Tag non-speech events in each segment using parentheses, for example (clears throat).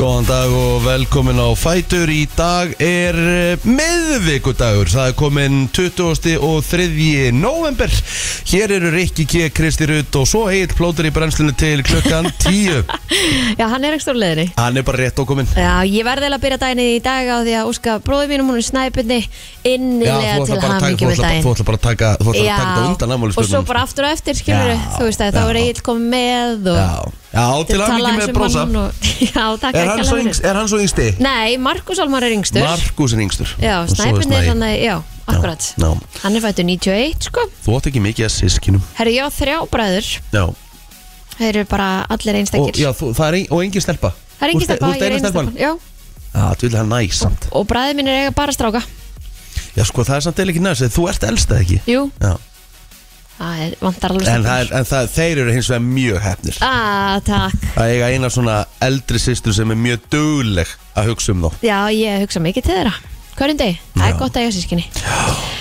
Góðan dag og velkomin á Fætur Í dag er eh, miðvikudagur Það er komin 20. og 3. november Hér eru Rikki G, Kristi Rutt og svo Egil Plóter í brennslunni til (laughs) klukkan 10 Já, hann er ekki stór leðinni Hann er bara rétt okkominn Já, ég verði eiginlega að byrja daginn í dag á því að óska bróðum mínum, hún er snæpunni innilega þú ætlar bara til að taka- hamingi þú með ætlar bara- daginn þú ætlar bara að taka Þú ætlar að taka þetta undan afmæli og svo bara aftur og eftir, skilur Já, þú veist já. að þá er Egil komið með og Já, já til hamingi með brósa um og, (laughs) Já, takk Er hann ekki svo alveg yngst- er hann svo yngsti? Nei, Markus Almar er yngstur Markus er yngstur Já, Og svo er snæpunni Snæi. er hann, já, akkurat Já, já. Hann er fættur 91, sko Þú átt ekki mikið að sískinum Herru, ég á þrjá bræður Já Þeir eru bara allir Og, einstakir já, þú, það er ein, og engin stelpa Það er Þú engin ert- stelpa, Þú ert ég eina er eina stelpan stelpan Já, Já, þú vil það næs samt og bræður minn er eiga bara stráka Já, sko, það er samt eða ekki næs Þú ert elst eða ekki Jú, Já það er vantar alveg En, stráka. það er, en það, þeir eru hins vegar mjög hefnir Ah, takk Að eiga eina svona eldri sýstur sem er mjög dugleg að hugsa um þá Já, ég hugsa mikið til þeirra Hverjum deg, það er Já. gott að ég á sískinni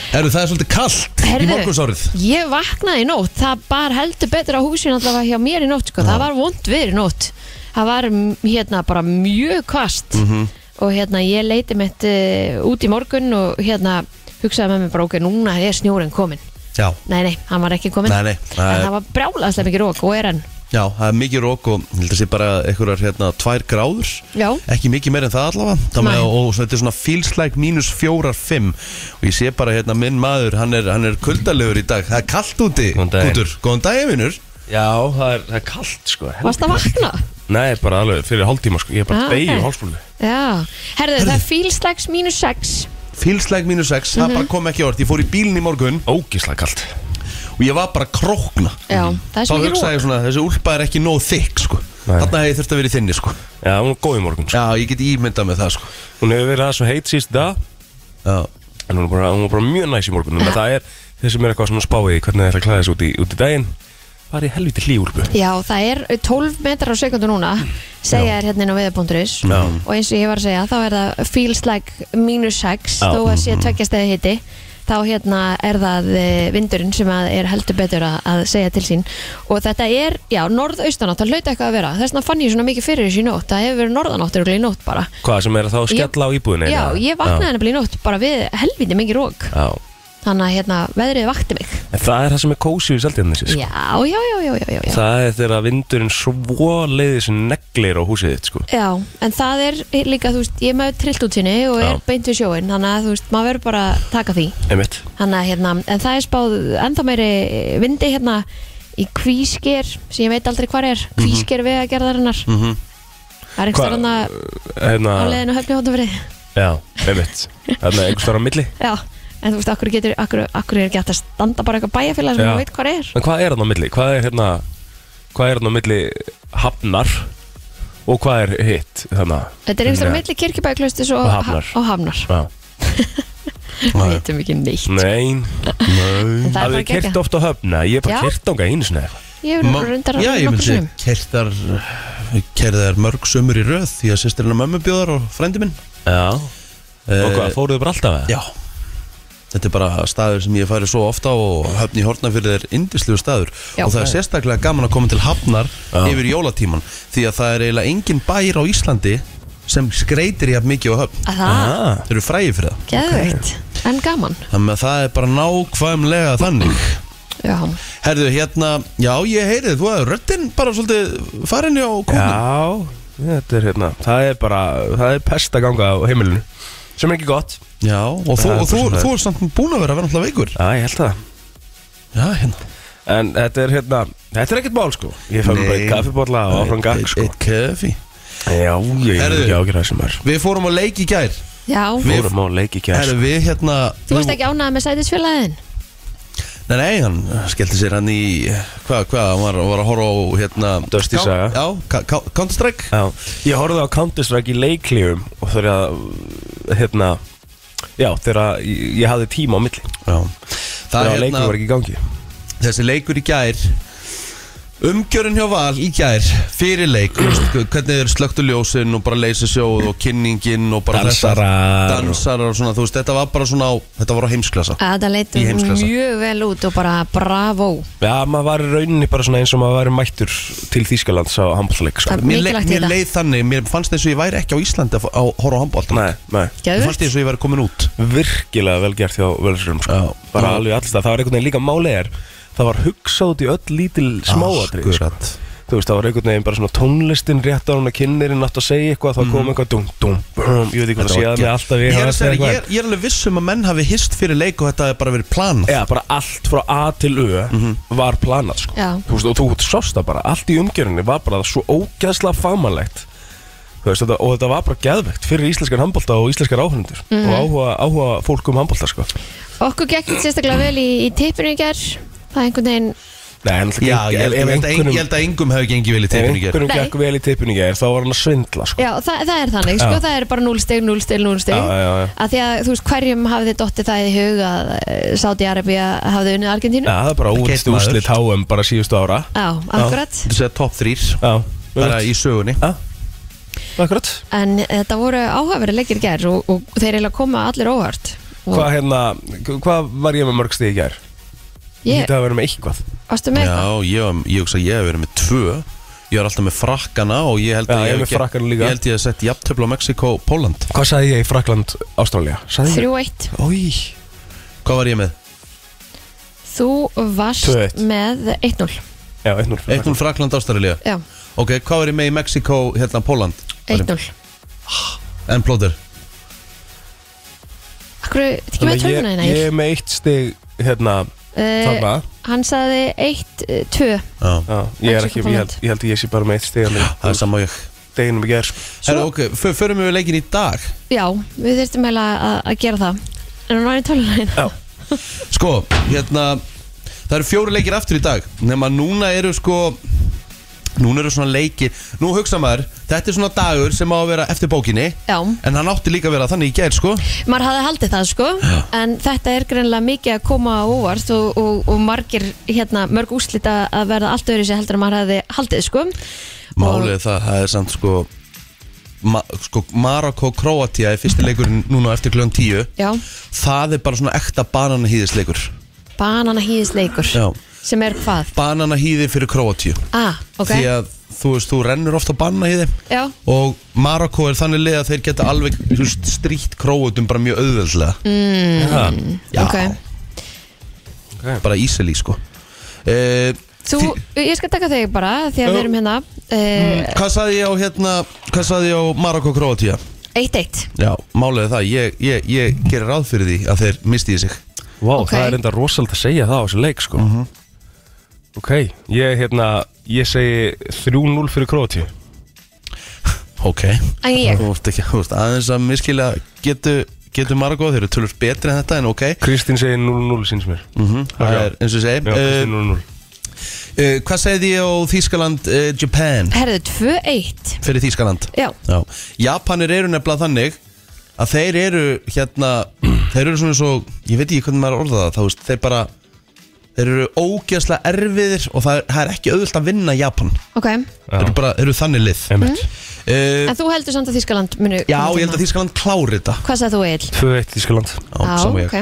Eru það er svolítið kallt Heyrðu. í morgunsárið Ég vaknaði í nótt, það bar heldur betur á húsin allavega hjá mér í nótt sko. Það var vond viður í nótt Það var m- hérna bara mjög kvast Mhm. Og hérna ég leiti mitt uh, út í morgun Og hérna hugsaði með mér bara ok, núna er snjórin komin Já, Nei, nei, hann var ekki komin Nei, nei, það En er- það var brjálaðslega mikið rók og er enn já, það er mikið rók og ég held að sé bara einhverjar hérna tvær gráður Já, ekki mikið meir en það allavega það með, Nei. og, og þetta er svona feels like mínus fjórar fimm og ég sé bara hérna minn maður hann er, hann er kuldalegur í dag það er kallt úti Góðan daginn. Gútur. góðan daginn vinnur Já, það er, það er kallt sko varst að vakna? Nei, bara alveg fyrir hálftíma sko Ég er Ah, bara ah, ok. beigju okay. hálfsbúlu Já, herðu, það er fílslags mínus 6 feels like mínus sex Mhm. það bara kom ekki á orð ég fór í bílinn í morgun Ógislega kallt og ég var bara að krókna Já, það er þá svo mikið rók hugsaði ég svona þessi úlpa er ekki nóg þykk sko Mhm. Nei. þarna hefði þurft að vera í þinni sko Já, hún er góð í morgun sko já ég get ímyndað með það sko Hún hefur verið aðeins og heit síst dag já En hún er bara, hún er bara mjög næs í morgun ja. Það er þeir sem er eitthvað svona spáið í Hvernig það er að klæða þessu út í, út í daginn Bara í helviti hlýjúrbu Já, það er 12 metrar á sekundu núna segja þér hérna inn á veðabunduris Já. og eins og ég var að segja, þá er það feels like minus 6, Já. þó að sé tveggja steði hitti þá hérna er það eh, vindurinn sem að er heldur betur að, að segja til sín og þetta er, já, norðaustanátt, það hlauta eitthvað að vera þess vegna fann ég svona mikið fyrir þessu í nótt það hefur verið norðanátt örugglega í nótt bara Hvað sem er að þá að Ég- skella á íbúðinni Já, eða? ég vaknaði nefnilega í nótt bara við helviti mikið rók Já, já þannig að hérna, veðrið vakti mig En það er það sem er kósi við seldjarnis sko. Já, já, já, já, já, já, já. Það er þegar að vindurinn svo leiðis neglir á húsið þitt sko. Já, en það er líka, þú veist, ég er með trillt út sinni og er Já. beint við sjóin, þannig að þú veist, maður verður bara að taka því. Einmitt Þannig að hérna, en það er spáð ennþá meiri vindi hérna í kvísker, sem ég veit aldrei hvar er, Mhm. kvísker vegagerðarinnar. Mhm. Það er einhverstað Hva- hérna Hérna, á leiðinu höfni hóndafrið. Já, einmitt Þannig einhvers þar á milli Já, en þú veist, akkur, getur, akkur, akkur er ekki hægt að standa bara eitthvað bæjarfélag sem Já. maður veit hvar er. En hvað er hann á milli? Hvað er hérna Hvað er hann á milli hafnar Og hvað er hitt þannig Þetta er einhverstað Já. milli kirkjubæklaustis og, Og Hafnar. og hafnar. að Við veitum ekki neitt. Nein En það er Það bara er kert geggjað. oft á höfna Ég er bara Já. kert ánga einu sinni Ég Ma- hefur rundar já ég nokkrum myndi sinnum. kertar kerðar mörg sömur í röð því að sýstirinn og mömmu bjóðar og frændi minn Já Og Eh, hvað, fóruðu bara alltaf að? Já Þetta er bara staður sem ég færi svo ofta og höfn í Hortnafjörði er indislu staður Já. og það er sérstaklega gaman að koma til Hafnar Já. yfir jólatíman því að það er eiginlega engin bæir á Íslandi sem skreitir jafn mikið á höfn Að það, ah, Þeir eru fræði fyrir það geðveikt, en gaman. Þannig að það er bara nákvæmlega þannig Já. Herðu hérna, já ég heyrið þú að röddinn bara svolítið farinni á kóknum Já Þetta er hérna Það er bara Það er pest að ganga á heimilinu Sem er ekki gott Já, og, þú, Það er og þú, bara þú er samt búin að vera að vera náttúrulega veikur Já, ég held það Já, hérna En þetta er hérna Þetta er ekkert mál sko Ég fæði bara eitt kaffibólla og áfram gang sko Eitt kefi Já, ég er Herðu. ekki ágjörð þessum er Við fórum á leik í gær Já, Við- Við erum á leik í kjær Herðu við hérna þú varst ekki ánægð með sætisfélagin Nei, nei, hann skellti sér hann í Hvað, hvað, hann var, var að horfa á hérna Dusty Ká- Saga. Já, Ká- Ká- Counter-Strike Já, ég horfði á Counter-Strike í leiklífum og þegar að, hérna, já, þegar að ég, ég hafði tíma á milli Já Það Þegar er að leiklífum hérna, var ekki í gangi þessi leikur í gær Umgjörun hjá Val í gær fyrir leik, þú veist, hvernig er slöktu ljósin og bara leysisjóð og kynningin og bara Dansarar. þetta dansarar og svona, þú veist, þetta var bara svona á, þetta var á heimsklassa Þetta Í leitur heimsklassa. mjög vel út og bara bravo Já, maður var í rauninni bara svona eins og maður var mættur til Þýskalands á handbólsleik sko. Það- Mér, Mikilvægt í mér þetta. leið þannig, mér fannst eins og ég væri ekki á Íslandi að fá- að horfa á handbóltan Nei, nei Mér Gjöðvöld fannst eins og ég væri komin út Virkilega vel gert hjá Völsurum sko. Já. Bara Já. alveg alls það, það var einhvern veginn líka málegar Það var hugsað út í öll lítil smáatrið sko. Ah, Akkurat. Þú veist, það var einhvern veginn bara svona tónlistin rétt á hún að kynnirinn átt að segja eitthvað Það kom eitthvað dum, dum, brum, ég veit ekki Mhm. hvað Þetta það var séð gegn- með alltaf Ég hafa er að eftir segja, eitthvað. ég er- ég er alveg viss um að menn hafi hist fyrir leik og þetta hefði bara verið planað Já, bara allt frá A til Ö Mhm. var planað sko. Já. Þú veist, og þú sást það bara, allt í umgjörunni var bara svo ógæðslega fámanlegt veist, þetta, og þetta var bara geðvegt fyrir íslenskan handbólta og íslenskar áhundur Mhm. og áhuga, áhuga fólk um handbólta sko. Okkur gekk sérstaklega vel í, í tippinu í gerð Það er einhvern veginn Nei, en alltaf Já, gekk- ég held- ég ef- ef held að ein- einhverjum- ég held að engum hefði gengið vel í ef teipinu einhverjum Nei. gekk vel í teipinu í gær þá var hann að svindla sko. Já, það, það er þannig, sko, Já. það er bara 0 stig, 0 stig, 0 stig Já, já, já. að því að þú veist hverjum hafði dottið það í hug að Saudi-Arabia hafði unnið Argentínu Já, það er bara Það óvist getur maður. úslit HM bara síðustu ára Já, akkurat Þú segja top 3 Já, bara í sögunni Já, akkurat En þetta voru áhafari leikir gerð og, og þeir eiginlega koma allir óvart Og Hvað hérna, hvað var ég með mörg stig í gær? Ég Ég, hýtti að vera með eitthvað varstu með eitthvað? Já, ég, var- ég hugsa að ég hef verið með tvö Ég var alltaf með frakkana og ég held Já, að ég er hef með ekki- frakkana líka. Ég held ég að setja jafntöfla á Mexiko og Póland Hvað sagði ég í Frakland, Ástrálja? 3-1 Ói Hvað var ég með? Þú varst 2-1. með 1-0 Já, 1-0 fyrir Eitt Frakkland. núl Frakland Ástralía Já, Ok, hvað var ég með í Mexiko, hérna Póland? 1-0 En plóður Akkur, þetta ekki með Þannig að ég, tölvuna þína ég Egill? er með eitt stig hérna Eh, þarna Hann sagði eh, 1-2 Já, Já, ég er Mexíkó, ekki, ég held, ég held að ég sé bara með eitt stig það er alveg sama og ég deginum í sko. gerð Herra, ok, fö- förum við leikin í dag Já, við þurftum eiginlega að- að gera það En hann var í tölvuna hérna. þína Já, Sko, hérna Það eru fjóri leikir aftur í dag Nefn að núna eru sko Núna eru svona leikir Nú hugsa maður, þetta er svona dagur sem á að vera eftir bókinni Já. En hann átti líka að vera þannig í gær sko maður hafði haldið það sko en þetta er greinlega mikið að koma á óvart og, og, og margir hérna, mörg úslita að verða allt öðru sér heldur en maður hafði haldið sko Málið er það, það er samt sko ma, Sko, Marokko Kroatia er fyrsti leikurinn núna eftir kljóðan 10 Já, Það er bara svona ekta bananahýðisleikur bananahýðisleikur Já. sem er hvað? Bananahýði fyrir Kroatíu Ah, ok Því að þú veist, þú rennur ofta bananahýði Já. Og Marokko er þannig leið að þeir geta alveg þú veist, strýtt Kroatum bara mjög auðveldlega mm. Já, ok. bara ísili sko uh, Þú, ég skal taka þig bara því að við erum hérna eh, Hvað saði ég á hérna Hvað saði ég á Marokko Kroatia 1-1 Já, málið er það, ég, ég, ég gerir ráð fyrir því að þeir mistiði sig Vá, Ok. það er enda rosalega að segja það á þessu leik sko Ok, ég hérna, ég segi 3-0 fyrir Króti Ok En ég, Þú ert ekki, þú veist, aðeins að miskila getu, getu Marokko, þeir eru tölvöld betri en þetta en ok Kristín segi 0-0 síns mér mm -hmm. Það er eins og Já, Kristín segi uh, 0-0 uh, Hvað segði ég á Þýskaland, uh, Japan herðu 2-1 fyrir Þýskaland Já, Já, Japanir eru nefnilega þannig að þeir eru hérna (clears throat) þeir eru svona svo, ég veit ekki hvernig maður orða það þá veist, þeir bara þeir eru ógeðslega erfiðir og það er, það er ekki auðvilt að vinna Japan ok þeir eru bara, þeir eru þannig lið uh, Emmett Mhm. En þú heldur samt að Þískaland muni Já, ég held að Þískaland klári þetta Hvað sagði þú Egil? 2-1 Þískaland Já, sama ég. ok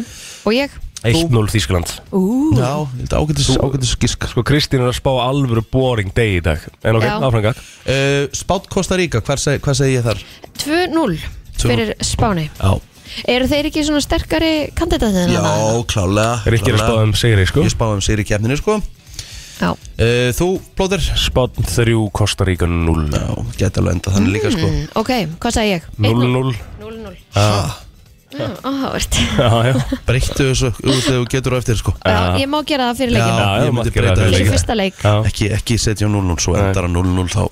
Og ég? 1-0 Þískaland Ú, Já, ég held að ágætis, ágætis gisk Sko Kristín er að spá alvöru boring day í dag En ok, Já. áframgang uh, Spátt Kosta Ríka, hvað seg, hvað segi ég þar? 2-0 fyrir Spáni Já, Eru þeir ekki svona sterkari kandidatinn? já klálega Er ekki að spá um sigri, sko Ég spáði um sér í kefninu, sko uh, Já, Þú, Blóður? Spán 3, Costa Rica 0 Já, geta alveg enda þannig líka, sko mm, ok, hvað sagði ég? 0-0 0-0 ah. Áhört Já, já Breyttu þessu úr þegar þú getur á eftir sko Já, ég má gera það Já, fyrir leikinn Já, ég já, myndi mátt gera breyta það þessu. Fyrir leikinn. fyrsta leik Já, ekki, ekki setja á 0-0 svo Nei. endar að 0-0 þá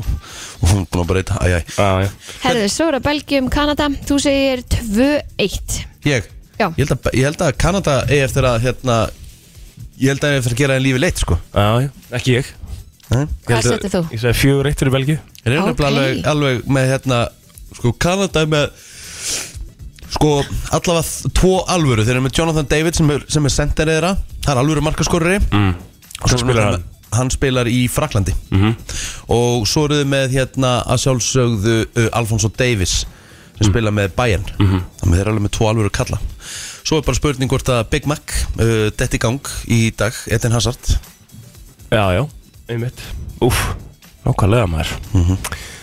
og hún er búin að breyta æj, æj. já, já Herðu, svo er að Belgium, Kanada Þú segir 2-1 Ég, Já. ég, held að, ég held að Kanada eigi eftir að hérna, ég held að eigi eftir að gera einn lífi leitt sko Já, já, ekki ég Nei? Ég held Hvað að- settir þú? Ég segi 4-1 fyrir Belgíu Þeir eru Ok. nefnilega alveg, alveg með hérna sko Kanada er með sko allavega þ- tvo alvöru þeir eru með Jonathan David sem er, sem er senderið þeirra það er alvöru markaskorri mm. Svo spilar hann. Mhm. hann spilar í Fraklandi og svo eru þau með hérna að sjálfsögðu uh, Alfonso Davis Mm. sem spila með Bayern Mhm. þannig að þeir eru alveg með tvo alvöru kalla svo er bara spurning hvort að Big Mac uh, detti í gang í dag, Eden Hazard Já, já, einmitt Úf, nákvæmlega maður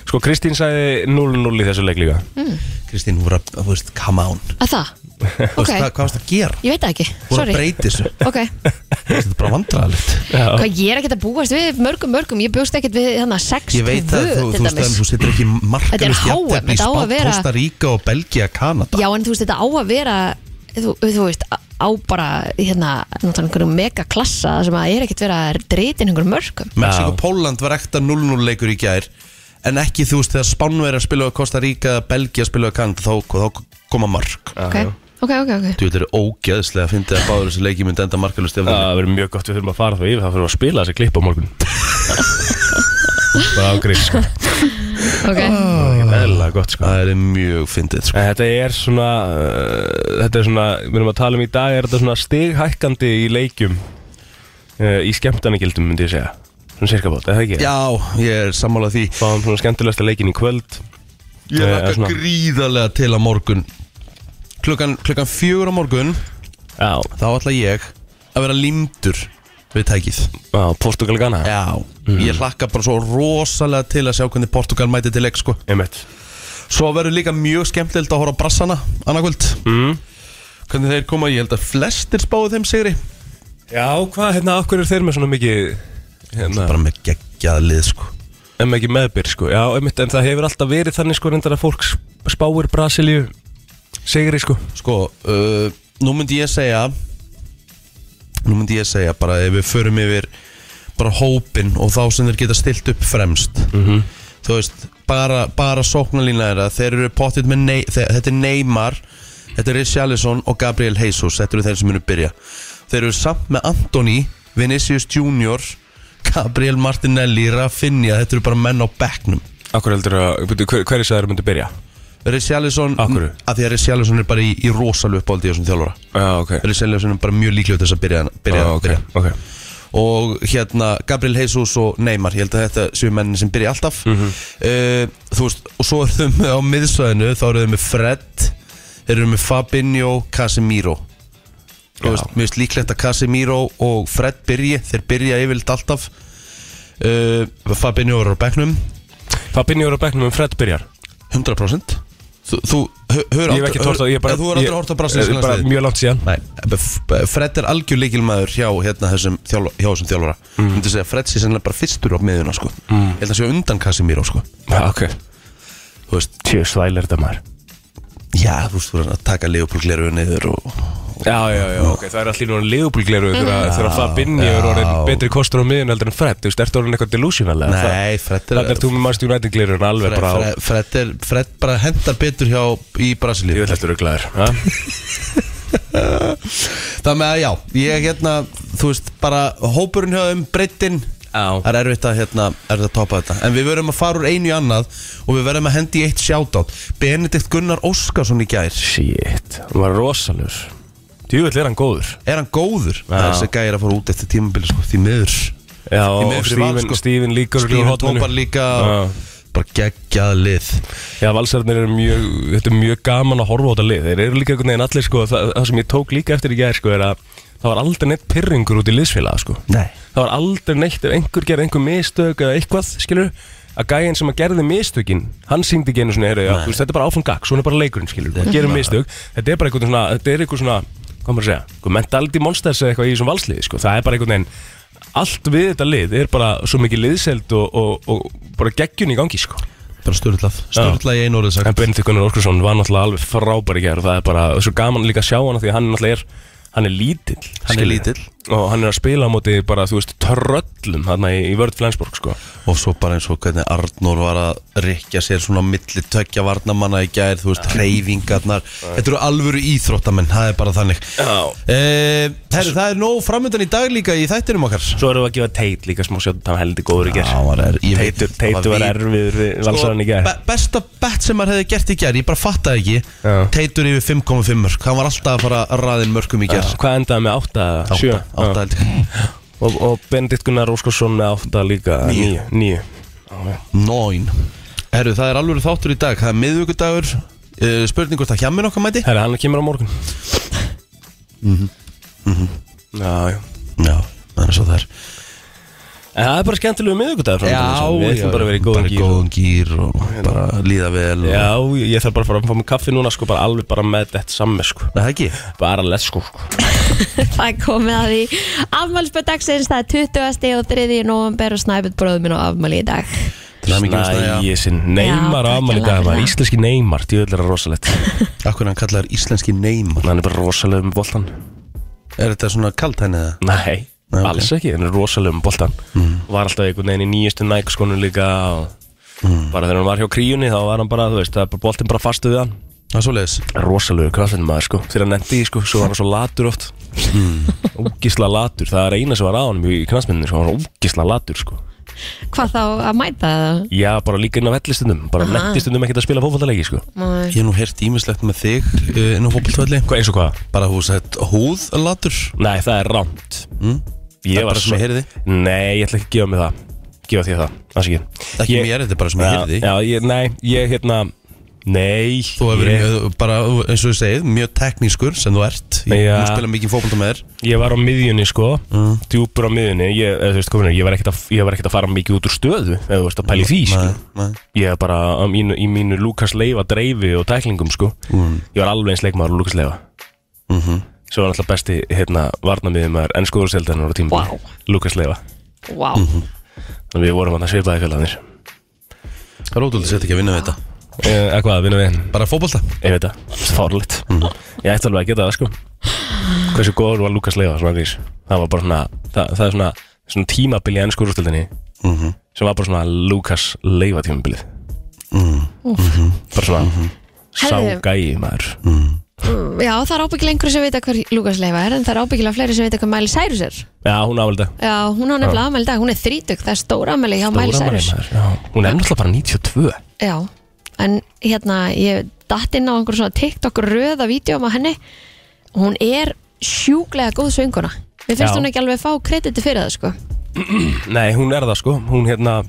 Sko, Kristín sagði 0-0 í þessu leik líka Mhm. Kristín, hún var að, þú veist, come on Að það? Þú veist, Ok. hvað hvað varst að gera? Ég veit það ekki, Hún var að sorry breyti þessu Ok, Þú veist, Þetta er bara vandræðalegt Já, hvað ég er ekkert að búast við mörgum mörgum Ég bjóst ekkert við þannig að 6 Ég veit að þú, þú, veist, að þú setur ekki markalust Þetta er HM, jafntefli í þetta á að Spán, vera- Costa Rica og Belgia, Kanada Já, en þú veist, þetta á að vera þú, þú veist, á- á bara hérna, náttúrulega einhverjum megaklassa þar sem að er ekkert verið að dreyta inn einhverjum mörgum Mexiko Póland var ekta 0-0 leikur í gær en ekki þú veist þegar Spánverja spilaði á Costa Rica, Belgia spilaði á Kanada þá, þá koma mark Ok, ok, ok, ok Þú veit, þetta er ógeðslega að fyndi að báður þessi leiki myndi enda markalust ef það það verður mjög gott við þurfum að fara þá yfir Það fyrir að spila þessi klipp (laughs) á morgun Bara ágrið, sko Oh. Ok, Eðlilega gott, sko Það er mjög fyndið sko. En Eh, þetta er svona, uh, þetta er svona, við erum að tala um í dag, er þetta svona stighækkandi í leikjum, uh, í skemmtanagildum myndi ég segja, svona cirka bótt, eða ekki? Já, ég er sammálað því Fáum svona skemmtilegsta leikin í kvöld, Ég Eh, lakka svona- gríðarlega til að morgun klukkan, klukkan fjögur á morgun já, þá ætla ég að vera límdur við tækið á Portugal Ghana, Já, ég hlakka bara svo rosalega til að sjá hvernig Portugal mæti til leik sko. einmitt. Svo verður líka mjög skemmtilegt að horfa á brassana annarkvöld Mm. Hvernig þeir koma, ég held að flestir spáðu þeim sigri Já, hvað, hérna, okkur er þeir með svona mikið, hérna, Bara með geggjað lið sko. en ekki meðbyr, sko, já, einmitt, en það hefur alltaf verið þannig, sko, reyndar að fólk sp- spáir Brasilíu sigri, sko. Sko, uh, nú myndi ég segja Nú myndi ég segja bara ef við förum yfir bara hópin og þá sem þeir geta stilt upp fremst Mhm. -hmm. Þú veist, bara, bara sóknarlína þeirra Þeir eru pottit með nei, þe Þetta er Neymar, þetta er Richarlison og Gabriel Jesus Þetta eru þeir sem munu byrja Þeir eru samt með Anthony, Vinicius Junior Gabriel Martinelli, Rafinha Þetta eru bara menn á bekknum Akkur heldur að, byrju, hver, hverju sagður myndi byrja? Richarlison, Af hverju? að því að Richarlison er bara í, í rosalu uppáldi þessum þjálfara Já, ok. Richarlison er bara mjög líklegur til þess að byrja, byrja, Já, Ah, ok, byrja. ok. og hérna Gabriel Jesus og Neymar ég held að þetta séu mennin sem byrja alltaf Mhm. mm þú veist, og svo eru þau með á miðsvæðinu, þá eru þau með Fred þeir eru með Fabinho, Casemiro þú Já. veist, mér veist líklegt að Casemiro og Fred byrji þeir byrja yfirleitt alltaf uh, Fabinho er á bekknum Fabinho er á bekknum um Fred byrjar. 100% þú, þú hör, hör, Ég hef ekki tórt á, ég bara þú er aldrei ég- hort á brasilíska eh, Bara landsliðið? mjög langt síðan Nei, Eh, F- F- Fred er algjör leikilmaður hjá hérna þessum, þjálf, hjá þessum þjálfara mm. Myndi segja, að Fred sé sennilega bara fyrstur á miðuna sko. mm. Ég held að sé undan Casemiro sko. Já, ok Þú veist, Tjö, svælir þetta maður já, þú veist, þú verður að taka Leopold Gleru niður og Já, já, já, ok, það er allir núna liðbúlgleru þegar þegar Fabinho er orðin betri kostur á miðun heldur en Fred, þú veist, ertu orðin eitthvað delusional eða það? Nei, Fred er Þannig er þú með Manchester United gleru en alveg Fred, bara á Fred, Fred, er, Fred bara hendar betur hjá í Brasilíu Ég vil heldur auðvitað glæður Það með að já, ég hérna, þú veist, bara hópurinn hjá um breyttin Já. Það er erfitt að, hérna, erfitt að topa þetta En við verðum að fara úr einu í annað Og við verðum að hendi í eitt shoutout Benedikt Gunnar Óskarsson í gær Shit, hann var rosalur Jú, er hann góður Er hann góður? Það er þessi gæri að fara út eftir tímabili sko, því miður Því Já, og miður fyrir Val, Steven, sko. Steven líka örugglega úr Stífin horninu. tópar líka Já. Bara geggjað lið Já, valsarnir eru mjög, þetta er mjög gaman að horfa á þetta lið Þeir eru líka einhvern veginn allir, sko, það, það sem ég tók líka eftir í gæð, sko, er að það var aldrei neitt pyrringur út í liðsfélaga, sko Nei Það var aldrei neitt, ef einhver gerði einhver mistök eða eitthvað, skilur að gæinn sem að gerði mistökin, hann syngdi ekki einu svona, heyrðu, já, þú veist, þetta er bara áfram gag, svona er bara leikurinn, skilur, við gerum mistök þetta er bara einhvern svona, þetta er einhvern svona hvað maður að segja, einhver mentality monsters eða eitthvað í þessum valsliði, sko, það er bara einhvern veginn allt við þetta lið er bara svo mikið liðseld og, og, og bara geggjun í gangi, sko Bara styrlað Styrlað í einu orðið En sagt Benedikt Gunnar Óskarsson var náttúrulega alveg frábær í gerð Það er bara svo gaman líka að sjá hann af Því að hann náttúrulega er, hann er lítill Hann er skilurðu. lítill. Og hann er að spila á móti bara, þú veist, törröllum Þarna í, í vörð Flensborg, sko Og svo bara eins og hvernig Arnór var að rikja sér svona á milli tökja varnamanna í gær, þú veist, reyfingarnar Þetta eru alvöru íþróttamenn, það er bara þannig Já. Eh, Herri, það er nóg framöndan í dag líka í þættinum okkar Svo erum við að gefa teit líka smá sjátt Það var heldur góður í gerð Já, var er- ég veit- Teitur, það teitur var vín- erfiður við valsarinn í gerð Sko, be Besta bet sem maður hefði gert í gær Ég bara fattaði ekki Já. Teitur yfir 5,5 mörg Hann var alltaf að fara að raðin mörgum í gær Hvað endaði með átta? eða Sjö? Átta, átta held ég. Og, og Benedikt Gunnar Óskarsson með 8 líka Níu. 9 Nón Herru, það er alveg þáttur í dag Það er miðvikudagur uh, Spurning hvort að hjammin okkar mæti Herra, hann kemur á morgun Mhm. Já, já Já, það er svo þar En það er bara skemmtilegu miðvikudagur Já, Við ætlum bara að vera í góðum gír góðum gýr og hérna. bara líða vel og... Já, ég þarf bara að fara að fá mig kaffi núna sko Bara alveg bara með þetta samme sko Er Það ekki? Bara let's go sko Það er komið að því afmælspöð dagsins, það er 20. og 3. november og snæpið bróðum minn á afmæli í dag Til hamingju með staðja. Snæjesinn, Neymar Já, á afmæli í dag takk maður. hérlega. Íslenski Neymar, djöðlega er það rosalegt Akkur hann kallar íslenski neymar Hann er bara rosalegum boltan Er þetta svona kalt henni eða? Nei, Nei, ok. Mm. alls ekki, hann er rosalegum boltan Var alltaf einhvern veginn í nýjustu Nike skonu líka og... Mm. Bara þegar hann var hjá kríunni þá var hann bara, þú veist, það er bara boltin bara fastu við hann Það er svoleiðis Rosalegu kraftin maður sko, þegar hann endi í sko, svo var hann svo latur oft Hmm. Ógisla latur, það er eina sem var á hann í knastmyndinu, sko, hann var ógisla latur sko Hvað þá að mæta það? Já, bara líka inn á vellistundum, bara nettistundum ekkert að spila fótbollalegi sko Nei. Ég hef nú heyrt ímislegt með þig uh, inn á fókbaltöldi Hvað eins og hvað? Bara þú sett húðlatur Nei, það er rámt mm? Ég Það er var bara sem svo- ég heyrði. Nei, ég ætla ekki að gefa mig það Gefa þér það, það sé Það er ekki mér, þetta er bara sem ég heyrði Já, ég, nei, ég hérna Nei Þú hefur ég, verið mjög, bara eins og þú segið, mjög teknískur sem þú ert Ég Já. ja. spila mikið fókbalta með þér ég var á miðjunni sko Hmm. Djúpur á miðjunni Ég, eða, þú veist, komin, ég, var ekkert að, ég var ekkert að fara mikið út úr stöðu Eða þú veist að pæli því sko Nei, nei. Ég var bara á mínu, í mínu Lukas Leiva dreifi og tæklingum sko Ég var alveg eins leikmaður og Lukas Leiva Mhm. Svo var alltaf besti hérna, varnamiðum maður enn skoðurseldanar á tíma Vá. Lukas Leiva Vá, Mhm. Þannig við vorum hann að svipaði félagarnir Það er ótrúlega sett ekki að vinna við þetta Eh, Eitthvað að vinna við henn Bara fókbalta Ég veit það, fárlegt Ég ætti alveg að geta það sko Hversu góður var Lukas Leiva svona grís Það var bara svona, það, það er svona, svona tímabili í ennsku úrstöldinni sem var bara svona Lukas Leiva tímabilið Bara svona mm -hmm. sá Herðu. gæi maður Mm, já það er ábyggilega einhverju sem vita hver Lukas Leifa er en það er ábyggilega fleiri sem vita hver Mæli Særus er Já, hún ávelda Já, hún á nefnilega afmæli í dag, hún er þrítug, það er stóra afmæli hjá Mæli Særus Hún er náttúrulega bara 92 Já, en hérna ég datt inn á einhver svona TikTok röða vídjóum á henni hún er sjúklega góð sönguna Mér finnst Já. hún ekki alveg fá krediti fyrir það sko Nei, hún er það sko Hún hérna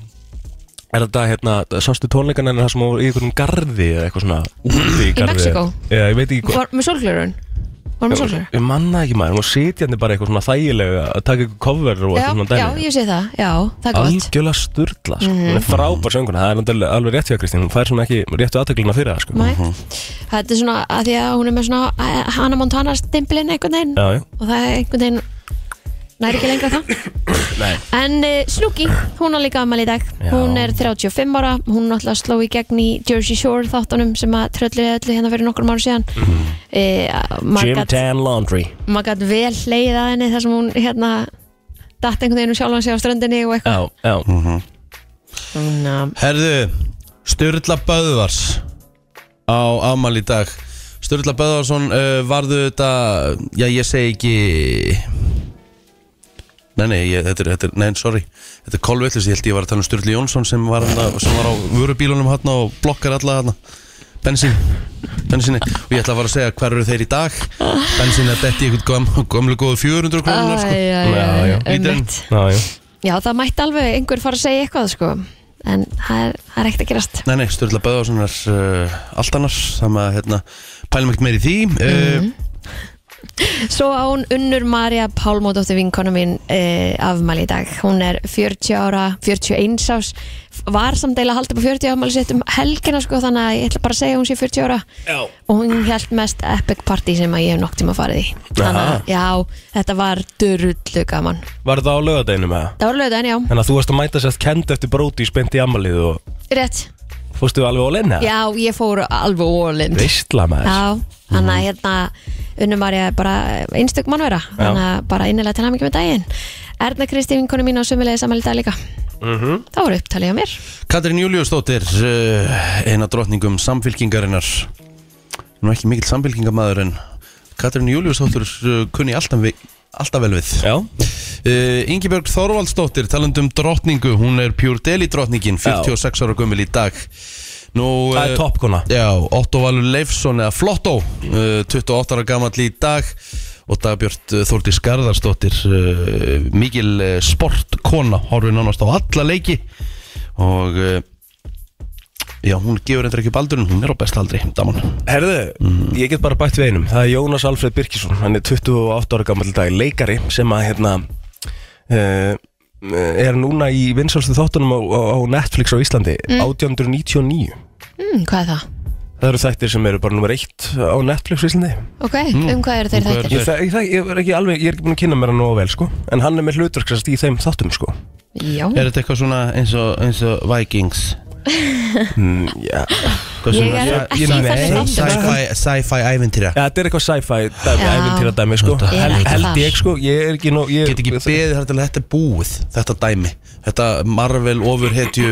Er þetta, hérna, sástu tónleikan hennar það sem hún var í einhverjum garði eða eitthvað svona úti í garði Mexíkó? Já, ég veit ekki hvað Var með sólglörun? Var með sólglörun? Ég manna ekki maður, hún var sitjandi bara eitthvað svona þægilega að taka eitthvað cover og Já, eitthvað svona já, ég sé það, já, það er gott Mhm. Algjörlega sturla, sko. hún er frábær sönguna, það er náttúrulega alveg rétt hjá Kristín, hún fær svona ekki réttu aðteglina fyrir það sko. Mæ, þetta er svona að því að hún er með svona eh, Hannah Montana stimpilinn einhvern veginn Já, já, og það er einhvern veginn næri ekki lengra það nei, en uh, Snooki, hún á líka ammali í dag Já. hún er 35 ára, hún náttúrulega sló í gegn í Jersey Shore þáttunum sem að tröllið öllu hérna fyrir nokkur mánu síðan mm. Mhm. Jim maður Tan Laundry gætt vel hleið að henni þar sem hún hérna datt einhvern veginn um sjálfan sig á ströndinni og eitthvað Já, já, Ná, Herðu, Sturla Böðvars á afmæli í dag Sturla Böðvarsson uh, varðu þetta Já, ég segi ekki Nei, nei, ég, þetta er, þetta er, nei, sorry Þetta er kolvillis, ég held ég var að tala um Sturli Jónsson sem var, hana, sem var á vörubílunum hann og blokkar alla hann bensín, bensíni og ég ætla að fara að segja hver eru þeir í dag bensín er detti í eitthvað göm- gömlu góðu 400 krónur sko. Já, já. æjæjæj, Líturinn. ummitt já, já. Já, það mætti alveg einhver fara að segja eitthvað sko En það er, það er ekkert að gerast Nei, nei, Sturla Böðvarsson er uh, allt annars þannig að hérna, pælum ekkert meir í því uh, Svo á hún Unnur Marja Pálmódóttir vinkona mín e, afmæli í dag Hún er 40 ára, 41 ás Var samt eiginlega að halda upp á 40 afmæli sitt um helgina sko Þannig að ég ætla bara að segja að hún sé 40 ára já. Og hún held mest epic party sem að ég hef nokk tíma farið í Þannig að, já, þetta var durullu gaman Var það á lögadeginu með það? Það var lögðan, já, Þannig að þú varst að mæta sérst kend eftir bróti í spennt í ammalið og rétt fórstu alveg á lenni Já, ég fór alveg ólind Veistla maður Já, hann Mhm. að hérna Unnum var ég bara einstök mannvera Hann að bara innilega til hamingi með daginn Erna Kristín, konu mín á sömulega samanlega dag líka Mhm. Það voru upptalið á mér Katrín Júliusdóttir uh, eina drottningum samfylkingarinnar nú ekki mikill samfylkingamæður en Katrín Júliusdóttir uh, kunni alltaf, vi, alltaf vel við Já, uh, Ingibjörg Þorvaldsdóttir talandum drottningu, hún er Pure Deli drottningin 46 ára gömul í dag Nú, það er eh, toppkona Já, Otto Valur Leifsson eða Flotto uh, 28 ára gamall í dag og Dagbjörn Þórdís Garðarsdóttir uh, mikil uh, sportkona horfið nánast á alla leiki og uh, já, hún gefur endur ekki baldurinn, hún er á besta aldri daman, Mm. Herðu, ég get bara bætt við einum Það er Jónas Alfred Birkisson Hann er 28 ára gammal dag leikari sem að hérna uh, er núna í vinsalstu þáttunum á, á á Netflix á Íslandi 1899 mm, Hvað er það? Það eru þættir sem eru bara nummer eitt á Netflix á Íslandi Ok, um hvað eru þeir Um hvað eru þættir? þeir? Ég, það, ég, það, ég er ekki alveg, ég er ekki búin að kynna mér hann nógu vel sko En hann er með hlutverksast í þeim þáttum sko Já, er þetta eitthvað svona eins og, eins og Vikings mm, Já, Hvað Ég svona- er sa- ekki í nei, þessum þáttum, sko. sci-fi- Sci-fi ævintýra ja, þetta er eitthvað sci-fi dæmi, Já. ævintýra dæmi sko Þetta er Hel, ekki Held þar. ég sko, ég er ekki nóg ég- get ekki beðið þar til þetta er búið þetta dæmi, þetta Marvel overhetju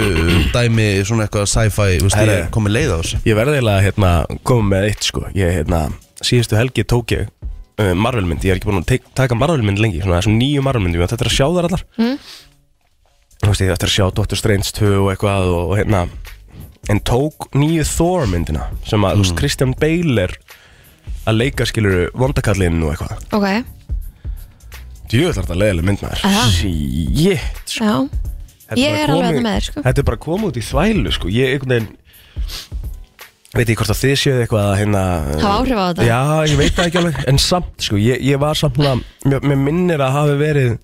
dæmi, svona eitthvað sci-fi, veist, ég er Herre. komið leið á þessu Ég verði eiginlega að hérna, koma með eitt sko. ég, hérna, Síðustu helgi tók ég uh, Marvelmynd, ég er ekki búin að tek, taka Marvelmynd lengi Svona þessum nýju Marvelmyndum, ég átti eftir að sjá þar allar mm. Þú veist, ég átti eftir að sjá Doctor Strange 2 og eitthvað og, og, hérna, En tók nýju Thor myndina Sem að, þú veist, Christian Bale er Að leika skilur vondakallinn og eitthvað ok Djöðlar þetta leiðileg mynd maður Aha. Shit, sko. Já, Þetta Ég bara er alveg komið- þarna með þér, sko. Þetta er bara að koma út í þvælu sko. Ég einhvern veginn Veit ég hvort að þið séu eitthvað að hérna Hafa áhrif á þetta? Já, ég veit það ekki alveg En samt, sko, ég, ég var samt að mér, mér minnir að hafi verið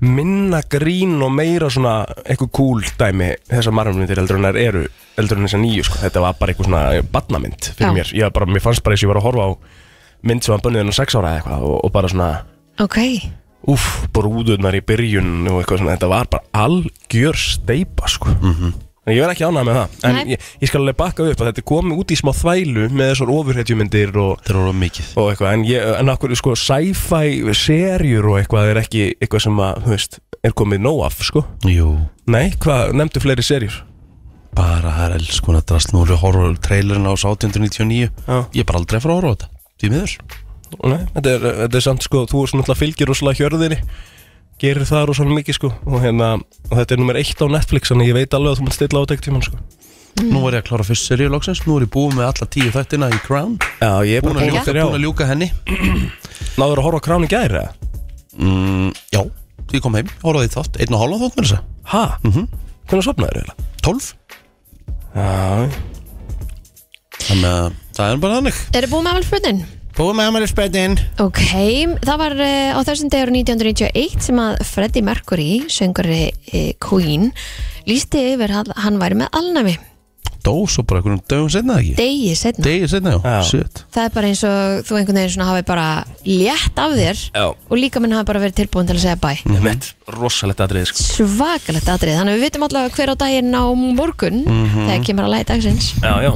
Minna grín og meira svona Eitthvað cool dæmi Þessar margmyndir heldur en þær eru Heldur en þessar nýju, sko Þetta var bara eitthvað svona badnamynd fyrir Já. mér Ég, var bara, mér fannst bara eins og ég var að horfa á Mynd sem var bönnið enn á sex ára eða eitthvað og, og bara svona ok Úff, brúðurnar í byrjun og eitthvað svona, þetta var bara algjör steipa sko En ég verð ekki ánægð með það, en Nei. ég, ég skal alveg bakka upp að þetta er komið út í smá þvælu með þessar ofurhetjumyndir og, þetta er orðað mikið og eitthvað En, ég, en akkur, sko, sci-fi serjur og eitthvað er ekki eitthvað sem að, þú veist, er komið nóg af sko Jú, Nei, hvað, nefndu fleiri serjur? bara það er alls konar drast nú er við horror trailerin á 1899 Já. ég er bara aldrei að fara að horfa á þetta, því miður Nei, þetta er, þetta er samt sko, þú er svona alltaf fylgir rosalega hjörðinni Gerir það rosalega mikið sko og, hérna, og þetta er nummer eitt á Netflix, þannig ég veit alveg að þú mátt stilla á þetta ekki tímann sko Mm. nú var ég að klára fyrst seríu loksins, nú er ég búið með alla tíu þættina í Crown, Já, ég er búin bara að búin ljúka, að búin að ljúka henni Náður að horfa á krán í gæri eða? mm, já, því ég kom heim, horfaði í þátt einn og hálfa þátt með þessa, Ha? Mm -hmm. Hvernig sopnaður eiginlega? 12 Já þannig að það er bara þannig Eru búið með afmælspöldin? búið með Amalys Bredin Ok, það var uh, á þessum degur 1991 sem að Freddie Mercury, söngari uh, Queen, lísti yfir að hann væri með alnæmi, dó svo bara einhverjum dögum setna ekki degi setna. degi setna, já, Já. shit það er bara eins og þú einhvern veginn svona hafi bara létt af þér Já. og líka minn hafi bara verið tilbúin til að segja bæ. Ég veit, rosalegt aðrið sko Svakalegt atrið, þannig að við vitum allavega hver á daginn á morgun Mhm. þegar kemur að læta dagsins. Já, já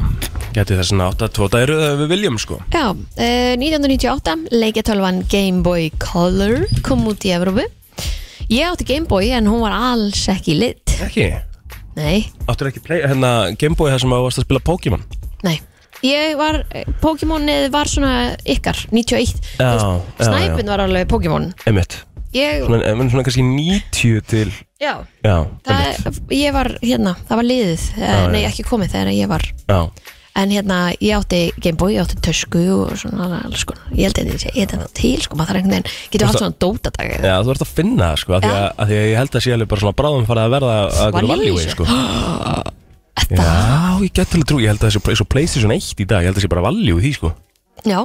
Gæti þess að átta tvo dæru þegar við viljum sko Já, uh, 1998 leikjatölvan Game Boy Color kom út í Evrópu. Ég átti Game Boy en hún var alls ekki lit. Ekki Nei, Áttur ekki play, hérna Gameboy þar sem að varst að spila Pokémon nei Ég var, eh, Pokémonið var svona ykkar, 91 Já, já, Snæpin var alveg Pokémon Einmitt Ég, Svona, en svona kannski 90 til já, Já, það, einmitt ég var hérna, það var liðið Já, Nei, já. ekki komið þegar ég var Já En hérna, ég átti Gameboy, ég átti tösku og svona alls konar Ég held að ég sé, ég held að það til, sko, maður þarf einhvern veginn Getur haft svona dótadag Já, þú ert að finna það sko, af því Já. að, að því að ég held að sé alveg bara svona bráðum farið að verða að Valjúi, einhverju valjúi, sko. sko. Já, ég gæti alveg trú, ég held að þessi, þessi Playstation 1 í dag, ég held að sé bara valjú í því sko Já,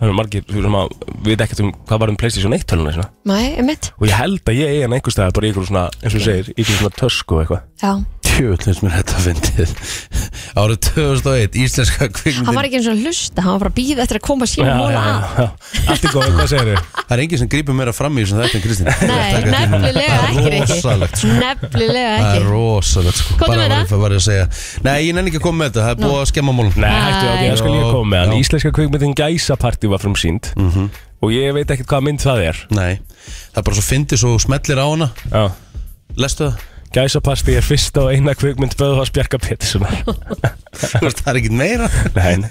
Það eru margir þú sem að veit ekkert um hvað var um Playstation 1 töluna svona. maður, emitt Og ég held að ég eigi hann einhvers staðar bara í ykkur svona, eins og þú segir, í ykkur svona tösku og eitthvað Já, Tjóðlins mér þetta fyndið (laughs) Árið 2001, íslenska kvikmyndin hann var ekki eins og hlusta, hann var bara að býða eftir að koma sín móla að já Allt í góð, hvað segir þau? Það er enginn sem grípur meira fram í þessum þetta en Kristín Nei, nefnilega Það ekki er Rikki. rosalegt, sko. Nefnilega Það er ekki rosalegt sko Komdu með var, það. var ég að segja Nei, ég nenni ekki að koma með þetta, það er búið að skemma mólum Nei, hættu, ok, það skal ég koma með hann Já. Íslenska kvikmyndin Gæsapartý var frumsýnd Og ég veit ekkert hvað mynd það er Nei, það er bara svo fyndið svo þú smellir á hana Já Lestu (laughs) það? Gæsapartý er fyrsta og eina kvikmynd Böðvars Bjarka Petterssonar Þú veist, Það er ekkit meira Nei, nei.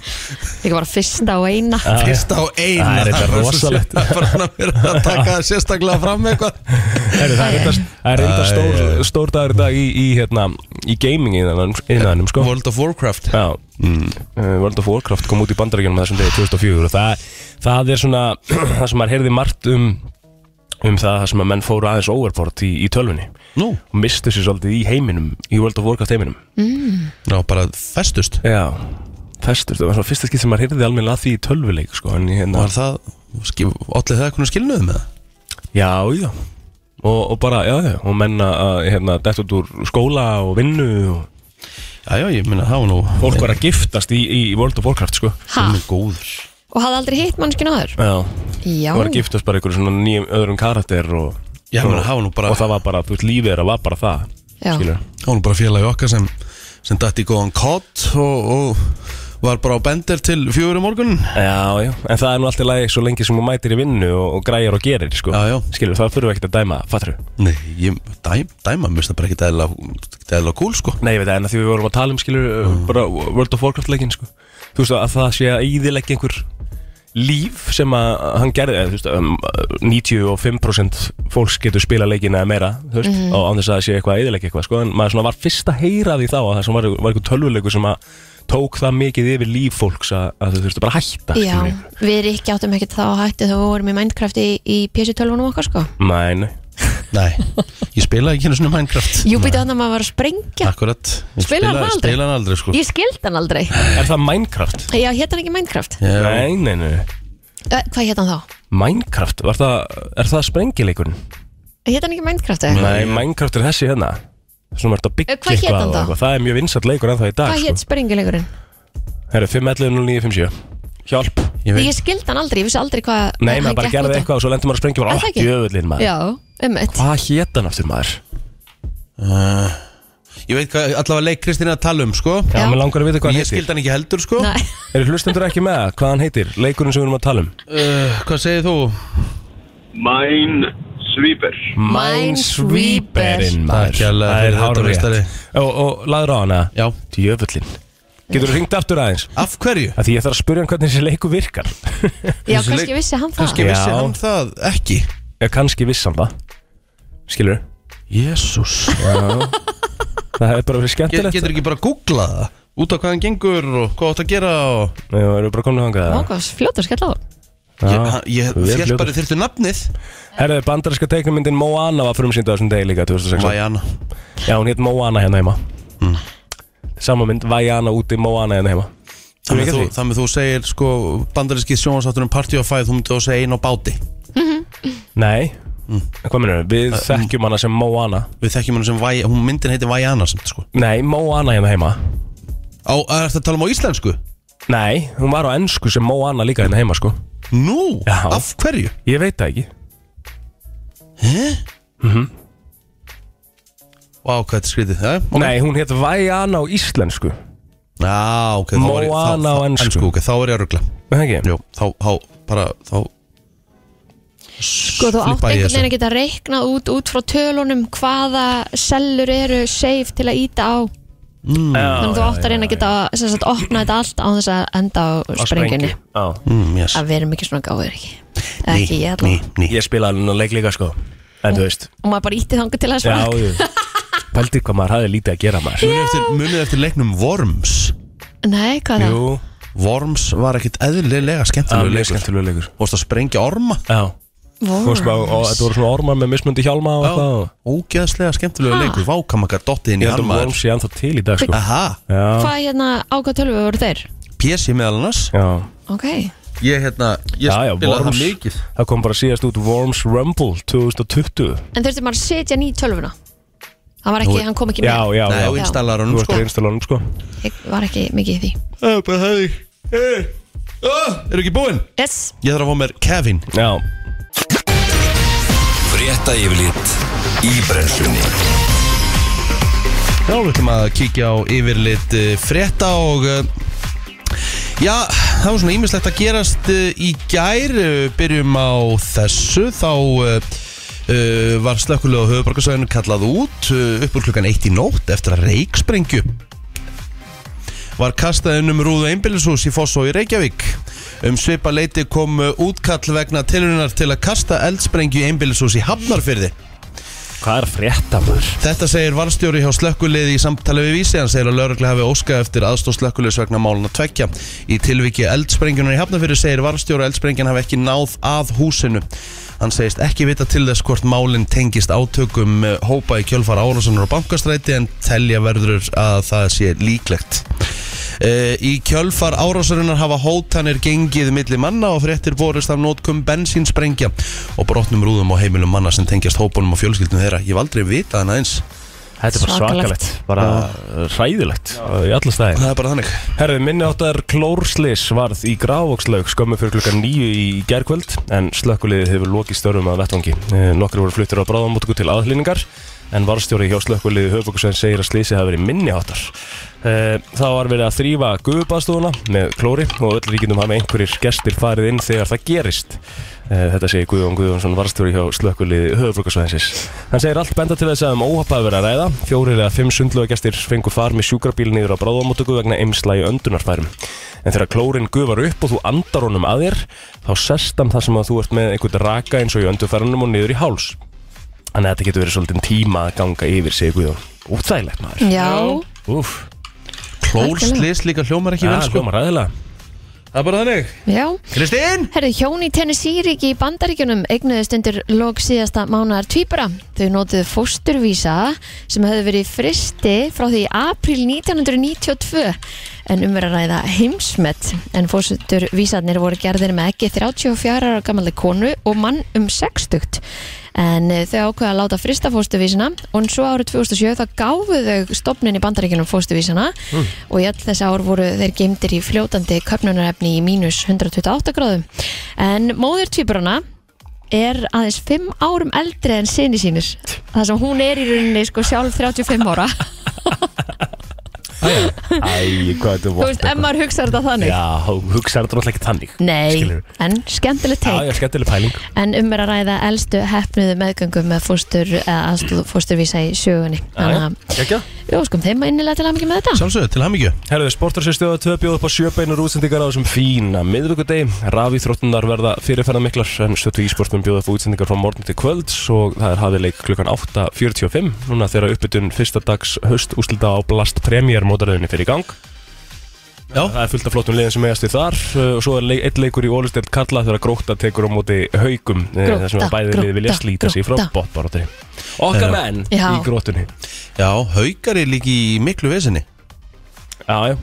Ég var fyrsta og eina Fyrst á eina Ah, Það er þetta svo rosalegt. sjá- bara hann að vera að taka það sérstaklega fram með eitthvað Heyrðu, Það er reyndar- það er reynda stór, stór dagur í dag í, í, hérna, í gaming innanum sko. World of Warcraft Eh, Já, mm. World of Warcraft kom út í bandarækjunum þessum degi 2004 og það, það er svona (clears throat) það sem maður heyrði margt um um það þar sem að menn fóru aðeins overport í, í tölvunni Nú, og mistu sér svolítið í heiminum í World of Warcraft heiminum já, bara festust Já, festur, það var svona fyrsta skipt sem maður heyrði almennilega að því í tölvuleik sko, en ég hérna Var það, allir það eitthvað skilnaði með um það? Já, já og, og bara, já, já, og menna að hérna, dætt út úr skóla og vinnu og Já, já, ég meina, það var nú fólk var að giftast í, í World of Warcraft, sko Ha, Hún er góður og hafði aldrei hitt mannskinu aður Já, Já, það var að giftast bara einhverjum svona nýjum öðrum karakter og, Já, menn, það var nú bara og það var bara, þú veist, lífið þeirra var bara það Já. skilur. Það var nú bara félagi okkar sem sem datt í góðan kott og, og var bara á bender til fjögur um morgun Já, já, en það er nú alltaf lægi svo lengi sem hún mætir í vinnu og, og græjar og gerir, sko Já, já. Skilur, það fyrir við ekkert að dæma, fattur Nei, ég, dæm, dæma, mér finnst það bara ekki dæðilega dæðilega kúl, sko Nei, ég veit það, en að því við vorum að tala um, skilur, bara World of Warcraft leikinn, sko. Þú veist að það sé að íðilegja einhver líf sem að hann gerði, eða, þú veist, um, 95% fólks getur spila leikinn eða meira, þú veist, Mhm. og án þess að það sé eitthvað að íðilegja eitthvað, sko, en maður svona var fyrst að heyra því þá að það sem var, var eitthvað tölvuleikur sem að tók það mikið yfir líf fólks að, að þú þurftu bara að hætta, já skilur. við ekki áttum ekkert þá hætti þegar við vorum í Minecraft í, í PC-tölvunum okkar sko Nei, nei. Nei, ég spilaði ekki henni svona Minecraft Jú, býttu þannig að maður var að sprengja Akkurat Ég Spilaði hann spilaði- aldrei? Spilaði hann aldrei, sko Ég skildi hann aldrei Er það Minecraft? Já, hétt hann ekki Minecraft? Já. Nei, nei, nei. Eh, Hvað hétt hann þá? Minecraft, var það, er það sprengileikurinn? Hétt hann ekki Minecraft? eða? Nei, Minecraft er þessi hérna Svona verður að byggja Eh, hvað hét hann og þá? eitthvað Það er mjög vinsat leikur ennþá í dag sko. Hvað hétt sprengilegurinn? Herru, 5.11.09.57 Hjálp Ég veit Ég skildi hann aldrei, ég vissi aldrei hvað Nei, hann maður bara gekk út gerði á. eitthvað og svo lendur maður að sprengja Er bara það á ekki? djöfullin maður Já, ummitt Hvað hét hann aftur maður? uh, Ég veit hvað allavega leik Kristín er að tala um, sko Já, Já. mér langar að vita hvað hann Ég heitir skildi hann ekki heldur, sko Nei, Eru hlustendur ekki með það? hvað hann heitir? Leikurinn sem við erum að tala um uh, Hvað segir þú? Minesweeper Minesweeperinn, maður. maður Það er Það er hárrétt. hárrétt Og, og laður á hana Já. Djöfullin Getur þú ringt aftur aðeins? Af hverju? Af því ég þarf að spurja hann hvernig þessi leiku virkar (laughs) já, Þessi kannski leik- vissi hann það Kannski vissi Já. hann það ekki Ég kannski vissan það Skilur Jésús Það er bara verið Get, skemmtilegt Getur ekki bara að googla það Út á hvað hann gengur og hvað átt að gera og... Nei, við erum bara komin að hanga Mákvæmst, fljótur skell á Ég, hann- ég vel fjall fljótur. bara þyrftu nafnið Herðu, bandarinska teiknumyndin Moana var frumsýnda þessum degi líka 2006 Vajana Já, hún hétt Moana hérna heima mm. Sama mynd, Vajana úti, Moana hérna heima Þú Þannig veist þú, því? þannig þú segir sko bandaríski sjónvarsáttunum Party of Five þú myndir þú að segja einn á báti Nei, Mm. hvað minnur við? Við þekkjum hana sem Moana Við þekkjum hann sem Vajana, hún myndin heitir Vajana samt sko Nei, Moana hérna heima Á, er þetta að tala um á íslensku? Nei, hún var á ennsku sem Moana líka hérna heima sko Nú, Já. af hverju? Ég veit það ekki Hæ? Mhm. Vá, hvað þetta er skrítið Já, ok. Nei, hún hétt Vajana á íslensku Já, ok þá var ég- þá- Moana á þá- ensku. ok, Þá er ég að ruggla Nei, ekki? Jó, þá, þá, bara, þá Sko, þú átt Flippa ég einhvern veginn þessu. að geta reiknað út út frá tölunum hvaða sellur eru safe til að íta á Já, þannig þú átt að reyna að geta sem sagt, opna þetta allt á þess að enda á á sprengjunni Já Mm, yes. að við erum ekki svona gáður ekki Eða Ný, ekki ég ný, allavega ný. Ég spilaði hann að leik líka sko En þú veist og maður bara ítti þangu til að Já, svara jú Pældi hvað maður hafði lítið að gera maður Munið eftir, munið eftir leiknum Worms nei, hvað er það? Jú, Worms var ekkit eðlilega það var skemmtilega mjög leikur skemmtilega leikur Vorst að sprengja orma Já, Vá. þú veist maður, og þetta voru svona ormar með mismundi hjálma og eitthvað og- Ógeðslega skemmtilega Ha? leikur Vákamakar dottið inn í Ég held að harmaður Worms sé ennþá til í dag sko Aha, Já, hvað hérna ákvað tölvu voru þeir? PC meðal annars já, ok, Ég hérna, ég já, já spilaði það Worms mikið Það kom bara síðast út Worms Rumble 2020 en þurfti maður að setja ný tölvuna hann, var ekki, Nú- hann kom ekki Já, með, já, Nei, já og já. installar Þú honum varst sko að installa hann Mm, sko ég var ekki mikið í því Það er bara hefði Eru ekki búinn? yes, Ég þarf að fá mér Kevin Já, Frétta yfirlit í brenslunni Já, við ætlum að kíkja á yfirlit eh, frétta og eh, já, það var svona ímislegt að gerast eh, í gær Eh, byrjum á þessu þá eh, eh, var slökkulega á höfubarkasæðinu kallað út eh, upp úr klukkan 1 í nótt eftir að reiksprengju var kastaðin um rúðu einbýlishús í Fossó í Reykjavík. Um svipa leiti kom eh, útkall vegna tilurinnar til að kasta eldsprengju í einbýlishús í Hafnarfyrði. Hvað er að frétta maður? Þetta segir varstjóri hjá slökkuliði í samtali við vísi, hann segir að lögreglega hafi óskað eftir aðstóð slökkuliðs vegna máluna tvekja. Í tilviki eldsprengjunum í Hafnafyrir segir varstjóri að eldsprengjan hafi ekki náð að húsinu. Hann segist ekki vita til þess hvort málinn tengist átökum eh, hópa í kjölfar árásunar og bankastræti en telja verður að það sé líklegt. Eh, Í kjölfar árásarinnar hafa hótanir gengið milli manna og fréttir borist af nótkum bensínsprengja og brotnum rúðum á heimilum manna sem tengjast hópunum og fjölskyldum þeirra. Ég hef aldrei vitað hana eins. Þetta er bara Svakalegt. svakalegt, bara uh, hræðilegt uh, í alla staði. Það er bara þannig. Herðu, minni áttar klórslis varð í grávokslaug skömmu fyrir klukkan nýju í gærkvöld en slökkuliðið hefur lokið störfum að vettvangi. Eh, Nokkri voru fluttir á bráðamótuku til aðhlýningar en varstjóri hjá slökkuliðið höfbókusvein segir að slísi hafi verið minni áttar. Það var verið að þrýfa guðbastofuna með klóri og öll ríkindum hafi einhverjir gestir farið inn þegar það gerist. Eh, Þetta segir Guðjón Guðjónsson varstjóri hjá slökkuliði höfbrukarsvæðinsins. Hann segir allt benda til þess að um óhapaði verið að ræða. Fjórir eða fimm sundlögagestir fengu far með sjúkrabíl niður á bráðamótöku vegna eimsla í öndunarfærum. En þegar klórin gufar upp og þú andar honum að þér, þá sest hann þar sem að þú ert með einhvern raka eins og í öndunarfærunum og niður í háls. Þannig að þetta getur verið svolítið tíma að ganga yfir, segir Guðjón. Útþægilegt maður. Já, Úf, Klórslis líka hljómar ekki vel það sko. hljómar ræðilega. Það er bara þannig. já. Kristín! Herðu, hjón í Tennessee-ríki í Bandaríkjunum eignuðust undir lok síðasta mánaðar tvíbara. Þau nótuðu fósturvísa sem hefðu verið í fristi frá því í april 1992 en um verið að ræða heimsmet en fósturvísarnir voru gerðir með ekki 34 ára gamalli konu og mann um 60 en eh, þau ákveða að láta frista fóstuvísina og svo árið 2007 þá gáfu þau stopnin í bandaríkjunum fóstuvísina Hmm. og í all þess ár voru þeir geimdir í fljótandi köpnunarefni í mínus 128 gráðum en móðir tvíburana er aðeins 5 árum eldri en sinni sínir það sem hún er í rauninni sko sjálf 35 (laughs) ára þú Æ, hvað þetta var. veist, ef maður hugsaður þetta þannig Já, hugsaðu þetta náttúrulega ekki þannig. nei, Skilurðu? en skemmtileg Já, já, teik skemmtileg pæling. en um er að ræða elstu hefnuðu meðgöngum með fóstur, aðstóð fósturvísa í sjögunni þannig að Kekja? Jó, skum, þeim að innilega til að mikið með þetta Sjálfsögðu, til hamingju. Herðu, sportarsins stöða 2 bjóð upp á sjöbeinur útsendingar á þessum fína miðvíkudegi. Rafíþróttunar verða fyrirferðar miklar en stöttu ísportum bjóða upp á útsendingar frá morgun til kvölds og það er hafið leik klukkan 8.45 núna þegar uppbytun fyrsta dags höst úslita á Blast Premier mótaröðinni fyrir í gang. Já. Það er fullt af flottum liðin sem eigast við þar uh, og svo er leik, einn leikur í Ólistelt Karla þegar Gróta tekur á móti haugum Grótta, þar sem að bæði liði vilja Grótta, slíta sig frá Grótta. botbaróttri. Okkar menn Já. í Grótunni. Já, haukar er líki í miklu vesinni. Já, já.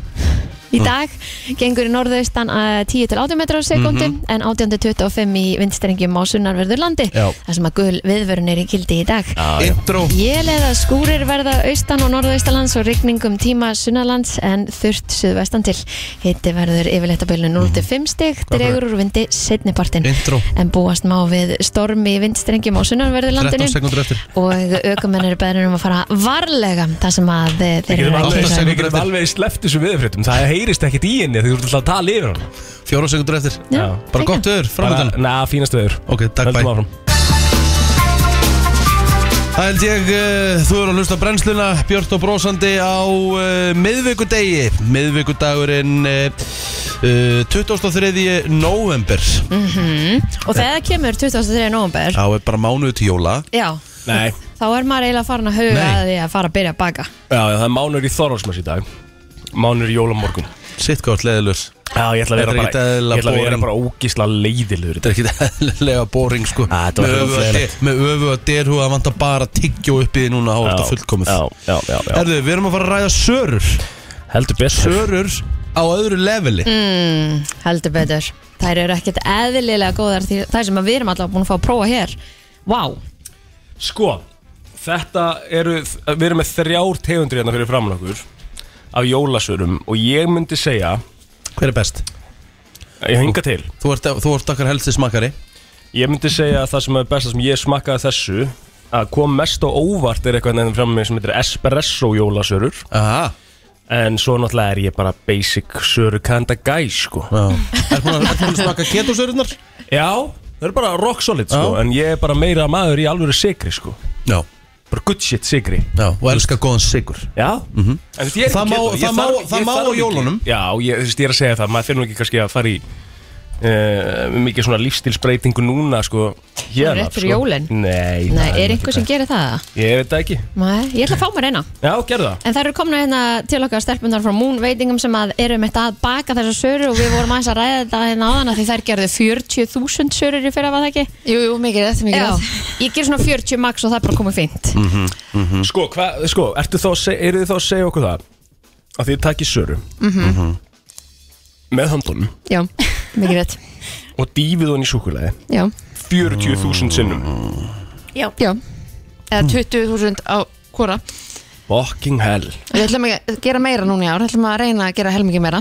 Í dag gengur í norðaustan að 10 til 18 metrar á sekundi en 18 til 25 í vindstrengjum á sunnarverður landi Já. þar sem að gul viðvörun er í gildi í dag Intro. Jél eða skúrir verða austan og norðaustalands og rigningum tíma sunnalands en þurft suðvestan til hitti verður yfirleitt að bylnu 0 til 5 stig dregur úr vindi setnipartin Intro. en búast má við stormi í vindstrengjum á sunnarverður 13 landinu sekundur eftir. og aukumenn eru beðnir um að fara varlega þar sem að eh, þeir Við getum eru að alveg- keyra. sekúndur alveg, alveg, eftir. alveg sleppt þessu viðfréttum Það heyrist ekkert í henni þegar þú ert alltaf að tala yfir hann 4 sekundur eftir. Já, Bara ekki. gott öður, framöndan. Næ, fínast veður Ok, takk, bæ. Höldum áfram. Það held ég, uh, þú eru að hlusta á brennsluna Björn og brósandi á uh, miðvikudegi Miðvikudagurinn uh, uh, 23. november Mm. Já, Og þegar það kemur 23. november er bara mánuð til jóla Já, Nei, þá er maður eiginlega farin að huga Nei. að því að fara að byrja að baka já, já, það er mánur í Þorvalsmess í dag Mánur í jólamorgun Sitt gott leðilur Þetta Já, ég ætla að Þetta er vera ekkert bara Ég eðlilega ætla að vera boring. bara ógisla leiðilegur í dag. er ekki (laughs) eðlilega boring sko Ah, þetta var Með öfu að hræðilegt. de- Með öfu að derhu að vanta bara tyggjó upp í því núna á þetta fullkomið Já, já, já, já. Herðu, við erum að fara að ræða sörur Heldur betur Sörur á öðru leveli Mm. Heldur betur Þær eru ekkert eðlilega góðar því þær sem að við erum alltaf búin að fá að prófa hér Vá, Sko, þetta eru Við erum með þrjár tegundir hérna fyrir framan okkur Af jólasörum Og ég myndi segja Hver er best? Ég henga til Þú ert, þú ert okkar helsti smakari Ég myndi segja að það sem er besta sem ég smakkaði þessu að kom mest á óvart er eitthvað nefnum fram með sem heitir espresso jólasörur Aha, en svo náttúrulega er ég bara basic söru kanda gæ sko já Er hún að smaka ketosörunar? Já, það eru bara rock solid sko Já. en ég er bara meira maður í alvöru sigri sko Já bara good shit sigri Já, og elska góðan sigur Já, -hmm. en þú veist ég er Það ekki má- keto, ég það má- þarf- það ég má þarf á ekki- jólunum. Já, ég, þú veist ég er að segja það, maður finnur ekki kannski að fara í uh, mikið svona lífstilsbreytingu núna sko hérna Rétt fyrir jólin? Nei, Nei, það er einhver sem ekki gerir það? það. Ég veit það ekki Nei, ég ætla að fá mér eina Já, gerðu það En það eru komna hérna til okkar stelpunar frá Moon veitingum sem að eru meitt að baka þessa sörur og við vorum aðeins að ræða þetta hérna áðan af því þær gerðu 40.000 sörur í fyrra var það ekki? Jú, jú, mikið rétt, mikið Já, rétt Mm. ég ger svona 40 max og það er bara komið fint Sko, hva, sko ertu þá, að seg- eru þið þá að segja okkur það að þið takið söru Mhm. með handunum Já, mikið rétt og dýfið hann í súkulæði Já, 40.000 sinnum já, Eða Hmm. 20.000 á hvora Fucking hell Við ætlum að gera meira núna í ár, ætlum að reyna að gera helmingi meira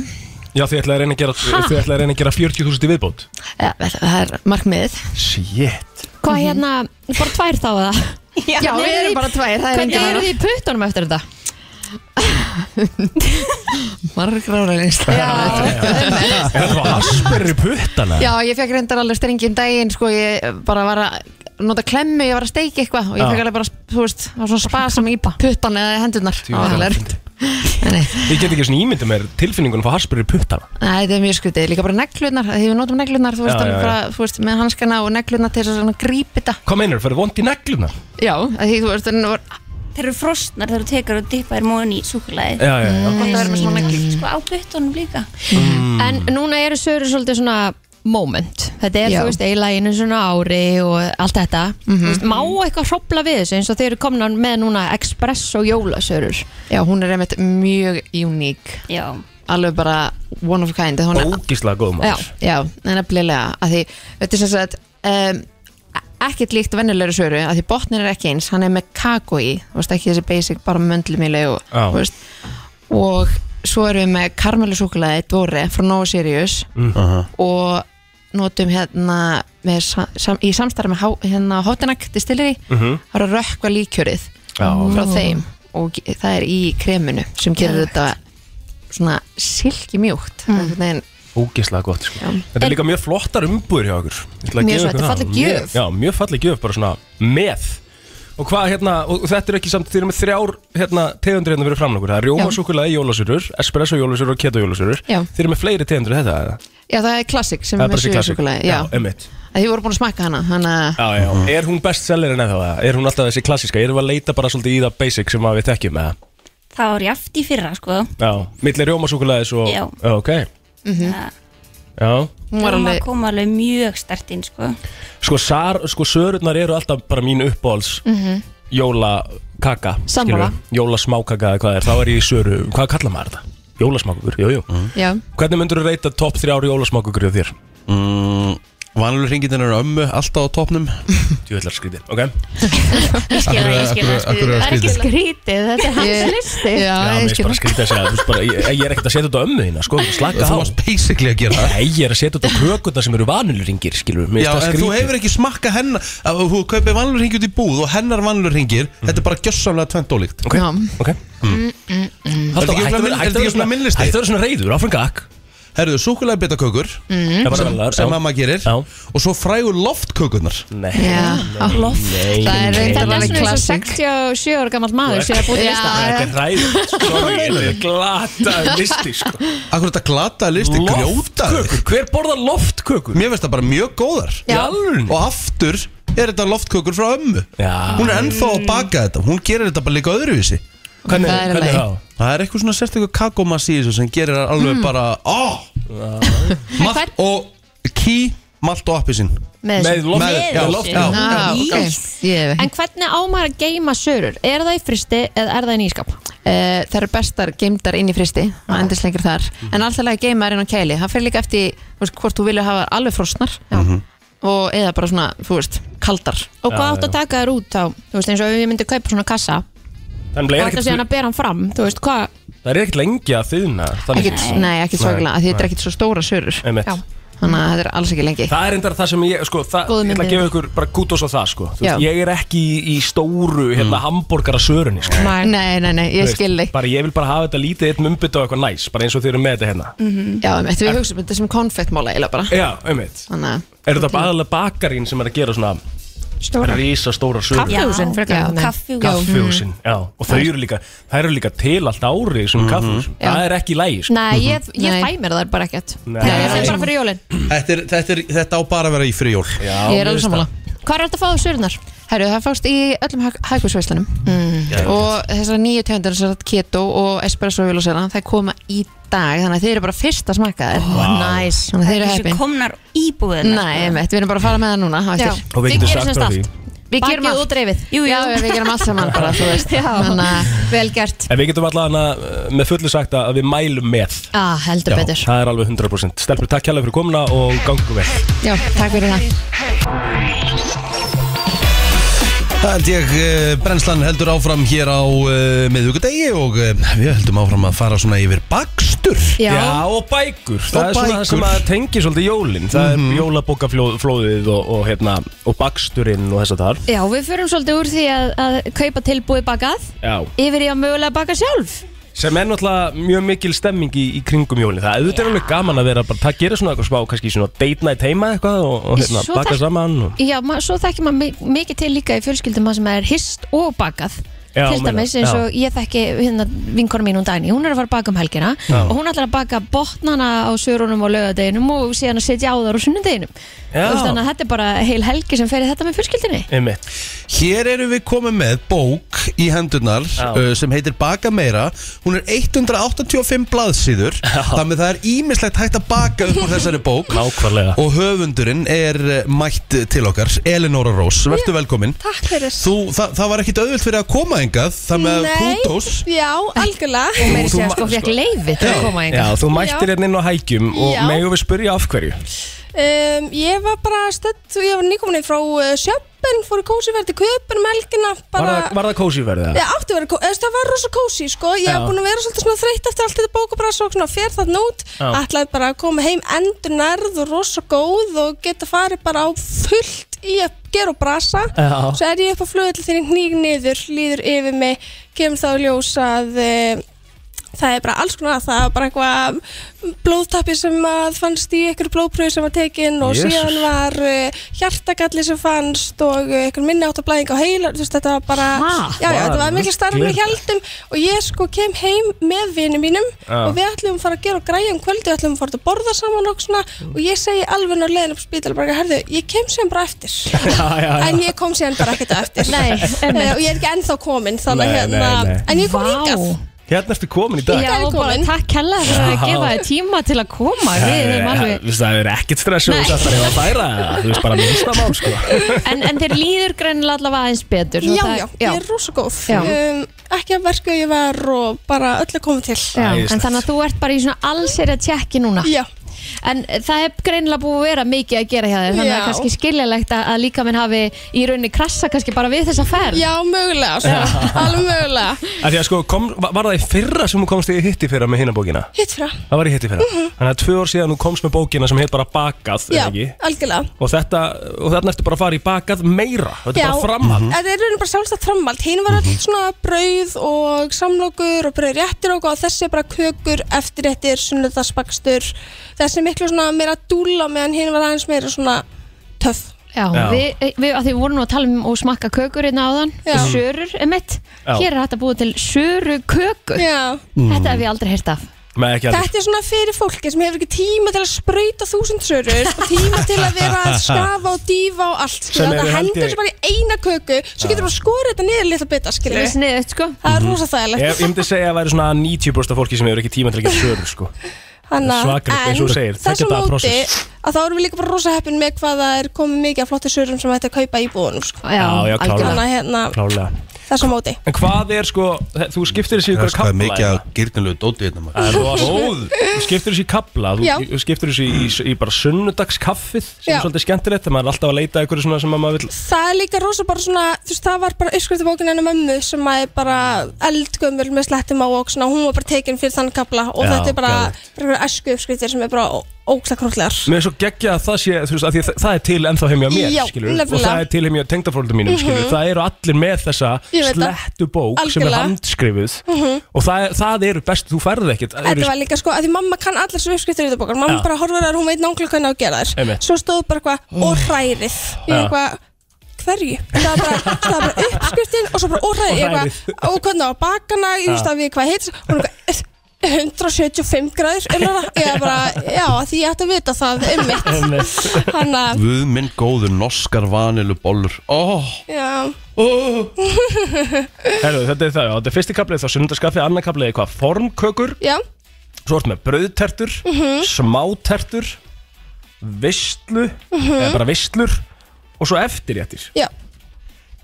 Já, þið ætlaði að reyna að gera, þið ætlaði að reyna að gera 40.000 í viðbót Eða, vel, Það er markmiðið Shit Mhm. hvað hérna, bara tvær þá eða? Já, Hvernig við eruð erum þið- bara tvær, það er Hvernig engin eru aðra þið í puttunum eftir þetta? Margra ára lengst Er það asperri puttana? Já, ég fekk reyndar alveg strengi um daginn sko, ég bara var að nota klemmu, ég var að steiki eitthvað og ég Já. fekk alveg bara, þú veist, það var svona spasam í puttan eða í hendurnar Jú, það er Alveg. Nei, (laughs) nei. Ég get ekki svona ímyndið mér tilfinningunum fyrir asperri puttana Nei, þetta er mjög skrítið, líka bara neglurnar því við notum neglurnar, þú veist, Já, já, alveg já. bara, þú veist með hanskana og neglurnar til þess að svona grípi þetta Hvað meinar, fyrir vond í negluna? Já, af því þú veist, þannig var Þeir eru frosnar þegar þú tekur og dippar móðin í súkulæði Eh. Já, já, já gott að vera með svona neglur Sko á puttunum líka Mm. En núna eru sörur svolítið svona moment, þetta er Já. Mhm. þú veist eiginlega einu svona ári og allt þetta þú veist, má eitthvað hrópla við þessu eins og þeir eru komna með núna express og jólasörur Já, hún er einmitt mjög uník Já alveg bara one of a kind hún er Ógíslega góð Já, maður Já, það er nefnilega að því, þetta er sem sagt um, ekkert líkt venjulegri svöru að því botnin er ekki eins, hann er með kakó í þú veist ekki þessi basic, bara möndlumíli og, Já. þú veist, og svo erum við með karmelusúkulaði dvore frá Nova Sirius og notum hérna með, sa- sam, í samstarf með há, hérna Hotenak Distillery, það Mhm. -hmm. er að rökkva líkjörið Já. frá þeim og ge- það er í kreminu sem gerir þetta svona silki mjúkt mm. Ógíslega gott, sko Þetta er líka mjög flottar umbúður hjá okkur Ég ætla Mjög að gefa svo, ykkur þetta er það. falleg Mjög- gjöf. Já, mjög falleg gjöf, bara svona með Og hvað, hérna, og þetta er ekki samt Þið eru með þrjár, hérna, tegundir hérna verið framlökur Það er rjómasúkulega jólasörur, espresso jólasörur og keto jólasörur Já. Þið eru með fleiri tegundir en þetta, eða? Já, það er klassik sem Það er er bara með þessi klassik suðusúkulæði Já, emmitt að þið voru búin að smakka hana Þannig að Já, já, er hún bestsellerin eða það? Er hún alltaf þessi klassiska? Erum við að leita bara svolítið í það basic sem að við þekkjum eða? Það var jaft í fyrra sko Já, milli rjómasúkulæðis og... Já. Ok, Það já. Mhm. hún var var að alveg koma alveg mjög stert inn sko Sko, sar, sko sörurnar eru alltaf bara mín uppbóls Mhm. jólakaka. Sammála. skilurðu? Jólasmákaka eða hvað er, þá er ég í söru. Hvað kallar maður þetta? Jólasmákakur, jú, jú. Mhm. Já, Hvernig myndur þú reyta topp þrjári jólasmákakur hjá þér? mm, Vanlur hringin er ömmu alltaf á topnum Djúvillar skrítið, ok? Ég skil það, ég skil það Akkur er að skrýta skrítið, þetta er Ég- listi Já, já, sko. ég mér er skil bara skrítið að segja, þú veist bara, ég, ég er ekkert að setja þetta á ömmu þína, sko, slaka Þú á. varst basically að gera það Nei, ég er að setja þetta á kökuna sem eru vanilringir, skilur Já, en þú hefur ekki smakka hennar að Þú kaupir vanlurringi út í búð og hennar vanlurringir Þetta er bara gjössamlega tvent ólíkt Ok, Já. Mm, ok Mm. Er þetta ekki svona minn- er þetta ekki svona minnlisti? Hættu að vera svona reyður, áfram gakk Herðu, súkulega bitakökur Mm. sem mamma gerir Já. og svo frægur loftkökurnar Nei, Já, á loft nei, Það er nei, nei. reyndar Þetta er alveg svona eins og klassik. 67 ára gammal maður sem er búin í Já. lista Þetta er ræður, (laughs) sorry, þetta er glataður listi sko. Akkur þetta glata listi grjótar Loftkökur, hver borðar loftkökur? Mér finnst það bara mjög góðar Í alvörunni? Og aftur er þetta loftkökur frá ömmu Já. Hún er ennþá að baka þetta Hún gerir þetta bara líka öðruvísi Hvernig, Það er hvernig leið. þá? Það er eitthvað svona sérstaklega kakomass í þessu sem gerir það Hmm. alveg bara oh! Ah. Malt og ký, malt og appisinn með þessu. Með loft, Með- já, með loft- já. loft Já, ok, ég hef ekki En hvernig á maður að geima sörur? Er það í fristi eða er það í nýskap? Eh, Það eru bestar geimdar inn í fristi og endist lengur þar En alltaf lega geimar inn á kæli Það fer líka eftir þú veist, hvort þú vilja hafa alveg frosnar og eða bara svona, þú veist, kaldar Og hvað átt að taka þér út þá? Þú veist eins og ef ég myndi kaupa svona kassa Þannig og er ætla síðan ekkert- að bera hann fram Þú veist hvað? það er ekkert lengi að þiðna ekkit, Nei, ekkit Nei. svaklega, því þetta er ekkit svo stóra sörur Einmitt. Já. Þannig að þetta er alls ekki lengi Það er endar það sem ég, sko, það, Góð ég ætla mynd að gefa ykkur bara kútos á það, sko Þú veist, Já. Ég er ekki í, í stóru, hérna, hambúrgara sörunni, sko Nei, nei, nei, ég Þú veist, skil þig Bara ég vil bara hafa þetta lítið eitt mumbit og eitthvað næs Bara eins og þeir eru með þetta hérna Já, einmitt, við hugsaum þetta sem konfektmála eiginlega bara Já, einmitt Þannig að Er þetta bara aðalega bakarín sem er að gera svona Stóra. Rísastóra sögur Kaffihúsin frekar Já, en- kaffi kaffihúsin, já, og þau eru líka það eru líka til allt árið sem mm kaffihúsin, Mhm. Já. það er ekki lægi sko. Nei, ég, ég Nei. fæ mér þær bara ekkert Nei. Það er þeim bara fyrir jólin Þetta, er, þetta, er, þetta á bara að vera í fyrir jól Já, Ég er mér alveg finnst sammála. Hvað er þetta að fá þú surnar? Herru, það fást í öllum hægúsveislunum mm. og þessar nýju tegundir sem sagt keto og espresso viljósena, það koma í dag þannig að þeir eru bara fyrst að smaka þér wow. Nice. þannig að þeir eru Þessu heppin komnar sko. íbúðina Nei, einmitt, við erum bara að fara með það núna á sko. Já. eftir. Og við Þið getum gerir sagt semst frá allt. Við gerum Bakið allt og dreifið Jú, jú. Já, við gerum allt saman bara, þú (laughs) veist Já. Þannig að Vel gert En við getum allan að, uh, með fullu sagt að við mælum með ah, Heldur betur það er alveg 100% Stelpur, takk hérlega fyrir komuna og gangu vel Já, takk fyrir það Það held ég eh, brennslan heldur áfram hér á uh, miðvíkudegi og uh, við heldum áfram að fara svona yfir bakstur Já, og bækur Og Það er svona það bækur. sem að tengir svolítið jólin Það Mhm. er jólabókaflóðið og, og, hérna, og baksturinn og þess að þar Já, við förum svolítið úr því að, að kaupa tilbúið bakað Já. yfir í að mögulega baka sjálf Sem er náttúrulega mjög mikil stemming í, í kringum jólin Það auðvitað er alveg gaman að vera bara, Það gerir svona eitthvað spá, kannski svona date night heima eitthvað Og, og hérna, Svo baka þekk- saman og, Já, ma svo þekkir maður mi- mikið til líka í fjölskyldum að sem er hist og bakað Já, til meina, dæmis eins já. og ég þekki hérna vinkona mín hún Dæni, hún er að fara að baka um helgina og hún ætlar að baka botnana á sörunum og laugadeginum og síðan að setja á þar á sunnudeginum Já. og þannig að þetta er bara heil helgi sem fer í þetta með fjölskyldinni Einmitt Hér erum við komið með bók í hendurnar Já. uh, sem heitir Baka meira Hún er 185 blaðsíður Þannig það er ímislegt hægt að baka upp úr þessari bók Nákvæmlega Og höfundurinn er eh, mætt til okkar Elinora Rós, vertu velkomin Takk fyrir Þú, það, það var ekkit auðvilt fyrir að koma engað Það með kútós já, algjörlega meiri segja sko fekk leiði til að koma Já, enga þú mættir Já. hérna inn á hækjum og Já. megum við spyrja af hverju um, Ég var bara stödd Ég var nýkomin inn frá uh, sjöppin Fór í kósiverð til köpun um helgina Var bara, það, var það kósi verið það? Ég átti að vera kósi, það var rosa kósi sko. Ég Já. var búin að vera svolítið svona þreytt eftir allt þetta bókabræs og svona fér þarna út Já. Ætlaði bara að koma heim endur nærð og rosa góð og geta farið bara á fullt í að gera og brasa Já. Svo er ég upp á flugullu þegar ég hníg niður, líður yfir mig, kemur þá í ljós að uh, það er bara alls konar að það er bara eitthvað blóðtappi sem að fannst í einhverju blóðpröfi sem var tekin og Jesus. síðan var uh, hjartagalli sem fannst og uh, einhver minni átt að blæðinga á heila, þú veist þetta var bara, Ha? já, já, Hvað þetta var mikil starf rugl með er hjaldum og ég sko kem heim með vinum mínum Já. og við ætlum að fara að gera og græja um kvöldu, við ætlum að fara að borða saman og svona og ég segi alveg ná leiðin upp spítal bara, herðu, ég kem sem bara eftir (laughs) Já, já, já. en ég kom síðan bara ekkert á eftir Nei, Eh, og ég er ekki ennþá komin þannig að Nei, nei, hérna, nei. en ég kom hingað Hérna ertu komin í dag Já, Takk. bara takk hella fyrir að gefa þér tíma til að koma Við erum alveg Þú veist, Eh, Það er ekkert stress og Nei. þetta er að færa Þú veist bara minnsta mál sko En, en þeir líður greinilega allavega aðeins betur svo já, það- já, ég er rosa góð Já. um, ekki að verku ég var og bara öllu komið til Já, en Æðislegt. þannig að þú ert bara í svona allsir að tjekki núna já, En það hef greinilega búið að vera mikið að gera hjá þér Þannig að Já. kannski skiljalegt að, að líka minn hafi í rauninni krassa kannski bara við þessa ferð já mögulega sko. alveg mögulega Af Því að sko, kom, var var það í fyrra sem þú komst í hitti fyrra með hina bókina? hitt frá Það var í hitti fyrra Þannig að tvö ár síðan þú komst með bókina sem heit bara bakað Mhm. já, eða ekki? algjörlega Og þetta, og þarna ertu bara að fara í bakað meira Þetta er Já. bara framhald Þetta er raunin bara sjálfstætt framhald Hinn var allt svona brauð og samlokur og brauð réttir og góð Þessi er bara kökur, eftirréttir, sunnudagsbakstur Þessi er miklu svona meira dúla meðan hinn var aðeins meira svona töff Já, Já. Við, við, að því við vorum nú að tala um og smakka kökur hérna áðan Já. Sörur, emitt Já. Hér er hægt að búið til söru kökur Eh, Já Þetta hef ég aldrei heyrt af Mhm. Nei, ekki allir Þetta er svona fyrir fólki sem hefur ekki tíma til að sprauta þúsund sörur og tíma til að vera að skafa og dýfa og allt Sem skilja. eru, Það held ég- hendur þessu bara í eina köku svo getur bara skorið þetta niður litla bita Það skilja. er sniðut sko Það er rosa Ég, þægilegt ég myndi segja að það væri svona 90% af fólki sem hefur ekki tíma til að gera sörur sko Hanna, svakalegt, eins og þú segir, þess tveggja að daga móti process. að þá erum við líka bara rosa heppin með hvað það er komið mikið af flottir sörum sem þetta kaupa í búðunum sko. Já, Já, já, klárlega. Þannig að hérna, Klálega þess að móti En hvað er sko, þú skiptir þessi ykkur Það er kapla mikið eða? að gyrnilegu dóti hérna maður Það er rosa Þú skiptir þessu í kabla Þú Já. þú skiptir þessu í, í, í bara sunnudagskaffið sem Já. er svolítið skemmtilegt þegar maður er alltaf að leita að einhverju svona sem að maður vill Það er líka rosa bara svona, þú veist, það var bara uppskriftabókin hennar mömmu sem að er bara eldgömmur með slettum á og svona, hún var bara tekin fyrir þann kapla og Já, þetta er bara, geðveikt. bara einhverja esku uppskriftir sem er bara ógsta krúllegar. Mér er svo geggja að það sé, þú veist, að því, að það er til ennþá heimja mér, Já, skilur og nefnilega. Mhm. það er til heimja tengdafólundum mínum, skilur það eru allir með þessa Ég veit það. slettu bók sem er Algjörlega. Mhm. handskrifuð og það, það eru best, þú færð ekkert það eru- Þetta var líka sko, að því mamma kann allar sem uppskriftir í þetta bókar, mamma Já. bara horfur að hún veit nánglega hvernig á að gera þær. Einmitt. Svo stóð bara eitthvað, og hrærið, ég Já. eitthvað, hverju það var bara, það var bara uppskriftin og svo bara Og orðaði hrærið. eitthvað og hvernig á að baka hana, ég veist að við hvað heitir og hún eitthvað "Eh, 175 gráður eða ég bara, já því ég ætti að vita það um mitt eh, hann að, Guð minn góður norskar vanilu bollur oh, já, oh. Herru, þetta er það, já, þetta er fyrsti kaplið, þá sunnundaskaffið, annar kaplið eitthvað formkökur, já svo ertu með brauðtertur, Mhm. smátertur, vistlu, Mhm. eða bara vistlur, og svo eftirréttir. Já.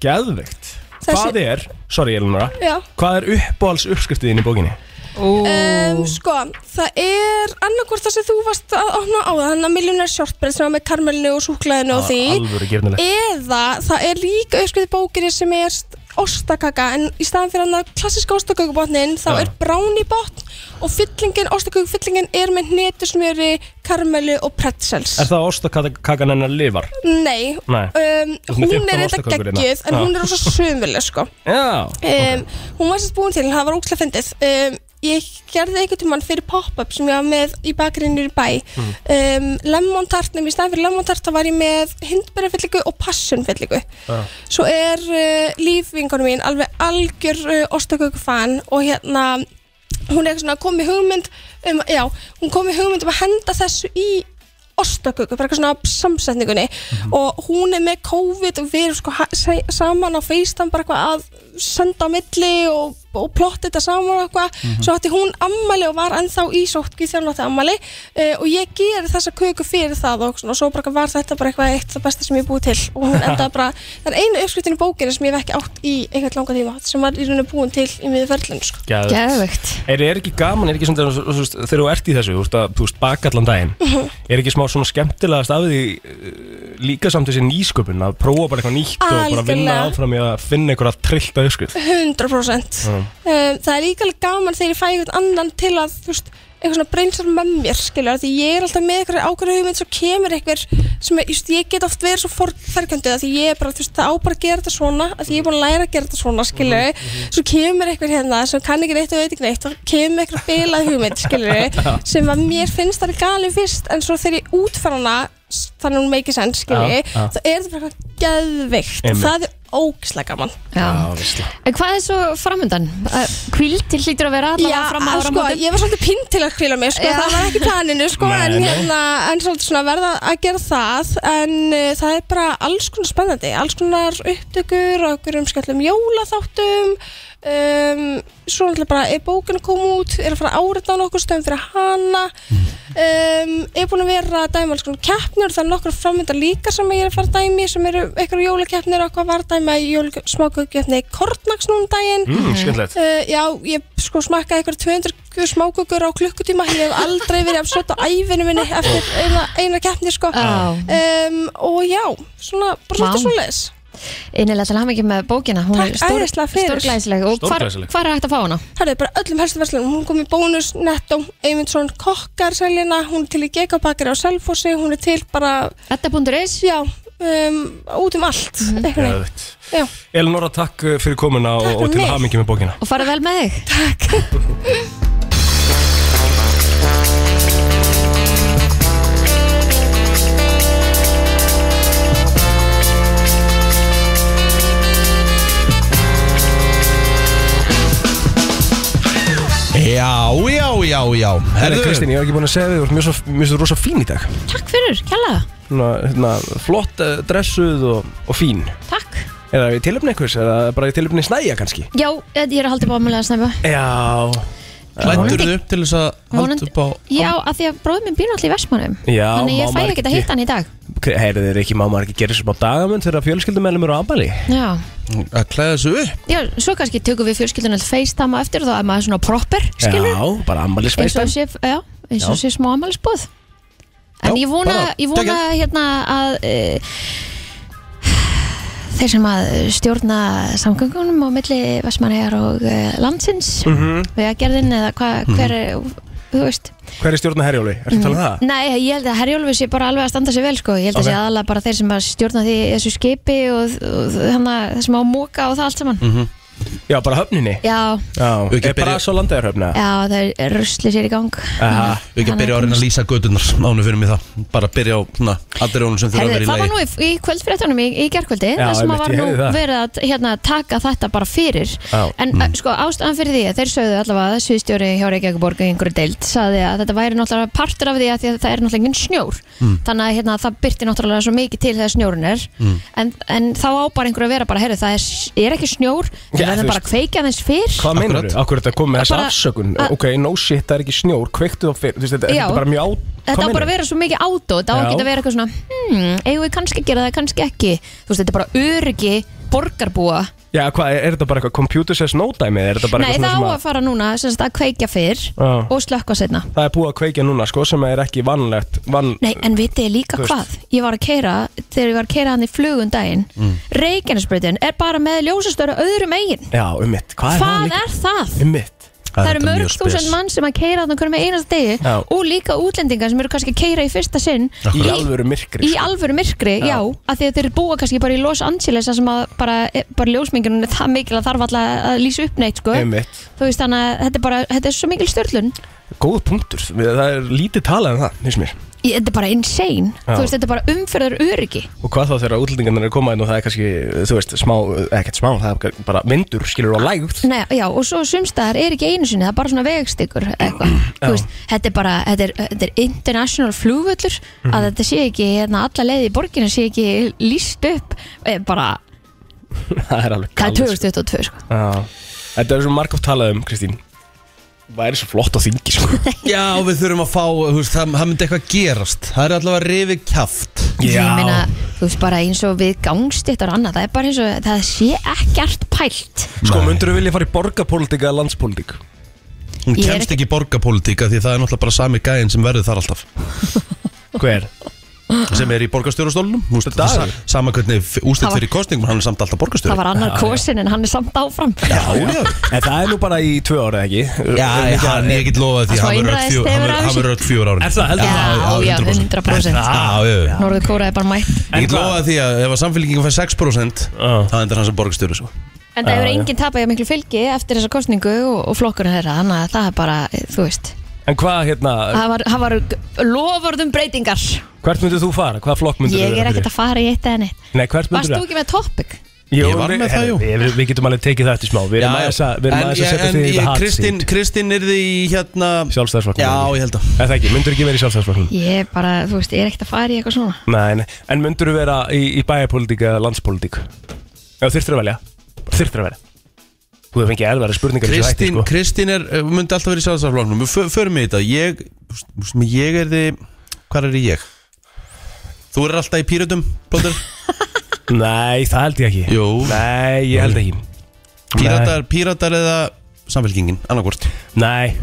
Geðveikt. Þessi- Hvað er, sorry Elinora, Já. hvað er uppáhalds uppskriftiðin í bókinni? Um, sko, það er annarkvort það sem þú varst að opna á það hann að Millionaire Shortbread sem var með karmelinu og súklaðinu og því Alvöru gerðinlega. eða það er líka uppskrifið bókinni sem er st- ostakaka en í staðan fyrir hann að klassiska ostakökubotnin þá Já. er brownie botn og fyllingin, ostakökufyllingin er með hnetusmjöri, karmelu og pretzels Er það ostakakan hennar lifar? Nei, Nei. um, ert með hún 15 er þetta ostakökur hérna. geggjöð en Já. hún er rosa sömuleg sko Já. um, Hún var sérst búin til, það var ókslega fyndið um, Ég gerði einhvern tímann fyrir pop-up sem ég var með í bakgrinu í bæ um, Lemon tart, nefnir í staðan fyrir lemon tart þá var ég með hindberðafyllingu og passionfyllingu Já. Svo er uh, lífvingunum mín alveg algjör uh, ostakökufan og hérna hún er eitthvað svona komið hugmynd um, já, hún komið hugmynd um að henda þessu í ostaköku, bara eitthvað svona af samsetningunni og hún er með COVID og við erum sko ha- se- saman á FaceTime bara eitthvað að senda á milli og, og plotta þetta saman og eitthvað svo átti hún ammali og var ennþá í sótki þegar hún átti ammali uh, og ég geri þessa köku fyrir það og svona, svo bara var þetta bara eitthvað eitt það besta sem ég búið til og hún endaði bara þann einu uppskriftin í bókinni sem ég hef ekki átt í einhvern langa tíma sem var í rauninu búin til í miður ferlinu sko. Geðveikt. Geðveikt Er, er ekki gaman, er ekki svona, þú veist, þegar þú ert í þessu, þú veist, að, þú veist, baka allan (laughs) daginn, er ekki smá svona skemmtilegast af því uh, líka samt þessi nýsköpun, að prófa bara eitthvað nýtt og bara vinna Algjörlega. áfram í að finna einhverja trillta uppskrið? 100% um, það er líka alveg gaman þegar ég fæ einhvern annan til að þú veist, eitthvað svona breynsar með mér skilur, því ég er alltaf með eitthvað ákveðna hugmynd svo kemur eitthvað sem er, just, ég get oft verið svo forferkjöndu því ég er bara, þú veist, það á bara að gera þetta svona af því ég er búin að læra að gera þetta svona skilur Mhm, svo kemur eitthvað hérna sem kann ekki neitt og veit ekki neitt og kemur eitthvað bilað hugmynd (laughs) skilur, sem að mér finnst það er galið fyrst en svo þegar ég útfæra hana s- þannig að hún make sense skilur, Já, já. þá er þetta bara eitthvað geðvikt og Einmitt. það er ógislega gaman Já. veistla. En hvað er svo framöndan? Kvíldir hlýtur að vera allavega fram að að sko, áramótum ég var svolítið pinn til að kvíla mig sko, Já. það var ekki planinu sko, Nei, en, nei. hérna, en svolítið svona verða að gera það en uh, það er bara alls konar spennandi alls konar upptökur og okkur umskallum jólaþáttum um, svo náttúrulega bara er bókin að koma út er að fara að áreita á nokkur stöðum fyrir hana um, er búin að vera að dæma alls konar keppnir það er nokkur framönda líka sem ég er að fara að dæmi sem eru eitthvað jólakeppnir og eitthvað var að dæma í smákukeppni Kortnags núna um daginn Mm, skemmtilegt. Uh, já, ég sko smakkaði eitthvað 200 smákökur á klukkutíma Ég hef aldrei verið afsött á æfinu minni eftir eina, eina keppni sko Já. um, Og já, svona, bara Vá. svolítið svoleiðis Innilega til hafa ekki með bókina Hún Takk er æðislega fyrir. stórglæsileg Og hvar, Stórglæsileg. hvar er hægt að fá hana? Það er bara öllum helstu verslunum Hún kom í bónus, netto, Eymundsson, kokkar seljina Hún er til í gegabakari á Selfossi Hún er til bara, Edda.is já, um, út um allt Mhm. mm -hmm. Geðveikt. Já. Elinora, takk uh, fyrir komuna og, Takk og fyrir til mig. hamingi með bókina. Og farið vel með þig Já, já, já, já Herri, Kristín, ég var ekki búin að segja þig, þú ert mjög svo, mjög svo rosa fín í dag. Takk fyrir, kjalla Svona, hérna, flott uh, dressuð og, og fín. Takk Er það í tilöfni einhvers, er það bara í tilöfni snæja kannski? Já, ég er að halda upp á ámælega snæfa Já. Lættur upp til þess að halda Vonandi- upp á Já, af því að bróðum minn býr náttúrulega í Vestmannum Já, Þannig má ég fæ maður ekki að hitta hann í dag Heyrið þeir ekki, má maður ekki gera þessu á dagamönd þegar fjölskyldumælum eru á afmæli? Já, að klæða þessu upp já svo kannski tökum við fjölskyldunum öll FaceTime á eftir og þá er maður svona proper, skilur Já, eins bara og afmælisfeistan sé, já, eins og Já. sé smá amalisbóð Já, en ég vona, bara ég vona hérna að e, þeir sem að stjórna samgöngunum á milli Vestmannegar og e, landsins mm Mhm. -hmm. vegagerðin eða hva, hver þú veist, Hver er stjórna herjóli? Ertu að tala um Mhm. það? nei, ég held að Herjólfi sé bara alveg að standa sig vel sko, ég held Ok. að sé aðalega bara þeir sem að stjórna því þessu skipi og, og, og hana, þessum á móka og það allt saman Já, bara höfninni Já, Já, Ekki er bara byrja- svo landaður höfna já, það er rusli sér í gang Aha. Við ekki að byrja á að reyna að lýsa gödunar ánum fyrir mig það Bara að byrja á svona allir ónum sem þurfa að Herðu, vera í það var lagi nú í, í kvöldfréttunum í, í gerkvöldi Já, þar sem einmitt, að var ég nú heyrði það. verið að hérna, taka þetta bara fyrir Já. en mm. sko ástæðan fyrir því að þeir sögðu allavega að sviðstjóri hjá Reykjavíkuborg í einhverju deild sagði að þetta væri náttúrulega partur af því að, því að það er náttúrulega engin snjór Mm. þannig að hérna, það byrti náttúrulega svo mikið til þegar snjórun er Mm. en, en þá á bara einhverju að vera bara heyrðu það er, er ekki snjór við Já, þú verðum bara veist. að kveikja þess fyrr Hvað meinar þú? Akkur þetta kom með þessa Bara- afsökun að- Ok, no shit, það er ekki snjór, kveiktu þá fyrir Þú veist, Þetta Já. þetta er bara mjög á Þetta á bara að vera svo mikið ádót, á Já. að geta að vera eitthvað svona hmm, eigum við kannski að gera það, kannski ekki Þú veist, þetta er bara öryggi borgarbúa Já, hvað, er, er þetta bara eitthvað computer says no dæmi? Er þetta bara Nei, eitthvað það á svona að sem að fara núna sem sagt, að kveikja fyrr Já. og slökka setna Það er búið að kveikja núna, sko, sem er ekki vanlegt van... Nei, en vitið þið líka Þú veist. hvað Ég var að keira, þegar ég var að keira hann í flugun daginn mm. er bara með ljósastöru öðrum eigin Já, um mitt, hvað er það Hvað líka? er það? Um mitt Það er eru þetta mjög mörg spes. þúsund mann sem að keira þannig hvernig með einast degi Já. og líka útlendingar sem eru kannski að keira í fyrsta sinn Í alvöru myrkri, Í sko. alvöru myrkri, já, af því að þeir búa kannski bara í Los Angeles þar sem að bara, e, bara ljósmingunum er það mikil að þarf alltaf að lýsa upp neitt sko. Um mitt Þú veist þannig að þetta er bara, þetta er svo mikil störlun Góð punktur, Við- það er lítið talað um það, nýst mér Ég- Þetta er bara insane Já. Þú veist, þetta er bara umferðar öryggi Og hvað þá þegar útlendingarnir er komað inn og það er kannski, þú veist, smá, ekkert smá, það er bara vindur, skilur og (laughs) lægt Nei, Já, og svo sumstaðar er ekki einu sinni Það er bara svona vegstykur eitthvað Þú veist, Þetta er bara, þetta er, þetta er international flugvöllur Að þetta sé ekki, hérna, alla leiði í borginu Sé ekki líst upp eh, Bara, Það er alveg það er galið, sko. 2022 sko. Já. Þetta er svo margóft talað um, Kristín Væri svo flott á þingi, sko (laughs) Já, við þurfum að fá, þú veist, það, það myndi eitthvað gerast Það er allavega rifi kjaft Ég meina, þú veist, bara eins og við gangstittar og annað Það er bara eins og, það sé ekkert pælt Sko, myndur þú vilja fara í borgarpólitík eða landspólitík? Hún Ég er kemst ekki í borgarpólitíka því það er náttúrulega bara sami gæinn sem verður þar alltaf Hver? sem er í borgarstjórastólunum þú veist, Dagur. sa- Sama hvernig ústitt Það var- fyrir kostningum hann er samt alltaf borgarstjóri Það var annar kosin en hann er samt áfram Já, já En það er nú bara í tvö ára, ekki? Um Já, ég- hann ég get lofað því Smá hann verður öll einræðis fjögur- hann hefur verður- af hann verður öll fjögur árin Er það, heldur Já, já, 100%. Já, já, já Norður Kóra er bara mætt Ég get En hvað- lofað því að ef að samfélkingin fær 6% Já. það endur hann sem borgarstjóri sko. svo En það Já, hefur já. enginn tapað hjá miklu fylgi eftir þessa kostningu og, og flokkurinn þeirra, þannig að það er bara, eh, þú veist, En hvað, hérna, það var, það var lofurðum breytingar. hvert myndur þú fara? Hvað flokk myndur þú Ég er ekkert að fara í eitt eða neitt. Nei, hvert Varst myndur þú ekki með topic? Ég var með það, jú. Við, við getum alveg tekið það eftir smá Við erum Já, já. aðeins að, við erum En- aðeins að setja en því í ég- þetta Kristín, hatsýnd Kristín er því hérna Sjálfstæðisflokknum Já, ég held að Er það ekki, myndur ekki verið í sjálfstæðisflokknum? Ég er bara, þú veist, ég er ekkert að fara í eitthvað svona. Nei, nei, en myndur þú vera í, í bæjarpolítík eða landspolítík? Já, þurftur að velja Þurftur að velja Þú hefur fengið elvara spurningar í þessu Kristín, hætti, sko. Kristín er, eh, myndi alltaf verið í sjálfstæðarfloknum Við fö- förum í þetta Ég, þú veist- þú veist mig, ég er því Hvar er ég? Þú er alltaf í pýrötum, (laughs) Plóter sko. Nei, það held ég ekki Jú. Nei, ég held ekki Píratar, píratar eða samfélkingin, annarkvort Nei,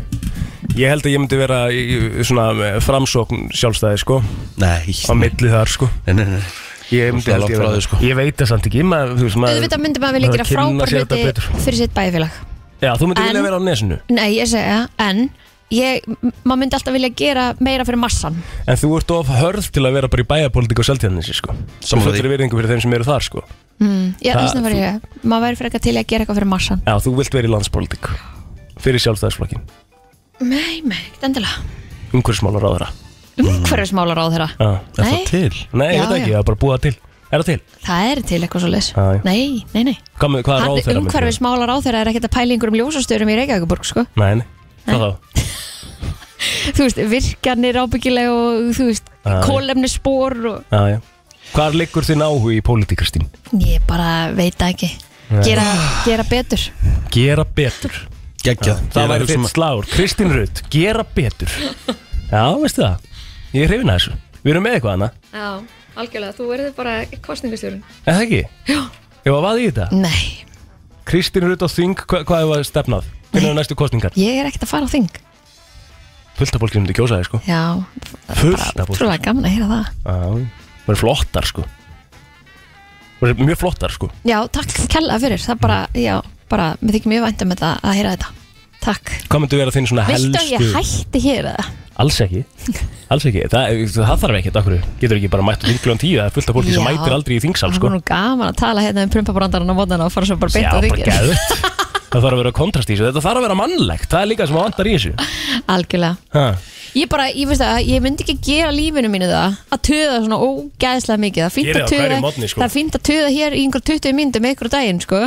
ég held að ég myndi vera í, í svona eh, framsókn sjálfstæði, sko Á Nei, milli þar, sko nei, nei, nei. Ég Svona myndi held langt ég frá vera því, sko. Ég veit það samt ekki maður, þú veist, maður- Auðvitað myndi maður vilja maður gera kynna frábær sér þetta hluti betur. fyrir sitt bæfélag. Já, þú myndi En- vilja vera á nesinu Nei, ég segja, en ég, m- maður myndi alltaf vilja gera meira fyrir massan. En þú ert of hörð til að vera bara í bæjarpolítík og seltjarnissi sko Þú Sammála fyrir því. virðingu fyrir þeim sem eru þar sko Ég, Það- þess vegna var ég, maður væri fyrir eitthvað til í að gera eitthvað fyrir massan. Já, þú vilt vera í landspolítík Fyrir sjálfstæðisflokkin Nei, nei, ekkert endilega. Umhverfismálar á þeirra Umhverfismálar á þeirra. Mm. Já. Er það Nei. til? Nei, ég Já, veit ekki, já. það er bara búið það til Er það til? Það er til eitthvað svo leis. Já, já. Nei, nei, nei. Hvað, með- hvað er ráð þeirra? umhverfismála ráðherra er ekkert að pæla í einhverjum ljósastörum í Reykjavíkuborg sko. Nei, nei, hvað þá? þú veist, virkanir ábyggilega og þú veist, Já. kólefni spór og Já, já Hvar liggur þinn áhug í pólitík, Kristín? ég bara veit það ekki gera, gera betur Gera betur Geggjað Ég Það er að væri hugsa um þitt að- slagur Kristín Rutt, gera betur Já, veistu það? Ég er hrifin að þessu Við erum með eitthvað hana Já, algjörlega, þú verður bara kostningastjórun Er það ekki? Já Ég var vaðið í þetta Nei, Kristín Rutt á þing, hva, hvað hefur stefnað? Hvernig er næstu kostningar? ég er ekkert að fara á þing Fullt af fólki sem þið kjósaði sko Já, Fullt af fólki trúlega gaman að heyra það Það er flottar sko Það er mjög flottar sko Já, takk kella fyrir, það bara, Mm. já, bara mér þykir mjög vænt um þetta að heyra þetta Takk Hvað myndu vera þinn svona Viltu að helstu ég hætti hér eða? Alls ekki, alls ekki Það, það þarf ekkert, akkur Getur ekki bara mætt um kljóðan tíu Það er fullt af fólki sem Já. mætir aldrei í þingsal sko. Það var nú gaman að tala hérna um prumpabrandarann á mótana og fara svo bara beint Já, á bara þingið geðvögt (laughs) Það þarf að vera kontrast í þessu Þetta þarf að vera mannlegt Það er líka það sem að vantar í þessu Algjörlega ha. Ég bara, ég veist það, ég myndi ekki gera lífinu mínu það að töða svona ógæðslega mikið Það er fínt Gerið að það á töða, hverjum morgni, sko. Mm. það er fínt að töða hér í einhver 20 myndum einhver daginn, sko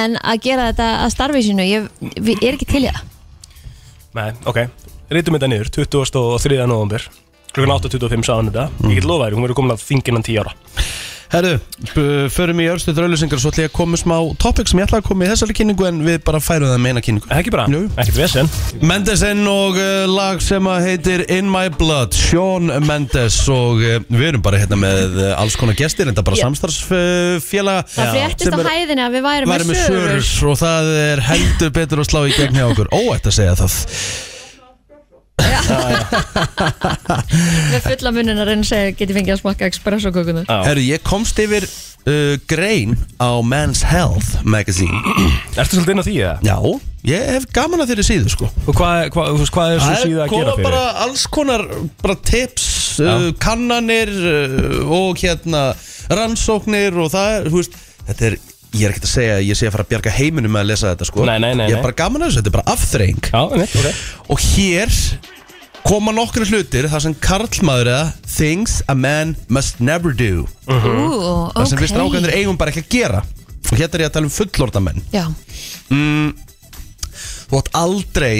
En að gera þetta að starfi sínu, ég, ég er ekki til í það Nei, ok Rítum þetta niður, 23. november Klukkan 8.25 sáðan þetta Ég get lofaðir, hún verður komin að þinginnan 10 ára Herru, b- förum í örstu draulisingar Svo ætla ég að koma með smá topic sem ég ætla að koma í þessari kynningu En við bara færum það með eina kynningu Ekki bara, Jú. ekkert vesen Mendesen og uh, lag sem að heitir In My Blood, Sean Mendes og uh, við erum bara hérna með uh, alls konar gestir, þetta bara Já. samstarfsfélaga Það fréttist á hæðinni að við værum væri með sörur og það er heldur betur að slá í gegn hjá okkur óætt að segja það Við fulla munin að reyna að segja, get ég fengið að smakka espresso kökunar Já. Herru, ég komst yfir uh, grein á Men's Health magazine Ertu svolítið inn á því eða? Já, ég hef gaman að þeirri síðu sko Og hvað, hvað, þú veist, hvað er svo síða að gera koma fyrir? bara alls konar bara tips, uh, kannanir uh, og hérna rannsóknir og það er, þú veist, þetta er Ég er ekkert að segja að ég sé að fara að bjarga heiminum með að lesa þetta sko Nei, nei, nei, Ég er nei. bara gaman að þessu, þetta er bara afþreying Já, neitt, ok Og hér koma nokkru hlutir þar sem karlmaður eða Things a man must never do Ú, Það sem við ok strákanir eigum bara ekki að gera Og hérna er ég að tala um fullorda menn Já, þú átt aldrei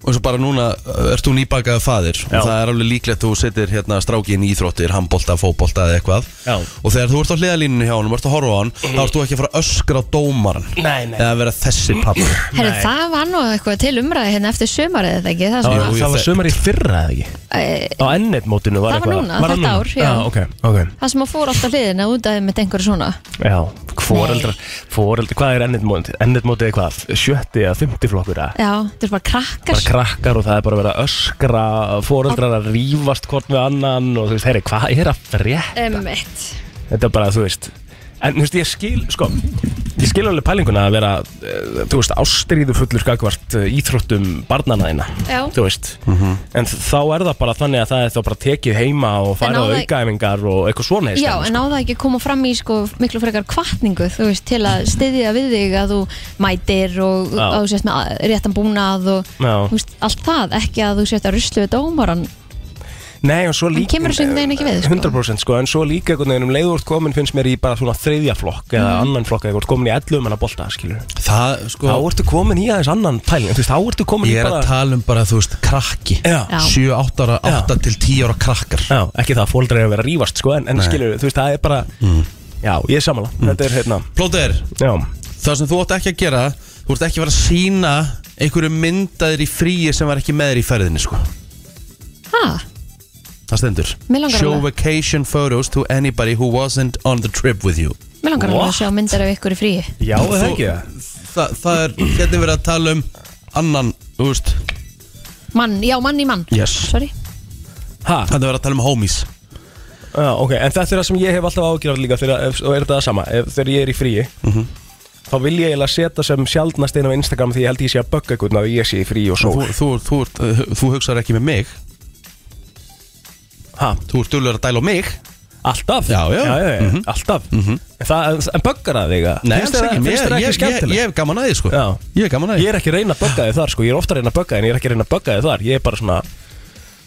og eins og bara núna uh, ert þú nýbakaðu faðir Já. og það er alveg líklegt þú setir hérna strákin í íþróttir, handbolta, fótbolta eða eitthvað Já. og þegar þú ert á hliðalínunni hjá honum, ert að horfa á hann þá ert þú ekki að fara að öskra á dómaran Nei, nei. eða vera þessi pappi herru, það var nú eitthvað til umræði hérna eftir sumarið, eða ekki? Það, Það sem eh, var, Jú, ég það var þekk. sömari fyrra eða ekki? að, Á ennett mótinu var Það var eitthvað núna, þetta núna? ár, já. ok, ok það sem að fór alltaf hliðina út af með einhverju svona Já, foreldrar, foreldrar, hvað er ennett mótið? Ennett mótið er hvað, sjötti eða fymti flokkur eða? Já, þetta er bara krakkar Bara krakkar og það er bara verið að öskra, foreldrar að rífast hvort við annan og þú veist, herri, hvað er að frétt? Emmett Þetta er bara, þú veist, en þú veist, ég skil, sko, ég skil alveg pælinguna að vera, eh, þú veist, ástriðu fullur skakvart íþróttum barnana þína, Já. þú veist, en þá er það bara þannig að það er þá bara tekið heima og á farið á það- aukaæfingar og eitthvað svona sko. í Já, staðinn, en á það ekki að koma fram í sko, miklu frekar kvartningu, þú veist, til að styðja við þig að þú mætir og Já. að þú sést með réttan búnað og Já. þú veist, allt það, ekki að þú sést að ruslu við dómaran Nei, og svo Hann líka kemur þessu einhvern veginn ekki við, sko. 100% sko, en svo líka einhvern veginn um leiðvort komin finnst mér í bara svona þriðja flokk eða Mhm. annan flokk eða þú ert komin í 11 manna bolta, skilur það, Þá sko, ertu komin í aðeins annan pæling þú veist, þá ertu komin í ég er bara að tala um bara, þú veist, krakki Já. Já. 7, 8 ára, Já. 8 til 10 ára krakkar Já, ekki það að fóldra er að vera að rífast, sko, en, en skilur, þú veist, það er bara Mm. Já, ég er samanlega, þetta er hérna Plóter, Já, það sem þú átt ekki að gera þú ert ekki að vera að sína einhverju myndaðir í fríi sem var ekki með þér í ferðinni, sko Ha, Það stendur Mig langar Show alveg. vacation photos to anybody who wasn't on the trip with you mér langar alveg What? að sjá myndar af ykkur í fríi já, er það Þú- ekki það Þa, Það er, hérna er verið að tala um annan, þú veist Mann, já, mann í mann Yes. Sorry Ha, Þetta er verið að tala um homies já, ok, en þetta er það sem ég hef alltaf ágjörð líka þegar, ef- og er þetta það sama, ef, þegar ég er í fríi Mhm. Þá vil ég eiginlega setja sem sjaldnast inn á Instagram því ég held ég sé að bögga einhvern að ég sé í frí og þú, sól þú, þú, þú, ert, uh, þú hugsar ekki með mig Ha, Þú ert dölur að dæla á mig Alltaf? Já, já. Mhm. já, Alltaf en, það, en böggar að þig að? Finnst þér það- ekki, finnst ég, þér það ég, ekki ég, skemmtilegt? ég hef gaman að því sko Já. Ég hef gaman að Ég því er ekki að reyna að bögga þig þar sko Ég er ofta að reyna að bögga þig en ég er ekki að reyna að bögga þig þar Ég er bara svona,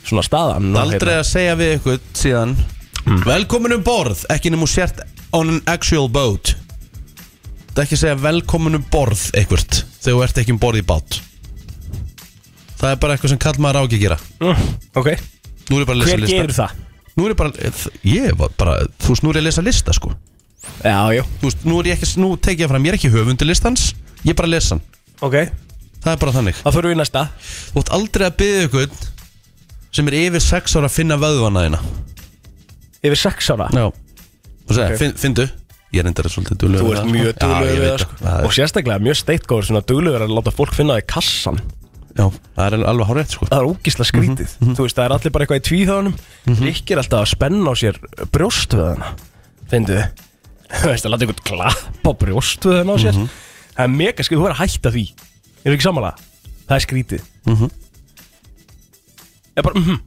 svona staðan og Aldrei hérna- Mm. að segja við ykkur síðan Velkomin um borð, ekki nefnum sért on an actual boat Það er ekki að segja velkomin um borð einhvert Þegar þú ert ekki um borð í bát Það er bara eitthvað sem kall maður á ekki að gera mm, Ok, Nú er ég bara að lesa hver lista gerur það? Nú er ég bara, eh, ég var bara, þú veist, nú er ég að lesa lista sko Já, já, Þú veist, nú er ég ekki, nú tek ég fram, ég er ekki höfundi listans Ég er bara að lesa hann, ok það er bara þannig Þá fyrir við í næsta Þú ert aldrei að byggja ykkur sem er yfir sex ára að finna vöðvana þína Yfir sex ára Já Þú segir, okay. fyndu Ég er endara svolítið duglegur við það, sko. Þú ert mjög Já, duglegur ég við veit það það. sko það Og er- sérstaklega mjög steitgóður svona duglegur að láta fólk finna það í kassan Já, það er alveg hárétt sko Það er ógisla skrítið Mhm. Þú veist, það er allir bara eitthvað í tvíþáðunum mm er alltaf að spenna á sér brjóstvöðana Fyndu (laughs) þið Þú veist, að láta einhvern klappa á brjóstvöðana á sér Mhm. Það er mega skrítið, Mhm. þú er að hætta því Eru ekki samanlega? Það er skrítið Ég bara, mhm,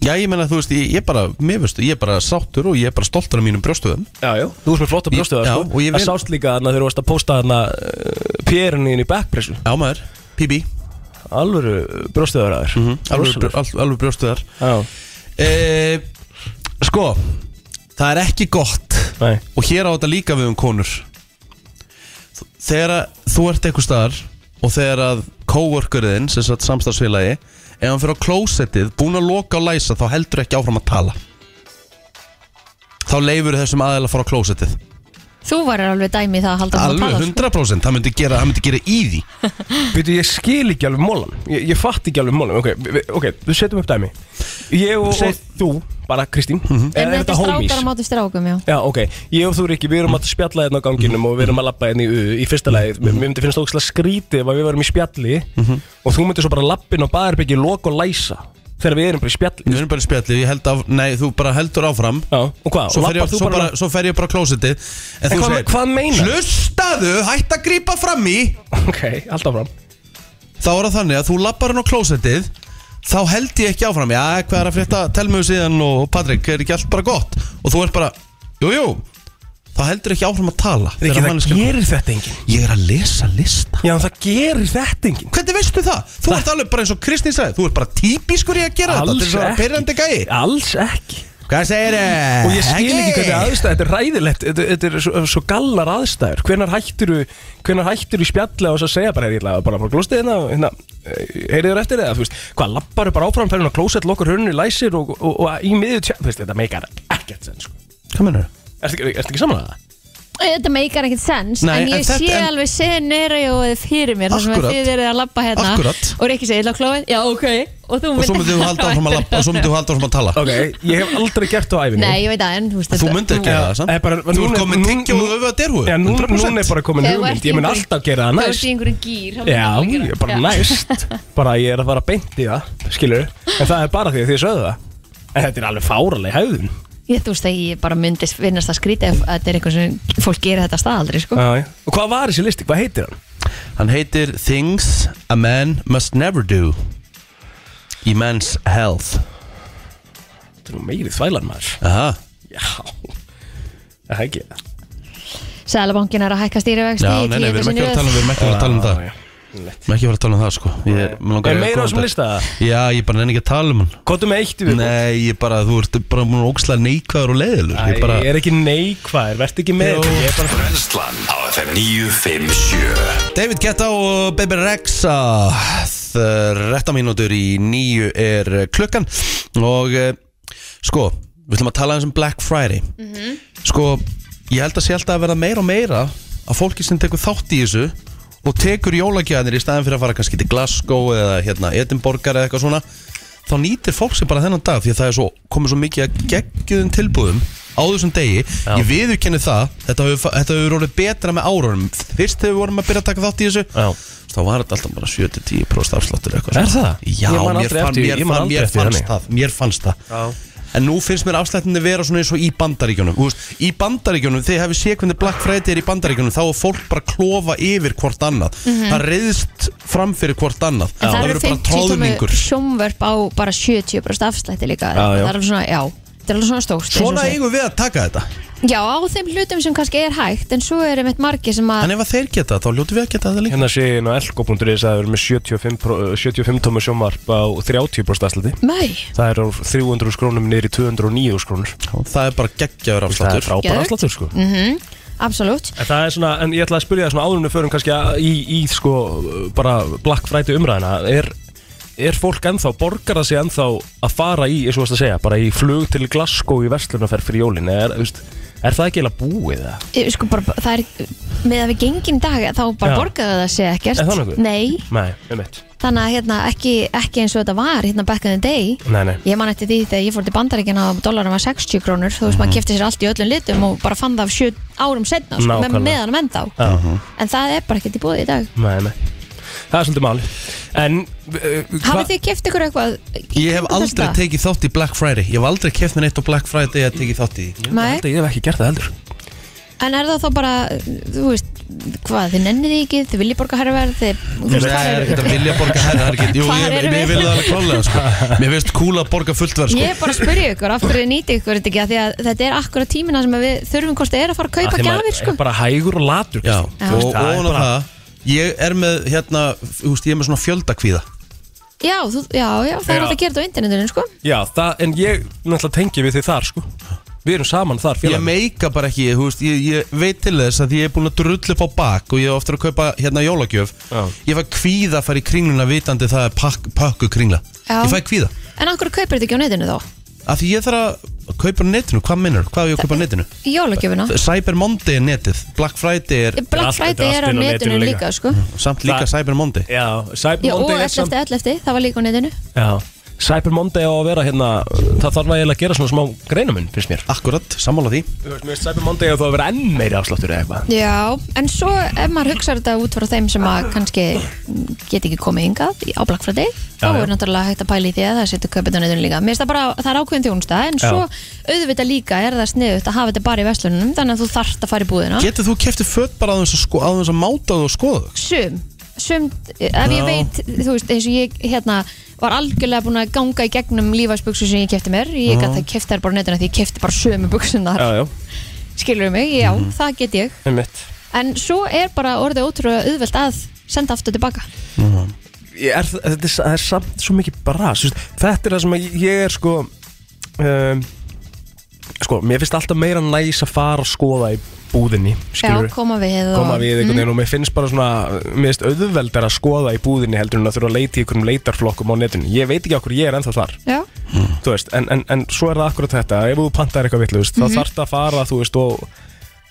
Já, ég menna, þú veist, ég, ég bara, mér veistu, ég er bara sáttur og ég er bara stoltur af mínum brjóstöðum já, já Þú veist með flotta brjóstuða, Já, sko og ég Það vil- sást líka þarna þegar þú varst að posta þarna uh, Périnni inn í backpressu Já, maður, PB, Alvöru brjóstuðar að þér alveg, brjó- al- alveg brjóstöðar Já, e, Sko, það er ekki gott nei, og hér á þetta líka við um konur þegar að þú ert eitthvað staðar og þegar að coworkerðin sem sagt samstagsfélagi ef hann fyrir á klósettið, búin að loka og læsa þá heldur ekki áfram að tala þá leifur þessum aðeila að fara á klósettið Þú varir alveg dæmi í það að halda áfram að alveg tala, sko. 100% það myndi gera, það myndi gera í því Býtu, ég skil ekki alveg mólan Ég, ég fatt ekki alveg mólan Ok, vi- ok, við setjum upp dæmi Ég og, Set- Mhm. og þú, bara Kristín mm -hmm. En þetta er strákar á móti strákum, já Já, ok, ég og þú Rikki, við erum að spjalla hérna á ganginum og við erum að labba hérna í, U- í fyrsta lagi Mhm. Mér mér myndi finnst það ógæslega skrítið ef að við varum í spjalli og þú myndir svo bara lappin og baðarbyggi loka og læsa þegar við erum bara í spjalli við erum bara í spjalli, ég held af, nei þú bara heldur áfram Já, og hvað? svo Og fer, ég, labbar þú svo, bara, bara svo fer ég bara á klósettið en, En þú hvað- segir, hvað meinar? hlustaðu, hætt að grípa fram í Ok, alltaf fram þá er það þannig að þú lappar hann á klósettið þá held ég ekki áfram já, hvað er að frétta, tel mig síðan og Patrik er ekki allt bara gott og þú ert bara, jú, jú þá heldur ekki áfram að tala Rikki, Þegar það manneskjan- gerir þetta enginn ég er að lesa lista Já, það gerir þetta enginn hvernig veistu það? þú ert alveg bara eins og Kristín sagði þú ert bara típiskur í að gera þetta til þess að vera perrandi gæi Alls ekki hvað segir þið? Og ég skil ekki hvernig aðstæður, þetta er ræðilegt, þetta, þetta er svo, svo gallar aðstæður Hvenær hættur hvenar hættur í spjalla og svo að segja bara, "Heyrðu, ég ætla bara að fara að glósta hérna, hérna heyrið þér eftir eða, þú veist, hvað, labbaru bara áfram, ferðin á klósett, lokar hörnur í læsir og, og, og, í miður tjá, þú veist, þetta meikar ekkert sen, sko hvað mennur það? Ertu ekki, ertu ekki saman að það? Þetta meikar ekkert sens, Nei, en ég en þetta- sé en- alveg seneri og fyrir mér þar sem að Akkúrat. þið eru að labba hérna Akkúrat. og Rikki segir, "Ég ætla á klóið, já ok og þú og svo (laughs) myndið þú halda áfram að lappa og svo myndið þú halda áfram að tala Ok, ég hef aldrei gert það á æfinni Nei, ég veit að en veist, þú þetta- myndið ekki Já, að það samt. eh, bara- þú núna- ert komin nú- tingja og nú- öfu að derhu Já, nú, núna er bara komin Þegar þú hugmynd, ert í ég mun einhverju- alltaf gera það Þú ert næst í einhverjum gýr þá Já, myndirðu gera ég er bara það. næst (laughs) Bara ég er að fara beint í það, skilur En það er bara því að þið sögðu það En þetta er alveg fáraleg hefðun Ég þú veist að ég bara myndist finnast að skrýta ef að þetta er eitthvað sem fólk gerir þetta staðaldri sko. Já, já. Og hvað var þessi listi, hvað heitir Hann hann? heitir Things a man must never do Í men's health Þetta er nú meiri þvælan maður Aha, Já Það er ekki það Sælabankin er að hækka stýrivexti já, í nei, nei, við tíunda erum sinn í ekki að fara að tala röð. um, við erum ekki að fara að tala um það Já, já. Við erum ekki að fara að tala um það, sko Ég er mig langar Er að- um meira á þessum lista? Já, ég bara nenni ekki að tala um hann Hvað er með eitt við? Nei, ég bara, þú ert bara múin að óksla neikvæður og leiðilur Æ, Ég bara, ég er ekki neikvæður, verð ekki með Jó. þetta. Ég er bara Brennslan á FM 957 David Guetta og Baby Rexa Retta mínútur í nýju er eh, klukkan Og eh, sko, við ætlum að tala aðeins um Black Friday Sko, ég held að sé alltaf að verða meira og meira Að fólki sem tekur þátt í þessu Og tekur jólagjöðanir í staðin fyrir að fara kannski til Glasgow Eða hérna Edinborgar eða eitthvað svona Þá nýtir fólk sem bara þennan dag Því að það er svo, komið svo mikið að geggjum tilbúðum Á þessum degi Ég viðurkenni það, þetta hefur, þetta hefur orðið betra með árunum Fyrst þegar við vorum að byrja að taka þátt í þessu Já. þá var þetta alltaf bara 7-10% afsláttur eitthvað Er svona. það? Já, Ég man mér, aldrei fann, mér, eftir- ég man fann, aldrei mér, eftir fannst henni. það, mér fannst það Já. En nú finnst mér afslættinni vera svona eins og í bandaríkjunum Þú veist, Í bandaríkjunum, þegar hefur sé hvernig Black Friday er í bandaríkjunum Þá er fólk bara að klofa yfir hvort annað Það reyðst fram fyrir hvort annað Mhm. En það eru verður bara 50 tómu tróðningur sjómvörp á bara 70% afslætti líka Já, Það já. er alveg svona, já Það er alveg svona stórt eins og Svona segir. eigum við að taka þetta Já, á þeim hlutum sem kannski er hægt En svo eru mitt margir sem að En ef að þeir geta það, þá ljótu við að geta það líka Hérna sé ég inn á elko.is að það er með 75, pro- eh, 75 tómu sjómarp á 30% aðslati Nei, Það er á 300 skrónum niður í 209 skrónur Það er bara geggjaður Það er afsláttur frábæra Geðveikt. aðslatur sko absolutt En það er svona, en ég ætla að spyrja það svona áðurinn við förum kannski að- í, í sko bara Black Friday umræðina er, er fólk ennþá, borgar það sig ennþá að fara í, eins og þú varst að segja, bara í flug til Glasgow í verslunarferð fyrir jólin er, þú veist, er það ekki eða búið það? Ég, sko, bara, Það er, með að við gengin dag Þá bara Já. borgaðu það sé ekkert Er það nokkuð? Nei, Nei, um eitt þannig að hérna, ekki, ekki eins og þetta var Hérna back in the day Nei, nei Ég man eftir því þegar ég fór til bandaríkina og dollarum var 60 krónur, þú veist Mhm. maður kefti sér allt í öllum litum og bara fann það af 7 árum setna sko, með Nákvæmlega. meðanum ennþá Já. en það er bara ekkert í búið í dag Nei, nei Það er svolítið máli En uh, Hafið þið keft ykkur eitthvað? Ég hef aldrei tekið þátt í Black Friday Ég hef aldrei keft mér neitt á Black Friday að tekið þátt í því Nei, Ég hef ekki gert það heldur en er það þá bara, þú veist hvað, þið nennið því ekki, þið viljið borga hærra verð, þið, þú Nei, veist, það hvað er er, ekkert að vilja borga herra, það er ekkert, jú, Hvar ég, erum ég, ég við? vil það alveg klálega, (laughs) sko. Mér finnst cool að borga fullt verð, sko. ég er bara að spyrja ykkur, af hverju nýtið ykkur þetta ekki, af því að þetta er akkurat tímina sem að við þurfum hvort það er að fara að Af kaupa því maður gjafir, sko. er bara hægur og latur Já, Kristín. Þú og veist, það ofan er á bara- það, ég er með, hérna, þú veist, ég er með svona fjöldakvíða. Já, þú, já, já, það er Já. alltaf að gera þetta á internetinu, sko. Já, það, en ég náttúrulega tengi við þið þar sko Við erum saman þar Ég félag meika bara ekki, þú veist, ég, ég veit til þess að ég er búin að drull upp á bak og ég er ofta að kaupa, hérna, jólagjöf. Já. Ég fæ kvíða að fara í kringluna vitandi það er pakk, pakku kringla. Já. Ég fæ kvíða. En af hverju kaupir þetta ekki á netinu þá? Af því ég þarf að kaupa á netinu, hvað minnur? Hvað er ég að kaupa á netinu? Í jólagjöfuna? Cyber Monday er netið, Black Friday er Black Allt- þetta Friday er er á allt inn á netinu netinu Mm. líka, sko. samt líka Það- Cyber Monday. Já, Cyber Já, og Monday er samt 11.11, það var líka á netinu. Já, Cyber Monday á að vera hérna Það þarf nægilega að gera svona smá greinamun, finnst mér Akkurat, sammála því. Þú veist, mér finnst Cyber Monday á að vera enn meiri afsláttur eða eitthvað Já, en svo ef maður hugsa þetta út frá þeim sem að kannski get ekki komið yngað á Black Friday þá Já, já. er náttúrulega hægt að pæla í því að það setja kaupitánutun líka. Mér finnst það bara, það er ákveðin þjónusta en Já. svo auðvitað líka er það sniðut að hafa þetta bara í verslunum þannig að þú þarft að fara í búðina. Getur þú kæftið fött bara aðeins að, sko, aðeins að máta þú og skoða þau? Sum, sum, ef Já. ég veit, þú veist, eins og ég hérna var algjörlega búin að ganga í gegnum lífæsbuksu sem ég kefti mér, ég gæti að kefta þær bara á netinu því ég kefti bara sömu buksunar, Já, Mhm. já, skilur mig, já, það get ég, einmitt en svo er bara orðið ótrúlega auðvelt að senda aftur tilbaka. Ég er, þetta er, það er samt svo mikið bras þú veist, þetta er það sem að ég er sko um, sko, mér finnst alltaf meira næs að fara að skoða í búðinni Já, skilur Mm. koma við og... koma við einhvern veginn og mér finnst bara svona mér finnst auðveldar að skoða í búðinni heldur en að þurfa að leita í einhverjum leitarflokkum á netinu ég veit ekki okkur ég er ennþá þar Já, þú veist, en, en, en svo er það akkurat þetta ef þú pantar eitthvað vittlust Mhm. mm -hmm. þá þarf það að fara þú veist og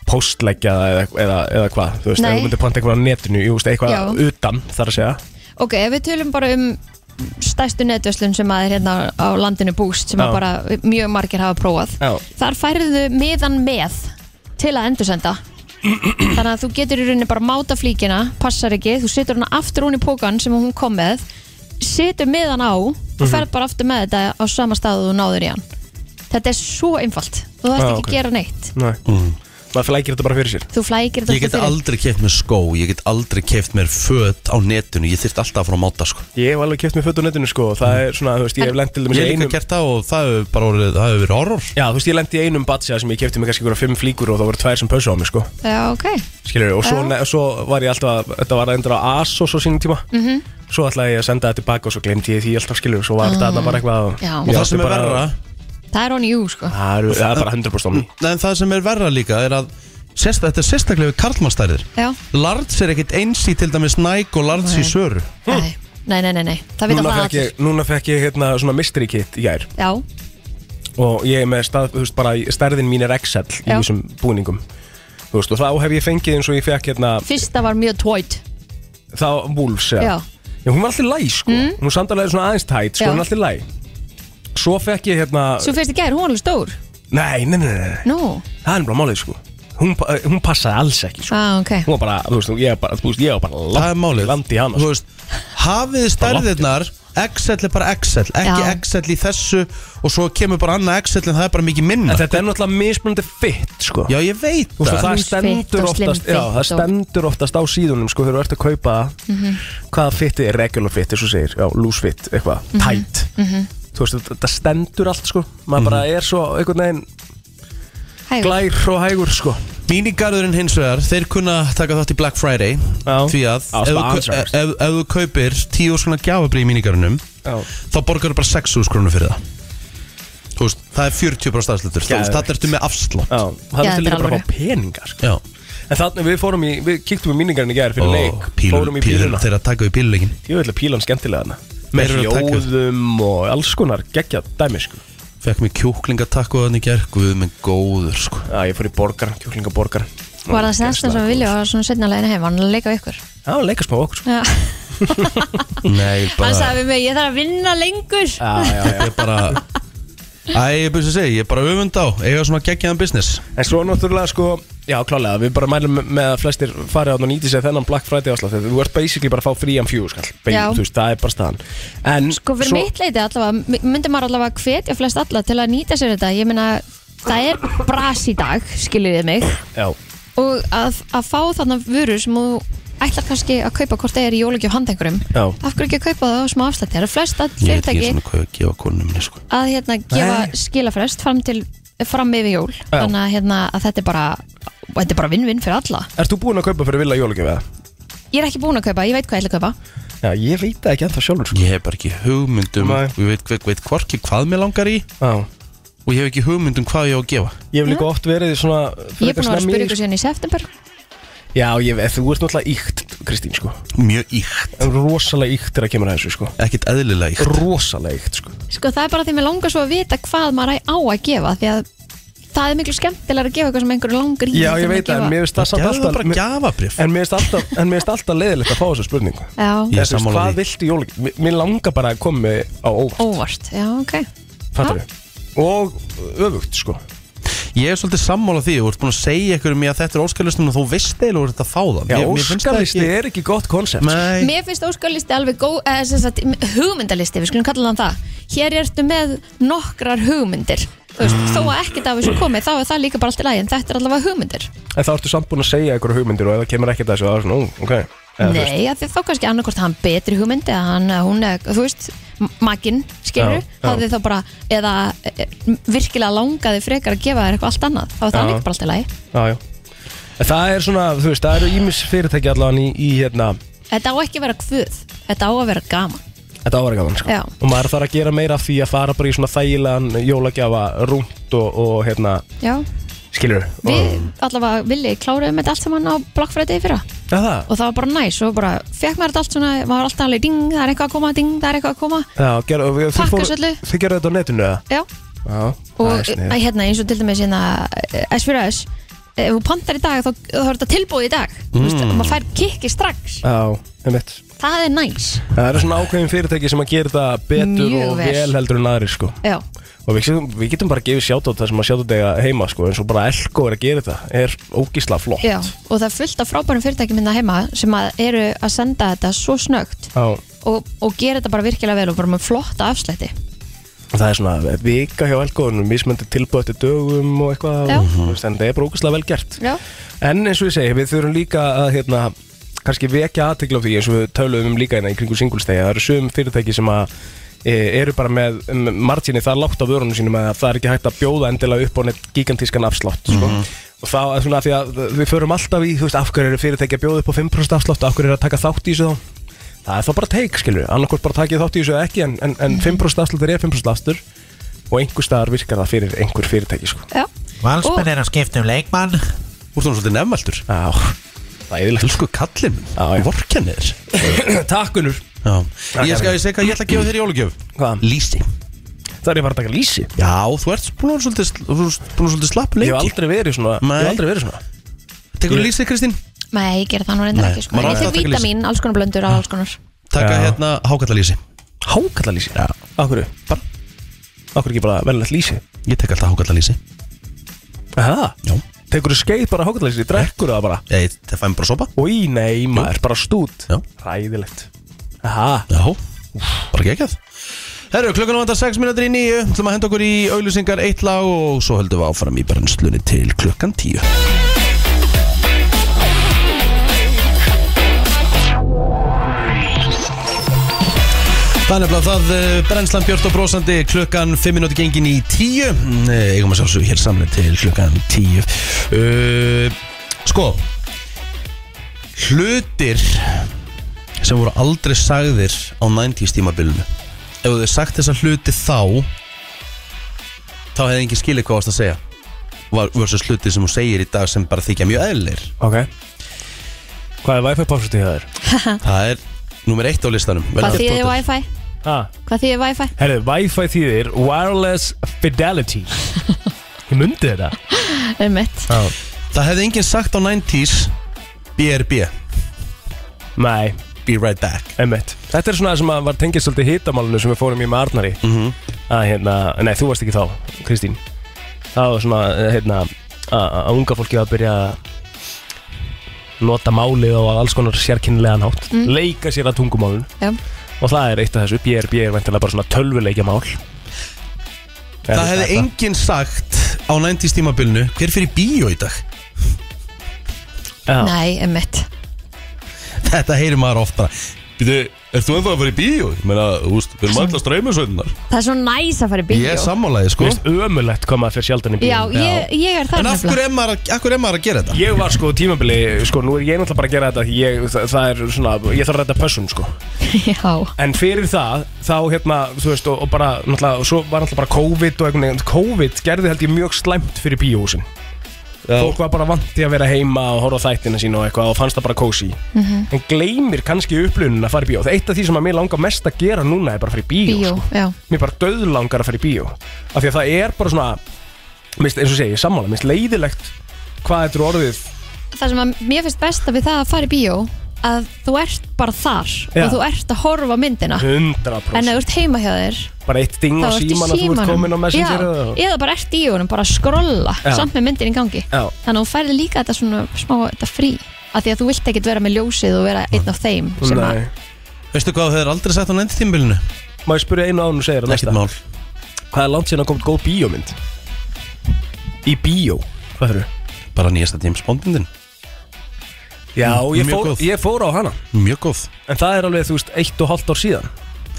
postleggja það eða, eða, eða hvað þú veist, Nei. ef þú myndir panta eitthvað á netinu jú, veist, eitthvað Já. utan þar að segja ok, ef við tölum bara um stærstu netverslun sem að er hérna á landinu búst sem Já. að bara mjög margir hafa prófað Já. þar færðu miðan með til að endursenda þannig að þú getur í rauninni bara máta flíkina passar ekki, þú setur hana aftur hún í pókan sem hún kom með setur miðan á og Mhm. ferð bara aftur með þetta á sama stað og þú náður í hann þetta er svo einfalt þú þarfst Já, ekki ok. að gera neitt Nei. Mm. maður flækir þetta bara fyrir sér þú flækir þetta Ég get alltaf fyrir. aldrei kæft mér skó, ég get aldrei kæft mér fött á netinu, ég þyrft alltaf að fara að máta sko. ég hef alveg kæft með föt á netinu sko og það er svona, þú veist, ég hef lent til Ég dæmis í hef líka einum gert það og það hefur bara orðið, það hefur verið horror um- já, þú veist, ég lent í einum batsja sem ég kæfti með kannski ykkur fimm flíkur og það voru tvær sem pössu á mig sko Já, ok, skilur, og svo, ne, svo var ég alltaf þetta var endur á ASOS á sínum tíma Mhm. -hmm. svo ætlaði ég að senda þetta tilbaka og svo glemdi ég því alltaf skilur, svo var þetta bara eitthvað Ah. Já. Og það sem er bara- verra, það er on you sko það er, það er bara 100% omni nei, en það sem er verra líka er að sérst, þetta er sérstaklega við karlmannstærðir Já, Lards er ekkit eins í til dæmis Nike og Lards í Nei. Söru nei, nei, nei, nei, nei. það vita núna það fekk ég, núna fekk ég hérna svona mystery kit í gær Já, og ég er með stað, þú veist, bara stærðin mín er XL í Já. þessum búningum þú veist, og þá hef ég fengið eins og ég fekk hérna fyrsta var mjög tvoit þá Wolves, já. Já. Mm. já hún var alltaf læg sko, hún var samtalið svona aðeins tætt sko, Já. hún var alltaf læg svo fekk ég hérna, Svo fyrst í gær, hún var alveg stór nei, nei, nei, nei, nei. Nú, það er bara málið sko hún, pa- hún passaði alls ekki sko. ah, ok hún var bara, þú veist, ég var bara, þú veist, ég var bara land, Það er málið landi hana Þú sko. veist, Hafið stærðirnar XL er bara XL, ekki Já. XL í þessu og svo kemur bara annað XL en það er bara mikið minna en þetta er náttúrulega mismunandi fitt sko. Já, ég veit Þú veist, og það það Loose fit stendur og slim oftast já, fit og- það Mhm. stendur oftast á síðunum sko, þegar þú ert að kaupa hvaða fitti er regular fit, eins og þú segir, já, loose fit eitthvað, Mhm. tight þú veist, þetta- þetta stendur allt sko, maður bara Mhm. er svo einhvern veginn Hægur. glær og hægur sko Mínigarðurinn hins vegar, þeir kunna taka þátt í Black Friday Já. Því að Já, ef, þú spara kau- answers. ef, ef, ef þú kaupir 10 skrónar gjafabri í mínigarðunum Já. Þá borgar þú bara 6 skrónar fyrir það Þú veist, það er 40% afslutur Þú veist, Geðveikt. það ertu með afslátt já, það Já, er til þetta er líka bara að alvöru. fá peninga sko. Já, en þannig við fórum í, við kíktum í míningarinn í gerð fyrir leik, fórum í pílur, píluna þeir að taka við píluleikin ég vil að pílan skemmtilega hana með Þeir eru að taka upp. hljóðum og alls konar geggja dæmi sko, Fekk mig kjúklingatakku þannig gerð Guð með góður, sko já, ég fór í borgar, kjúklinga borgar Var það snestan sem við vilja og svona setna leginu heim, var hann að leika við ykkur já, leika smá okkur sko. Já. Nei, Hann bara, Eh, sagði við mig, ég þarf að vinna lengur já, Ah, já, já. ég er bara Æ, ég byrja að segja, ég er bara öfund á Eiga svona geggjaðan business En svo náttúrulega sko, já klálega, við bara mælum með að flestir fari án og nýti sér þennan Black Friday áslátt Þetta þú ert basically bara að fá frían fjú, skall, Bein, Já. þú veist, það er bara staðan En Sko fyrir mitt leiti allavega, my- myndi maður allavega hvetja flest alla til að nýta sér þetta Ég meina, það er bras í dag, skiljiðið mig Já, og að, að fá þarna vörur sem þú ætlar kannski að kaupa hvort það er í jólagjöf handa einhverjum Já. af hverju ekki að kaupa það á smá afslætti það eru flest að Ég veit fyrirtæki ekki sko. svona hvað ég gefa konum minni sko að hérna, Nei. gefa skilafrest fram til fram yfir jól þannig að, hérna, að þetta er bara þetta er bara vinn-vinn fyrir alla Ert þú búin að kaupa fyrir vilja jólugjöf eða? ég er ekki búin að kaupa, ég veit hvað ég ætla að kaupa Já, ég veit það ekki ennþá sjálfur sko Ég hef bara ekki hugmyndum Nei. Ég veit, veit, veit hvorki hvað mér langar í Já, Og ég hef ekki hugmyndum hvað ég á að gefa ég hef líka oft verið svona ég er búin að vera að spyrja ykkur sko. síðan í september Já, ég, þú ert náttúrulega íkt, Kristín sko Mjög íkt Rosalega íkt er að kemur að þessu sko Ekkert eðlilega íkt Rosalega íkt sko sko það er bara því að mér langar svo að vita hvað maður á að gefa því að það er miklu skemmtilega að gefa eitthvað sem einhverju langar í Já, heldur ég en veit gefa- það, en mér finnst það samt Gefðu það alltaf bara mér- gjafabrif En mér finnst alltaf, en mér finnst alltaf leiðilegt að fá þessu spurningu já, Ég er Þessi, sammála Hvað því. viltu í jólugjöf? Mér- Mér langar bara að koma með á óvart óvart, já ok Fattar Og öfugt sko Ég er svolítið sammála því Þú ert búin að segja ykkur um ég að þetta er óskalustun Og þú veist eiginlega að þetta fá það Já, Mér- mér finnst það óskalisti er ekki gott konsept sko. Nei Mér finnst óskalisti alveg góð, eða sem sagt hugmyndalisti, við skulum kalla hann það. Hér ertu með nokkrar hugmyndir. Þú veist, þó að ekkert af þessu komið, þá er það líka bara allt í lagi, en þetta er allavega hugmyndir. En þá ertu samt búin að segja einhverju hugmyndir og ef það kemur ekkert að þessu, þá er svona, ú, ok Eða, þú veist, Nei, af því þá kannski annarkort hann betri hugmynd eða hann, eða hún, eða, þú veist, makinn, skilur, Já, já. hafði þá bara, eða e, virkilega langaði frekar að gefa þér eitthvað allt annað, þá er það Já. líka bara allt í lagi. Já, já En Það er svona, þú veist, það eru ímis fyrirtæki allan í, í hérna, Þetta á ekki að vera kvöð, þetta á að vera gaman. þetta áverðgaman sko. Já. og maður þarf að gera meira af því að fara bara í svona þægilegan jólagjafa rúnt og, og hérna, Já, skilur við allavega viljið kláruðum þetta allt saman á Black Friday í fyrra. Já, það, og það var bara næs og bara fekk maður þetta allt svona, maður var alltaf alveg ding, það er eitthvað að koma, ding, það er eitthvað að koma já, ger, og við- þið, Pakka fóru- svollu. þið gerðu þetta á netinu eða? já, Já, og það er æ, sniðugt. hérna eins og til dæmis hérna S4S eh, ef þú pantar í dag þá, þá er þetta tilbúið í dag mm. veist, og maður fær kikki strax Já, einmitt það er næs, Það eru svona ákveðin fyrirtæki sem að gera þetta betur Mjög og vel. vel heldur en aðrir sko já, og við, getum- við getum bara að gefa sjátt það sem að sjátt eiga heima sko eins og bara Elko er að gera þetta er ógísla flott já og það er fullt af frábærum fyrirtækjum hérna heima sem að eru að senda þetta svo snögt Já, og, og gera þetta bara virkilega vel og bara með flotta afslætti og það er svona vika hjá Elko og mismöndir tilbúið eftir dögum og eitthvað Já. og, þú veist, en það er bara ógísla vel gert já, en eins og ég segi, við þurfum líka að hérna, kannski vekja aðtekla á því eins og við töluðum um líka hérna í kringu singulstegi það eru sögum fyrirtæki sem að e, eru bara með um, marginni það lágt á vörunum sínum að það er ekki hægt að bjóða endilega upp á neitt gigantískan afslátt sko. og það er svona af því að við förum alltaf í þú veist, af hverju eru fyrirtæki að bjóða upp á 5% afslátt af hverju eru að taka þátt í þessu þá það er þá bara teik, skilju, annarkvort bara takið þátt í þessu eða ekki en, en, en 5% afsláttur er 5% afstur og einhver staðar virkar það fyrir einhver fyrirtæki sko. já, Valsmenn er að skipta um leikmann Þú ert svona svolítið nefnveldur Já, það er yfirlega Elsku kallinn Já, já. Vorkennir Takkunur Ég skal ég segja hvað ég ætla að gefa þér í jólugjöf Hvað? Lísi Það er ég bara að taka lýsi Já, þú ert búin að vera svolítið, sl- þú ert búin að vera svolítið slapp Ég hef lengi aldrei verið svona Nei. Ég hef aldrei verið svona Tekur Ég- lísi, Kristín nei, ég gera það nú reyndar Nei, ekki sko. maður á ég alltaf tek að taka lýsi. vítamin, alls konar blöndur og alls konar Taka Já. hérna hákallalísi Hákalla lýsi? Já Akkur bara Akkur ekki bara velnætt lýsi Ég tek alltaf hákallalísi Aha Já Tekur þú skeið bara hákalla lýsi Drekkur það bara Ég, það fæm bara sopa Í nei maður Bara stút Já. Ræðilegt Aha Já, bara geggjað Herru, klukkan vantar 6 minútur í nýju Þú ætlum að henda okkur í auðlýsingar eitt lag og svo höldum við áfram í brennslunni til klukkan 10 Það er nefnilega það eh, brennslan Björn og Brósandi klukkan 5 minúti gengin í 10 Eh, Eigum að sjálfsög hér samlega til klukkan 10 uh, Sko Hlutir sem voru aldrei sagðir á 90s tímabilinu Ef þú hefði sagt þessa hluti þá þá hefði engin skilið hvað þú varst að segja Var- versus hluti sem þú segir í dag sem bara þykja mjög eðlir Ok Hvað er wifi passwordið það er? Það er nummer eitt á listanum Vel hvað gert, þýðir Dóttir. wifi? Ha hvað þýðir wifi? Herðu, wifi þýðir Wireless (laughs) Fidelity Ég myndi þetta Einmitt. Já Það hefði enginn sagt á 90s BRB, Nei, be right back einmitt Þetta er svona það sem að var tengist svolítið hitamálinu sem við fórum í með Arnari Mhm. að hérna, nei þú varst ekki þá, Kristín það var svona, eh, hérna að að unga fólki var að byrja að nota málið og alls konar sérkynnilegan hátt, leika sér að tungumálun Mm. Já. og það er eitt af þessu, BRB er veintilega bara svona tölvuleikja mál Það hefði enginn sagt á 90s tímabilinu Hver fyrir bíó í dag? Já. Nei, emmitt (laughs) Þetta heyrir maður ofta Býtu, ert þú ennþá að fara í bíó? Ég meina, þú veist, við erum alltaf streymisveitunar Það er svo næs að fara í bíó Ég er sammálaði, Mér sko finnst ömulegt hvað maður fyrir sjaldan í bíó Já, ég, ég er það En af nefnilega. hverju er maður að- af hverju er maður að gera þetta? Ég var sko tímabili, sko, nú er ég náttúrulega bara að gera þetta því ég, það, það er svona, ég þarf að redda pössun, sko (laughs) Já, En fyrir það, þá hérna, þú veist, og, og bara, náttúrulega, og svo var náttúrulega bara COVID og einhvern veginn COVID gerði held ég mjög slæmt fyrir bíóhúsin Fólk var bara vant í að vera heima og horfa á þættina sína og eitthvað og fannst það bara kósi Mhm. En gleymir kannski upplunin að fara í bíó Það er eitt af því sem að mér langar mest að gera núna er bara að fara í bíó, bíó, Sko. já Mér bara döðlangar að fara í bíó Af því að það er bara svona, mist, eins og segi, sammála, mist leiðilegt hvað þetta er orðið það sem að mér finnst besta við það að fara í bíó að þú ert bara þar Já. og þú ert að horfa á myndina 100% en ef þú ert heima hjá þér bara eitt ding þá á ert í síman að þú ert komin símanum á Já, messenger eða- eða bara ert í honum, bara að skrolla Já. samt með myndin í gangi Já. þannig að þú færði líka þetta svona smá þetta frí af því að þú vilt ekkit vera með ljósið og vera einn af þeim sem að Nei. Veistu hvað þau hefur aldrei sagt á nefntímbilinu? eh, Má ég spyrja einu án og segja þér að Ekkert næsta mál Hvað er langt síðan að komið góð bíómynd? Í bíó Hvað þurru? Bara nýjasta James Bondindin Já, ég Mm, mjög fór, góð. ég fór á hana Mjög góð En það er alveg, þú veist, eitt og halvt ár síðan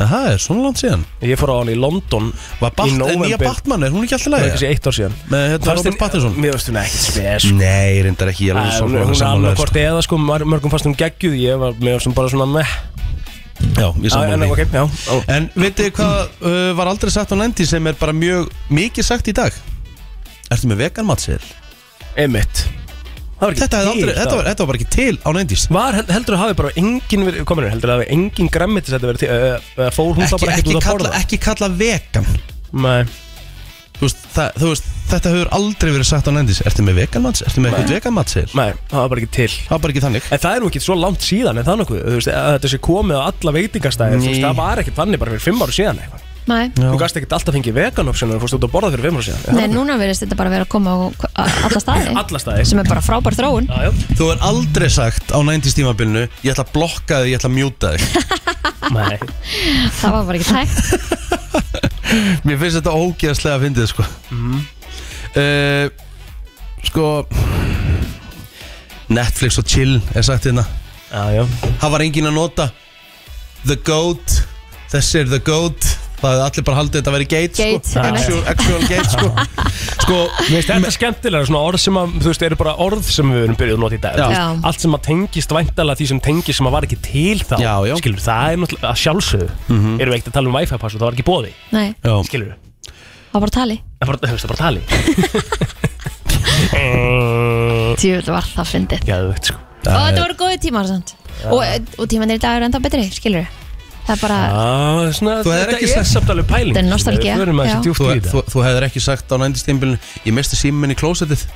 Það er svona langt síðan Ég fór á hana í London Var bat, Í nóvember nýja Batman, er hún ekki alltaf Það er ekki læg? sé eitt ár síðan Með hérna Fannst Robert henni- Pattinson? Mér veist hún ekkert spes sko. Nei, reyndar ekki, ég er alveg Æ, Hún sammála- hún er sammála annað þér, hvort eða sko, mar- mörgum fannst hún geggjuð Ég var, mér veist hún bara svona meh sko. Já, ég Æ, En sammála ok, því já ó. En veitu hvað uh, var aldrei sagt á nefntí sem er bara mjög mikið sagt í dag? Ertu með veganmatseðil? Einmitt Það var ekki Þetta, hefði til aldrei, þá. þetta, var, þetta var bara ekki til á nefntís Var, hel- heldur að hafi bara engin verið, kominu, heldur að hafi engin græmmitis að þetta verið, til- eh, eh, fór hún þá ekki, bara ekkert ekki, út að kalla, borða? ekki kalla vegan Nei, þú veist, það, þú veist, Þetta hefur aldrei verið sagt á nefndís Ertu með veganmats? Ertu með eitthvað veganmatseðil? nei, það var bara ekki til. Það var bara ekki þannig En það er nú ekki svo langt síðan, en það er nokkuð, þú veist, að þetta sé komið á alla veitingastæði, þú veist, Ný. það var ekkert þannig bara fyrir fimm ára síðan eitthvað. Nei. Já. Þú gast ekkert alltaf fengið vegan option og fórst út að borða fyrir fimm ára síðan. Nei, núna verðist þetta bara vera að koma á á alla staði (laughs) Alla staði. sem er bara frábær þróun Já, já. Þú er aldrei sagt á 90s tímabilinu Ég ætla að blokka þig, ég ætla að mjúta þig Nei, það var bara (laughs) ekki tækt (laughs) Mér finnst þetta ógeðslega að fyndið sko uh, Sko Netflix og chill er sagt hérna já, já. Það var engin að nota The Goat Þessi er The Goat Það hefði allir bara haldið þetta að vera gate, Gate, sko. einmitt. actual, actual gate sko. sko, Mér finnst þetta skemmtilega, svona orð sem að, þú veist, eru bara orð sem við erum byrjuð að nota í dag. Já. Þú Já. veist, Allt sem að tengist væntalega því sem tengist sem að var ekki til þá, Já, Mm. já. skilur, það er náttúrulega að sjálfsögðu. Erum við ekkert að tala um Wi-Fi pass það var ekki bóði, Nei, Mhm. já, skilur það var bara tali Það er bara, þú veist, það er bara (laughs) tali Tjöfull var það fyndið Gæðvegt, sko Og þetta voru góði tímar samt og, og tímanir í dag eru enda betri, skilur Það er bara, ah, svona, Þú hefðir Þetta ekki er sagt- samt alveg pæling Þetta er nostalgía, Við förum að já. þessi djúft þú, í þetta þú, þú hefðir ekki sagt á 90s tímabilinu Ég misti síminn minn í klósetið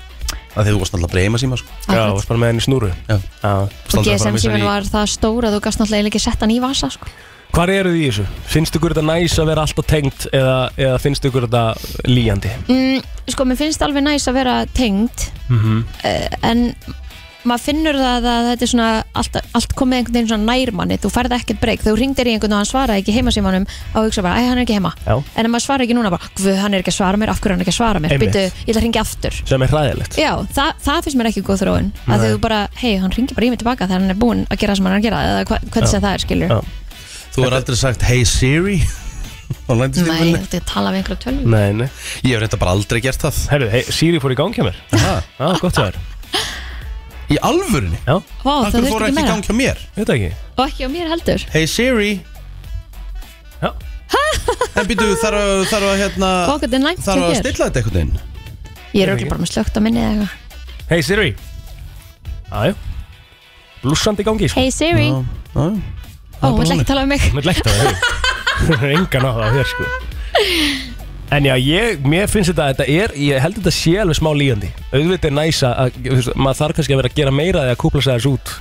Það þegar þú varst alltaf breyma síma sko. Já, akkurat. varst bara með henni snúru Já. Hvar Varst og aldrei að fara að GSM missa síminn í- var það stóra að þú gafst náttúrulega eiginlega ekki sett hann í vasa sko. eru þið í þessu? Finnst ykkur þetta næs að vera alltaf tengt eða, eða finnst ykkur þetta líjandi? Mm, sko, mér finnst alveg næs að vera tengd eh, Mm -hmm. Mhm. en maður finnur það að þetta er svona allt, allt komið einhvern veginn svona nærmanni þú færð ekkert breyk, þú ringdir í einhvern og hann svaraði ekki heimasímanum á hugsa bara, æ, hann er ekki heima Já. en ef maður svarar ekki núna bara, hvað, hann er ekki að svara mér af hverju er hann ekki að svara mér, Einmitt. býtu, ég ætla að ringja aftur Sem er hræðilegt Já, það, það finnst mér ekki góð þróun að Nei. þau bara, hei, hann ringir bara í mig tilbaka þegar hann er búinn að gera það sem hann er að gera eða hva, hvernig sem það er, skilur Já. Þú hefur aldrei sagt Hey Siri (laughs) á 90s Nei, tímabilinu þetta er að tala við einhverja tölvur Nei, nei Ég hef reynda bara aldrei gert það Herru, hey, Siri fór í gangi á mér Aha. Já, gott það er Í alvörunni? Já, Vá, Af það hverju þurfti fór ekki ekki í meira gang hjá mér? veit það ekki Og ekki á mér heldur Hey Siri Já. (laughs) En býtu, þarf að, þarf að hérna Og okkur þetta er næmt Þarf að hjá þér stilla þetta einhvern veginn Ég er örugglega bara með slögt á minni eða eitthvað Hey Siri Æjú Blússandi í gangi, sko Hey Siri, Já, já. ó, hún ætla ekki að tala um mig Mér lægt að það (laughs) er engan á það á þér sko En já, ég, mér finnst þetta, þetta er, ég held þetta sé alveg smá líðandi Auðvitað er næsa að, þú veist, maður þarf kannski að vera að gera meira eða að kúpla sig aðeins út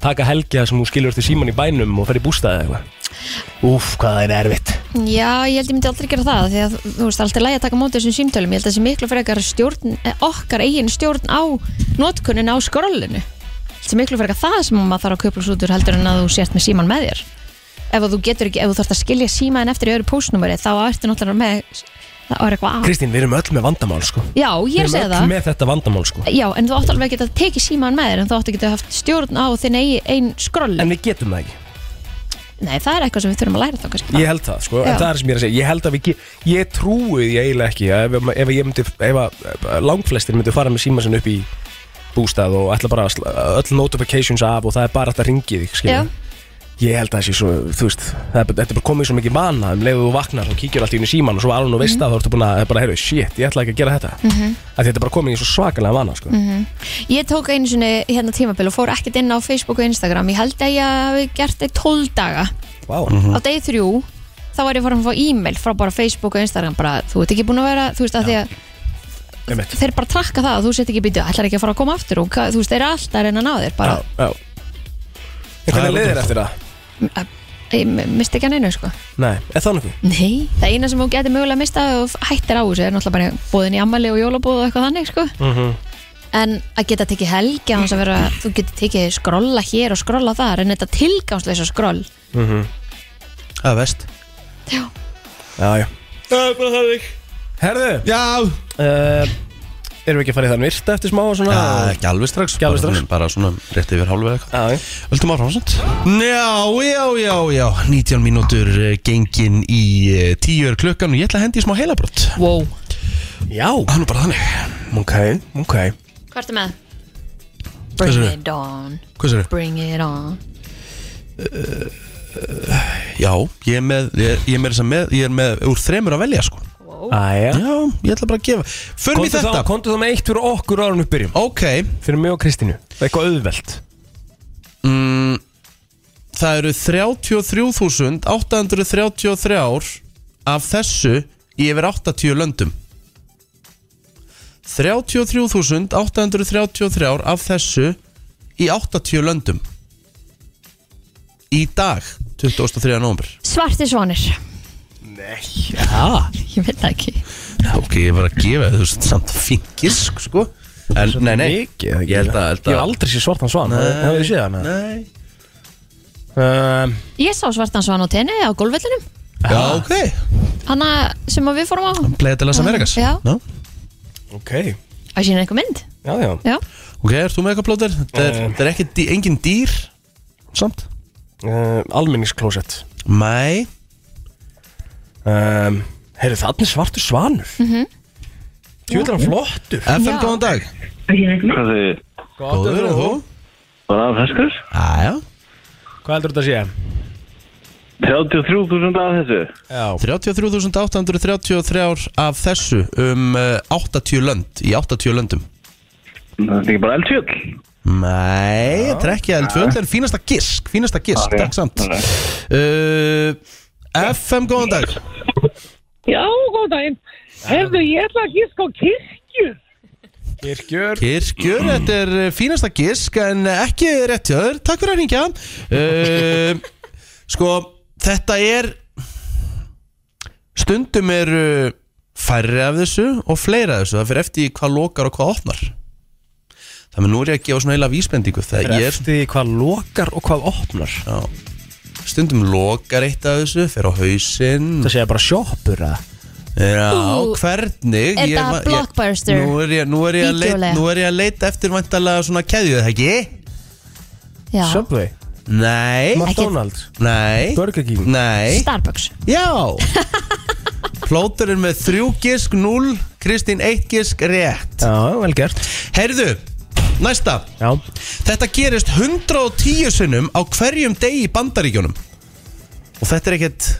Taka helgi það sem hún skilur eftir síman í bænum og fer í bústaði eða eitthvað Úf, hvað það er erfitt Já, ég held ég myndi aldrei gera það því að þú veist, allt er lægi að taka á móti þessum símtölum ég held að þessi miklu frekar stjórn eh, okkar eigin stjórn á notkunin á skrollinu þessi miklu frekar það sem maður þarf að köpla svo út úr heldur en að þú sért með síman með þér ef að þú getur ekki, ef þú þarft að skilja símaðin eftir í öðru póstnúmeri þá ertu náttúrulega með það er eitthvað að Kristín, við erum öll með vandamál sko Já, ég er að Við erum segja öll það með þetta vandamál sko Já, en þú átt alveg að geta að teki síman með þér en þú átt að geta haft stjórn á þinn eigi ein skroll En við getum það ekki Nei, það er eitthvað sem við þurfum að læra þá kannski Ég held það, sko, en Já. það er sem ég er að segja Ég held að við, ge- ég trúi því eiginlega ekki að ef, ef, ég myndi, ef að eh, langflestir myndi fara með síma sinn upp í bústað og ætla bara að sl- öll notifications af og það er bara alltaf ringið þig, Já, skilja Ég held að það sé svo, þú veist, það er, bara- þetta er bara komið svo mikið vana um leiðu þú vaknar og kíkir allt í einu í síman og svo alveg og Mhm. veist að þá ertu búin að bara, heyrðu, shit, ég ætla ekki að gera þetta mm Þetta er bara komið í svo svakalega vana, sko Mhm. Ég tók einu sinni hérna tímabil og fór ekkert inn á Facebook og Instagram Ég held að ég hafi gert þetta í 12 daga Vá, Mhm. á degi þrjú þá var ég farin að fá e-mail frá bara Facebook og Instagram bara þú ert ekki búin að vera þú veist að því að einmitt. þeir bara trakka það að þú sett ekki býtu ætlar ekki að fara að koma aftur og hvað- þú veist þeir eru alltaf að reyna að ná þér bara Já, já. En Það er Hvernig leiðir ótrúlegt. eftir það? ég m- misti ekki að neina sko Nei, er það nokkuð? Nei það eina sem þú getur mögulega mista og hættir á þessu er náttúrulega bara bóðin í ammali og jólabóð og eitthvað þannig sko en að geta tekið helgi á þess að vera þú getur tekið skrolla hér og skrolla þar en þetta tilgangsleisa skroll Mhm. Það er vest já Já, já. Herðu, Já, uh, erum við ekki að fara í það myrta eftir smá og svona ekki alveg strax Ekki alveg Bara strax. svona- Bara svona rétt yfir hálfa eitthvað já, já. Völdum áfram samt Já, já, já, já 19 mínútur eh, gengin í 10 klukkan og ég ætla að hendi í smá heilabrott wow já, Það er nú bara þannig ok, ok hvað ertu með? Hvað Bring segirðu? it on Hvað sér Bring it on Já, ég er með, ég, ég er með, með, ég er með úr þremur að velja sko Æja Já, ég ætla bara að gefa Förum í Kontu þá, þetta kontu þá með eitt fyrir okkur ára við byrjum Ok, Fyrir mig og Kristínu Eitthvað auðvelt mm, það eru 33.833 af þessu í yfir 80 löndum 33.833 af þessu í 80 löndum Í dag, 23. november Svarti svanir Já Ég veit það ekki Ok, ég var að gefa þú veist samt fingisk sko En, nei, nei Mikið, Ég held að- held að- Ég hef aldrei séð svartan svan Það hefur séð hana Nei um, Ég sá svartan svan á tenni á gólfvellinum Já, ok Hanna sem að við fórum á Playa de las Americas Já. no? Ok Að sína einhver mynd Já, já Já Ok, ert þú með eitthvað plóter? Þetta er, Eh. þetta er ekki, dý- engin dýr Samt uh, Almenningsklósett Mæ um, Herru, þarna er svartur svanur mm -hmm. Tjóðlega flottur FM, Já. góðan dag Hvað þið, Góður en þú? bara af heskur? Æja Hvað heldur þetta að sé? 33.000 af þessu? Já 33.833 af þessu um uh, 80 lönd Í 80 löndum Það er ekki bara eldfjöld? Mæ, þetta er ekki eldfjöld En fínasta gisk, fínasta gisk, Já, já. takk samt uh, FM, góðan dag Já, góðan daginn. Herðu, ég ætla að gíska á kirkju. Kirkjör Kirkjur, þetta er eh, fínasta gisk en ekki rétt hjá þér, takk fyrir að hringja uh, Sko, þetta er stundum eru færri af þessu og fleira af þessu, það fyrir eftir í hvað lokar og hvað opnar Þannig að nú er ég að gefa svona heila vísbendingu þegar ég er Eftir því hvað lokar og hvað opnar já, stundum lokar eitt af þessu, fyrir á hausinn Það segja bara sjoppur að Já, Ú, hvernig er ég- það ég- Blockbuster? Nú er ég, nú er ég, að, Vídeólega? leita, nú er ég að leita eftir vantarlega svona keðju, er það ekki? Já Subway, Nei McDonalds, Nei Burger King Nei Starbucks Já Plóturinn með þrjú gisk 0 Kristín eitt gisk rétt Já, vel gert Heyrðu, næsta Já, Þetta gerist 110 sinnum á hverjum degi í bandaríkjónum Og þetta er ekkert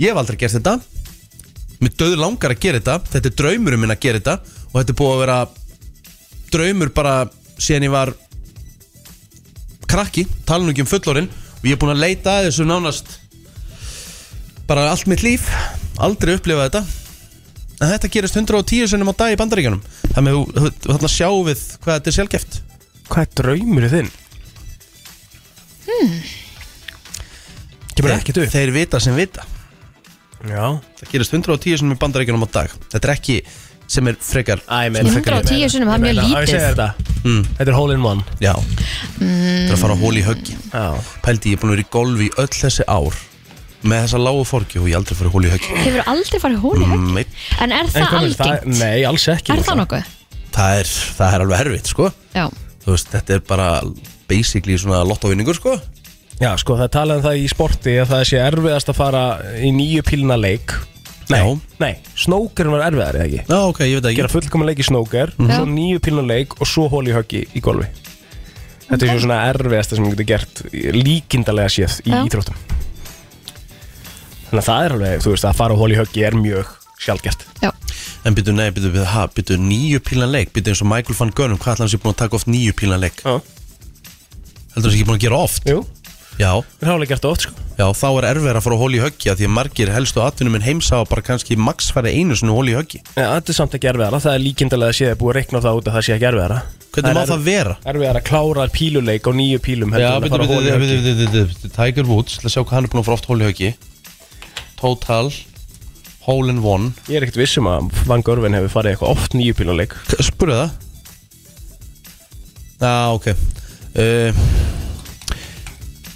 Ég hef aldrei gert þetta Mér döð langar að gera þetta Þetta er draumurum minn að gera þetta Og þetta er búið að vera Draumur bara síðan ég var Krakki, tala nú ekki um fullorinn Og ég er búin að leita að þessu nánast Bara allt mitt líf Aldrei upplifa þetta En þetta gerist 110 sinnum á dag í bandaríkjónum Þannig að þú- þú- þarna sjáum við hvað þetta er sjálfgeft hvað er draumurinn þinn? Kemur Þeir- ekkert upp Þeir vita sem vita Já Það gerist 110 sem er bandarækjunum á dag Þetta er ekki sem er frekar Æ, sem men- er 110 frekar- sinnum, það er mjög Ég meina, á ég að segja lítið þetta Þetta er hole in one Já Það er að fara hól í höggi Já Pældi, ég er búin að vera í golfi í öll þessi ár með þessa lágu forgju og ég aldrei fyrir hóli í (laughs) höggi Mm, Hefur aldrei farið hóli í högg? Nei, Mm. En er það algengt? Nei, alls ekki sko. Er það nokkuð? það er, það er alveg herfitt, sko Já Þú veist, þetta er bara basically svona lottovinningur, sko Já, sko, það er talað um það í sporti að það sé erfiðast að fara í nýju pílina leik Nei, nei, snókerinn var erfiðar eða ekki Já, ok, ég veit ekki Gera fullkomun leik í snóker, Mhm. svo Já. nýju pílina leik og svo hóli höggi í golfi Þetta er Ok. svona erfiðasta sem getur gert líkindalega séð í Já. íþróttum Þannig að það er alveg, þú veist, að fara og hóli höggi er mjög sjálfgert Já. En byrju, nei, byrju, byrju, ha, byrju, nýju pílan leik Byrju eins og Michael van Gunnum, hvað ætla hann sé búin að taka oft nýju pílan leik? Já Heldur hann sé ekki búin að gera oft? Jú Já Það er alveg gert oft, sko Já, þá er erfið að fara að hóli í höggi af Því að margir helstu atvinnum en heimsá bara kannski max færi einu sinni hóli í höggi En þetta er samt ekki erfiðara, það er líkindalega séð búið að reikna það út að það sé ekki erfiðara Hvernig má það vera? Erfiðara að klára píluleik á nýju pílum heldur Já, en að byrju, fara byrju, holu í höggi. byrju, byrju, byrju, byrju Tiger Woods, til að sjá hvað hann er búin að fara oft hóli í höggi Total Hole in one Ég er ekkert vissum að Van Görven hefur farið eitthvað oft nýju píluleik Spurðu það Já, ok uh,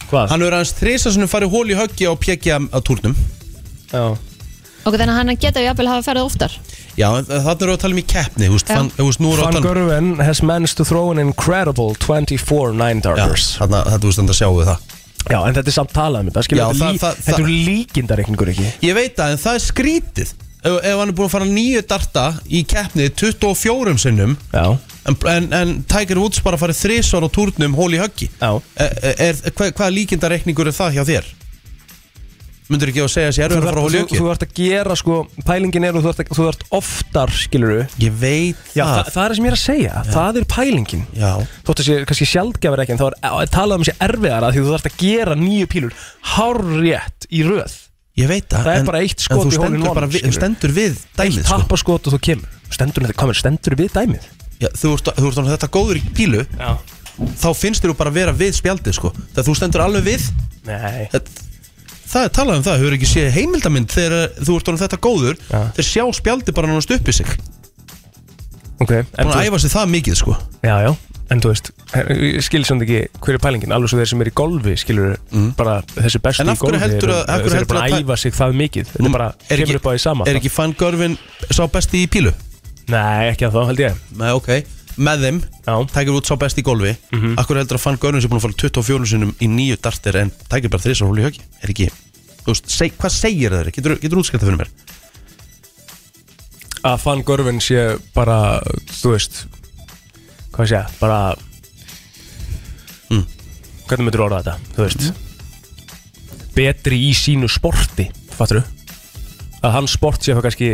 Hvað? Hann verður aðeins þrisasunum farið hól í höggi og pjekja á túrnum Já Ok, þannig að hann geta jafnvel hafa ferðið oftar Já, en þarna erum við að tala um í keppni, þú veist, Já. fan- þú veist, nú er Van Görven has managed to throw an incredible 24 nine darters Já, þarna, þetta, þú veist, þannig að sjáu það Já, en þetta er samt talað um þetta, skilur Já, þetta, það- lí, það- þetta það- eru líkindareikningur ekki Ég veit það, en það er skrítið Ef, ef hann er búin að fara nýju darta í keppni 24 sinnum Já En, en, en Tiger Woods bara farið þrisvar á túrnum hól í höggi Já er, er, hva, Hvaða líkindareikningur er það hjá þér? Myndur ekki að segja að sér Þú erfið að fara hól í þarft- þú- höggi? þú ert að gera sko, pælingin er og þú ert, að- þú ert oftar, skilur Ég veit Já, það, það er það sem ég er að segja, það er pælingin Já Þótt að sé kannski sjaldgæfur ekki en þá er er talað um sé erfiðara því þú þarft að gera nýju pílur hárrétt í röð Ég veit það Það er en- bara eitt en þú skot í hólinn stendur bara við- þú stendur við dæmið, Eitt sko. tappaskot og þú kemur Stendur, hvað með, stendur við dæmið Já, þú ert, þú ert orðinn þetta góður í pílu Já. Þá finnst þér þú bara að vera við spjaldið sko Þegar þú stendur alveg við Nei það, það er talað um það, hefur ekki séð heimildamind Þegar þú ert orðinn þetta góður Já. Þeir sjá spjaldið bara nánast upp í sig Ok, en Búin að æfa sig það mikið sko Já, já, en þú veist Skilur samt ekki hverju pælingin Alveg svo þeir sem er í golfi skilur bara þessi bestu Mhm. En í af hverju golfi heldurðu eru- að- af hverju Þeir eru bara heldurðu að að- æfa sig það mikið Þetta er bara, er kemur ekki- upp á því sama Er ekki fangörfin sá besti í pílu? Nei, ekki að þá held ég Nei, ok Með þeim, Já. Mhm. tækir út sá besti í golfi mm -hmm. Akkur heldur að fangörfin sem búin að fara 24 sinum í nýju dartir En tækir bara þrissar hóli í höggi Er ekki, þú veist, seg, hvað segir það þér? Getur, getur útskært það fyrir mér? Að Van Görven sé bara, þú veist Hvað sé, bara Mm. Hvernig myndir orða þetta, þú veist Betri í sínu sporti Fattur Að hans sport sé eitthvað kannski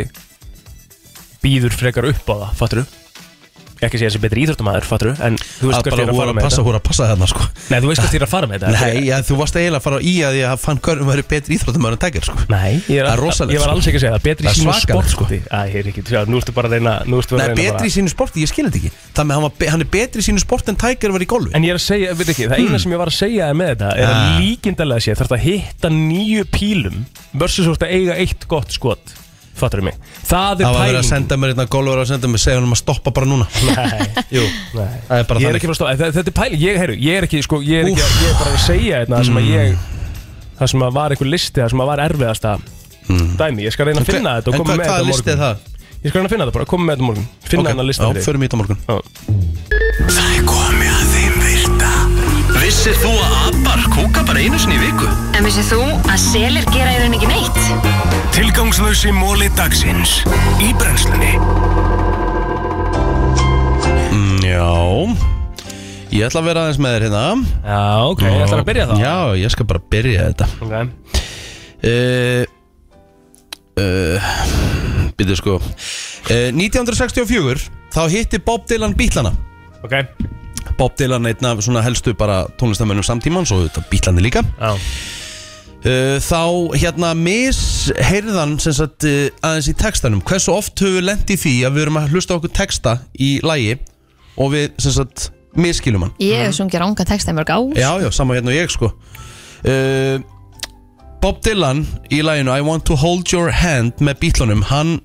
Býður frekar upp á það, fattur Ekki að segja þessi betri íþróttamæður, fattur En þú veist Að hvert bara ég er að hún fara að með passa, þetta hún að passa þarna sko Nei, þú veist hvert ég er að fara með þetta Nei, já, þú varst eiginlega að fara í að ég fann hverjum verið betri íþróttumöður en tækir sko. Nei, ég, Það er er að- rosalegt, ég var sko. alls ekki að segja það Betri í Það er sínu svakalegt, sporti sko. Æ, ég er ekki, já, nú ertu bara að reyna Nú ertu bara Nei, að reyna bara betri í sínu sporti, ég skil þetta ekki Þannig að hann, var be- hann er betri í sínu sporti en tækir var í golfi En ég er að segja, veit ekki, það eina sem ég var að segja er með þetta er að Hmm. Ah. líkindalega sé þarf að hitta nýju pílum versus þú ert að eiga eitt gott skot fattur mig, það Það var er verið að pælingin senda mér einna golfur að senda mér segja hann um að stoppa bara núna Nei, Jú, nei. það er bara Ég er þannig ekki að stóða, þetta er pæling, ég, heyru, ég er ekki sko, ég er ekki, að- ég er bara að segja þetta það sem að Hmm. ég, það sem að var einhver listi það sem að var erfiðasta dæmi, ég skal reyna Hmm. En að hver- finna þetta en og koma hvað- með hvaða þetta á listi er morgun það? Ég skal reyna að finna þetta bara, koma með þetta á morgun finna hennar lista Já, förum í þetta á morgun fyrir þig. Það er komið að þeim virta Vissir þú að abar kúka bara einu sinni í viku? En vissið þú að selir gera í rauninni ekki neitt? Tilgangslösi móli dagsins Í brennslunni Mm, Já Ég ætla að vera aðeins með þér hérna Já, ok, ég ætlar að byrja þá Já, ég skal bara byrja þetta okay. uh, uh, Býtu sko uh, 1964 Þá hitti Bob Dylan bítlana ok, Bob Dylan einn af svona helstu bara tónlistamönnum samtímans og þetta bítlandi líka já uh, Þá hérna misheyrðan sem sagt uh, aðeins í textanum Hversu oft höfum við lent í því að við erum að hlusta á okkur texta í lægi og við sem sagt miskilum hann Ég hef sungið ranga texta í mörg á Já, já, sama hérna og ég sko uh, Bob Dylan í læginu I want to hold your hand með bítlunum hann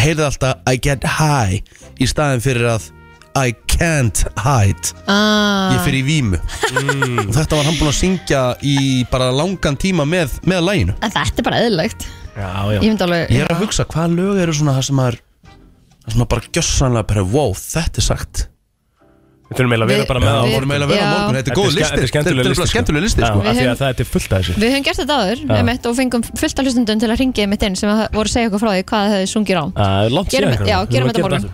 heyrði alltaf I get high í staðin fyrir að I can't hide ah. Ég fer í vímu Og þetta var hann búinn að syngja í bara langan tíma með, með læginu En þetta er bara eðlilegt Já, Ég myndi alveg- er að hugsa, hvaða lög eru svona það sem maður Það sem maður bara gjössanlega bara, wow, þetta er sagt Við þurfum eiginlega að vera Við- bara með Já, það á við þurfum eiginlega að vera á Já. morgun. Þetta er góð ske- listi. Þetta er skemmtileg Þetta er listi bara skemmtileg listi, Já, sko. af því Við að þetta er fullt af þessu Við höfum gert þetta áður Já. einmitt, og fengum fullt af hlustundum til að ringja með þeim sem að voru að segja okkur frá því hvað þau sungir á Það er Gerum- já, gerum þetta morgun.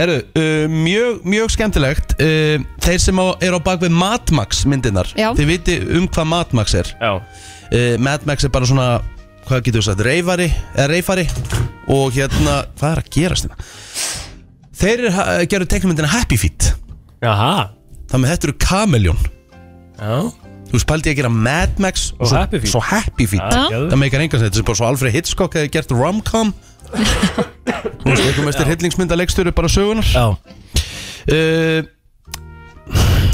Herru, uh, mjög, mjög skemmtilegt uh, Þeir sem á, eru á bak við Matmax myndinar Já. Þið viti um hvað Matmax er uh, Matmax er bara svona Hvað getur við sagt, reyfari, eða reyfari Og hérna, hvað er að gerast hérna? Þeir er, uh, gerðu teiknumyndina Happy Feet Jaha Þannig að þetta eru Kameljón Já Þú spaldi að gera Mad Max Og svo, Happy Feet. Svo Happy Feet Ah. Já. Já. Það meikar engan sem þetta er bara svo Alfred Hitchcock hefði gert rom-com Þú veist, eitthvað mestir hillingsmyndalegstöru bara sögunar Já uh,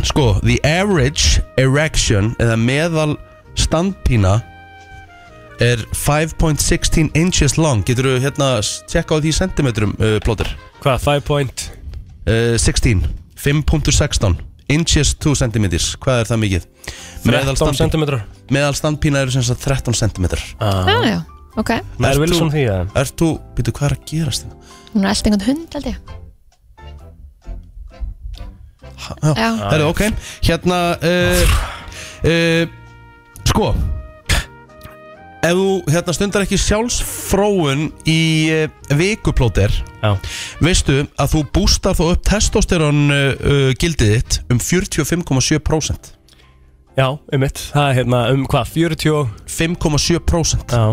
Sko, the average erection eða meðal standpína er 5.16 inches long Getur þú hérna tjekka á því í sentimetrum, uh, plóter? Hvað, 5. Uh, 16, 5.16 inches 2 centimeters, hvað er það mikið? 13 centimetrar. Meðal standpína eru sem sagt 13 centimetrar Já, já, ok Er Wilson því að Ert þú, býtu hvað er að gerast hérna? þetta? Hún er eldengan hund, held ég Já, Já. það er ok Hérna uh, uh, Sko Ef þú hérna, stundar ekki sjálfsfróun í uh, vikuplóter Já. Veistu að þú bústar þá upp testosterón uh, uh, gildið þitt um 45,7% Já, um mitt Það er hérna um hvað, 40 5,7% Já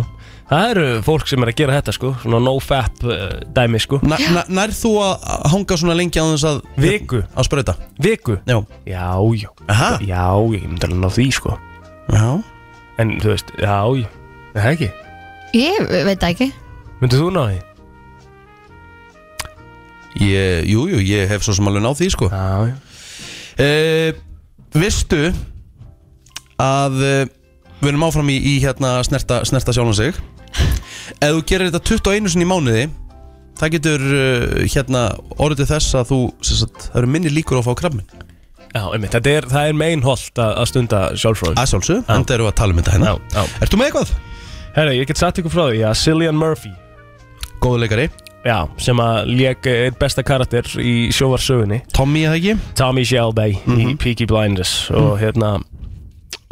Það eru fólk sem er að gera þetta sko Svona no-fap uh, dæmi sko Na, na, Nær þú að hanga svona lengi á þess að hérna, Viku Að sprauta Viku? Já Ah. Já, já Aha. Já, ég myndi alveg ná því sko Já En þú veist, já, já Er Það ekki Ég veit það ekki Myndið þú ná því? Ég, jú, jú, ég hef svo sem alveg náð því, sko Já, já Vistu Eh, að eh, við erum áfram í, í hérna snerta, snerta sjálfan sig Ef þú gerir þetta 21 sinni í mánuði Það getur uh, hérna orðið til þess að þú, sem sagt, það eru minni líkur á að fá krabmin Já, einmitt, þetta er, það er meinholt að, að stunda sjálfsfróðum Að sjálfsög, enda erum við að tala um þetta hérna Já, já Ertu með eitthvað? Herra, ég get satt ykkur frá því að Cillian Murphy Góðu leikari Já, sem að lék einn besta karakter í sjóvarsögunni Tommy eða ekki? Tommy Shelby í Peaky Blinders og hérna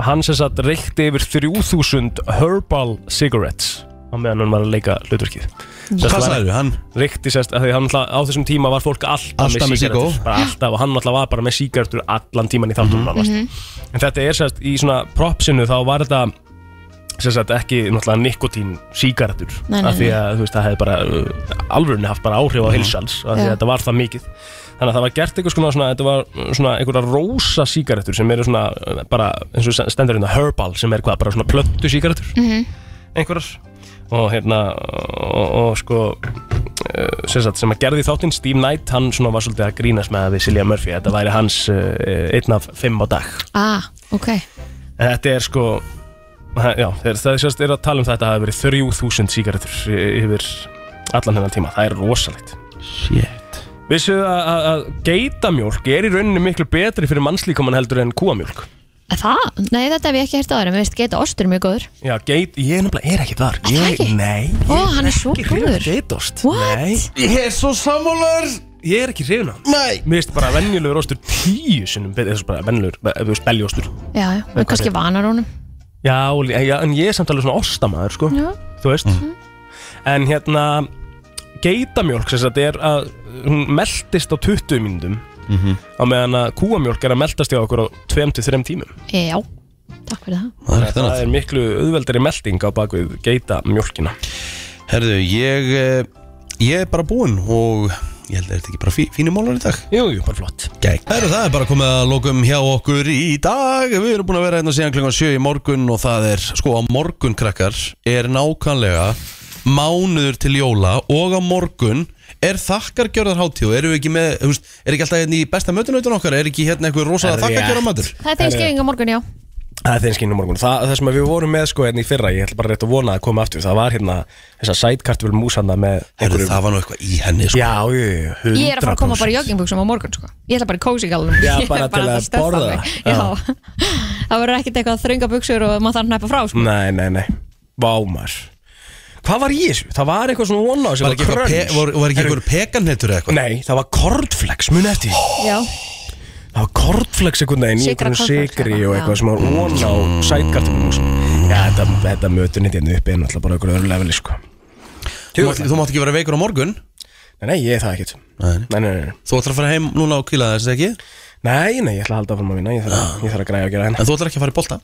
hann sem satt reykti yfir 3000 herbal cigarettes á meðan hann var að leika hlutverkið Sest Hvað var- sagðirðu, hann? Reykti sérst, af því hann alltaf, á þessum tíma var fólk alltaf, Alltaf með sígarettur, sígó. bara alltaf, og hann alltaf var bara með sígarettur allan tíman í þáttum mm Mhm. en þetta er sérst, í svona propsinu þá var þetta sérst ekki náttúrulega nikotín sígarettur Nei, nei, af því að þú veist, það hefði bara uh, alvörunni haft bara áhrif á heilsans af því að Já. þetta var það mikið þannig að það var gert einhvers konar svona, þetta var uh, svona einhverja rósa sígarettur sem eru svona uh, bara eins og stendur hérna herbal sem er hvað, bara svona plöntu sígarettur Mhm. einhverjar og hérna og, og sko uh, sem, sagt, sem að gerði þáttinn Steve Knight hann svona var svolítið að grínast með það við Silja Murphy þetta væri hans uh, einn af fimm á dag Ah, ok en þetta er sko ha- já, þeir, það er sérst er að tala um þetta að það hafi verið 3000 sígarettur y- yfir allan hennan tíma, það er rosalegt Shit Vissu að, að, að geitamjólk er í rauninni miklu betri fyrir mannslíkamann heldur en kúamjólk Er Það? Nei, þetta hef ég ekki hert áður en við veist geta ostur er mjög góður Já, geit, ég er nefnilega er ekki þar ég, ekki? Nei, Ó, ég hann er svo góður. Geitost What? Ég er svo sammálar Ég er ekki hrifin á hann. Nei Mér finnst bara venjulegur ostur tíu sinnum betri Þessu bara venjulegur, ef þú spelji ostur Já, já, og kannski vanar honum Já, og lí- já, en ég er samt alveg svona ostamæður sko Já. Þú veist En hérna Geitamjólk sem sagt er að Hún meldist á 20 mínútum Á meðan að kúamjólk er að meldast hjá okkur á 2-3 tímum Já, takk fyrir það Það er, Það er miklu auðveldari melding á bakvið geitamjólkina Herðu, ég, eh, ég er bara búinn og ég held að þetta ekki bara fí, fínum málar í dag Jú, jú, bara flott Gæk. Herru, það er bara komið að lokum hjá okkur í dag Við erum búin að vera hérna síðan klingan sjö í morgun og það er, sko, á morgun krakkar er nákvæmlega mánuður til jóla og á morgun er þakkargjörðar hátíð og erum við ekki með, þú veist, er ekki alltaf hérna í besta mötunautan okkar, er ekki hérna eitthvað rosalega Rétt. þakkargjörðar matur? Það er þeim skefing á morgun, já Það er þeirnskinn um morgun það, það sem við vorum með sko hérna í fyrra Ég ætla bara rétt að vona að koma aftur Það var hérna þessa sætkartvel músanna með einhverju... Það var nú eitthvað í henni sko Já, jú, jú, Ég er að fara að koma bara í joggingbuksum á morgun sko. Ég ætla bara í cozy gallum Já, (laughs) Ég er bara til fara að stöffa borða mig. Já. (laughs) Það verður ekkert eitthvað að þrönga buksur og maður þarf næpa frá sko. Nei, nei, nei, vámar Hvað var í þessu? Það var eitthvað svona vona Var ekki eitthvað pe- var- var ekki einhver peganhettur eða eitthvað? Nei, það var kornflex, muni eftir því. Já, Það var kornflex einhvern veginn í Sykra einhverjum cornflakes, sigri já. og eitthvað sem var vona á sætkartum Já, þetta, þetta mötunit hérna uppi er náttúrulega bara einhverju öðru leveli sko Þú mátt- þú mátt ekki vera veikur á morgun Nei, nei, ég er það ekkert Nei, nei, nei, nei. Þú ætlar að fara heim núna og kvíla þess ekki? Nei, nei, ég ætla að halda áfram að vinna Ég þarf, að- ég þarf að græja að gera henn En þú ætlar ekki að fara í bolta?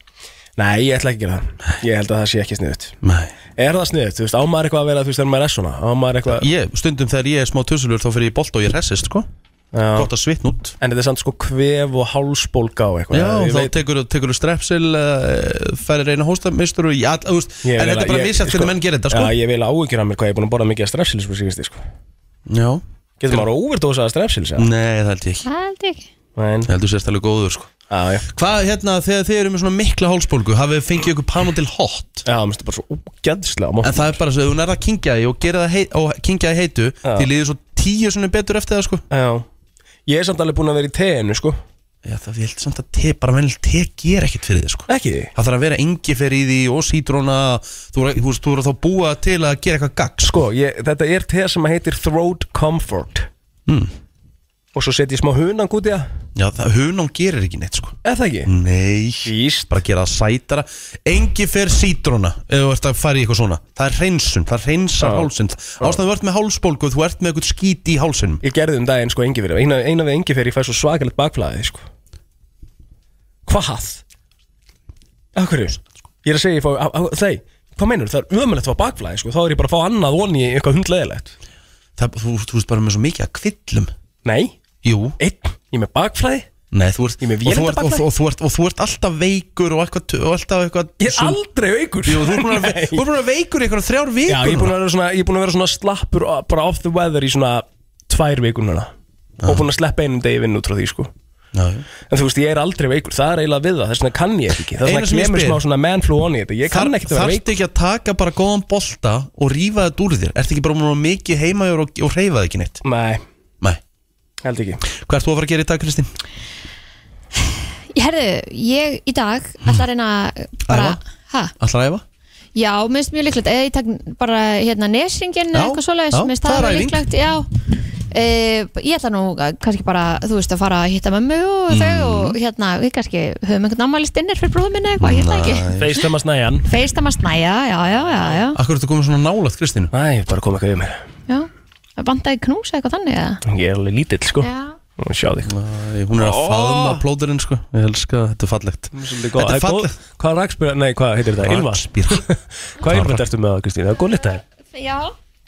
Nei, ég ætla ekki að gera það Ég held að það sé ekki sniðut Nei Er það sniðut? Þú veist, á maður eitthvað að vera, þú veist, þegar maður er svona Á maður eitthvað Ég, stundum þegar ég er smá tusulur þá fyrir ég í bolta og ég resist sko Gott að svitn út En þetta er samt sko kvef og hálsbólga og eitthvað Já, Eh, Ég þá veit- tekur, tekur þú strepsil uh, færir reyna hóstamistur og já, þú veist, ég en vil þetta að- er bara ég- misjætt hvernig menn gerir þetta sko Já, ég vil áhyggjur af mér hvað ég er búin að borða mikið af strefsils sko, síðusti, sko. Já Getur maður overdosað af strefsils? eða? Nei, það held ég ekki það held ég ekki Nei Heldur sérst alveg góður sko Já, já Hvað hérna, þegar þið eru með svona mikla hálsbólgu hafið þið fengið ykkur panu til hot Já, mér finnst það bara svo ógæðslega En það er bara svo, ef þú nærða að kingja því og, gera það hei- og kingja því heitu Já. því líður svo tíu svona betur eftir það sko Já Ég er samt alveg búin að vera í teinu sko Já, það ég held samt að te, bara venil te ger ekkert fyrir þið sko Ekki því Það þarf að vera engifer í því og sítróna Þú er- þú veist, þú er að þá búa til að gera eitthvað gagg Sko, ég, þetta er te sem heitir Throat Comfort Mm. Og svo setjum ég smá hunang út í það Já, það, hunang gerir ekki neitt sko Er það ekki? Nei, Víst. bara gera það sætara Engifer sítróna Ef þú ert að fara í eitthvað svona Það er hreinsun, það reynsar Já. hálsinn Ástæðan þú ert með hálsbólgu, þú ert með eitthvað skíti í hálsinum Ég gerði um daginn sko engi fyrir Eina, eina við engi fyrir ég fæ svo svakalegt bakflæði sko Hvað? Akkurju? Ég er að segja ég fá á- á- Þei, hvað meinur? Það er ömulegt að fá bakflæði sko Þá er ég bara að fá annað voni í eitthvað hundleðilegt það, þú, þú veist bara með svo mikið að kvillum Nei, Jú, einn, ég er með bakflæði nei, þú ert Ég með og þú ert, og, vélindabakflæði? þú- og, þú ert, og þú ert alltaf veikur Og, eitthvað, og alltaf eitthvað Ég er aldrei veikur Jú, þú ert búin að vera- (laughs) Nei. þú ert búin að vera veikur í eitthvað þrjár vikur Já, ég er búin að vera svona, ég er búin að vera svona slappur og bara off the weather í svona tvær vikur núna Ah. og búin að sleppa einum degi vinn út frá því sko að en þú veist, ég er aldrei veikur, það er eiginlega við það þess vegna kann ég þetta ekki, þess Eina vegna sem ég kemur spyr- smá svona man flu on í þetta ég kann ekkert að vera Þarftu ekki að taka bara góðan bolta og rífa þetta úr þér? Ertu ekki bara mjög mikið heima og, og hreyfa það ekki neitt? veikur Nei, Nei. held ekki Hvað ert þú að fara að gera í dag, Kristín? Ég herðu, ég í dag ætla að reyna að bara, ha, Alltaf að æfa? Já, minnst mjög líklegt eða ég takk bara hérna nesringin Já, eða eitthvað svoleiðis, já, minnst það það er alveg æfing. líklegt Já, e, ég ætla nú að- kannski bara, þú veist, að fara að hitta mömmu og þau og hérna, við kannski höfum einhvern ammælist innir fyrir bróðum minni eitthvað, ég ætla ekki Feistum að snæja hann Feistam að snæja, já, já, já, já, Akkur ertu komið svona nálægt, Kristín? Æ, bara kom eitthvað yfir mér já. Það bandaði knúsa eitthvað þannig eða? Ég er alveg lítill sko Já, og sjá þig Æ, hún er að Ó. faðma plóðurinn, sko. Ég elska, þetta er fallegt. góð- Þetta það er er góð- fallegt. Hvað rakspyr, nei, hvað heitir þetta? Ylva? Spýra. Hvað ylva ertu með það, Kristín? Það er góð litaði já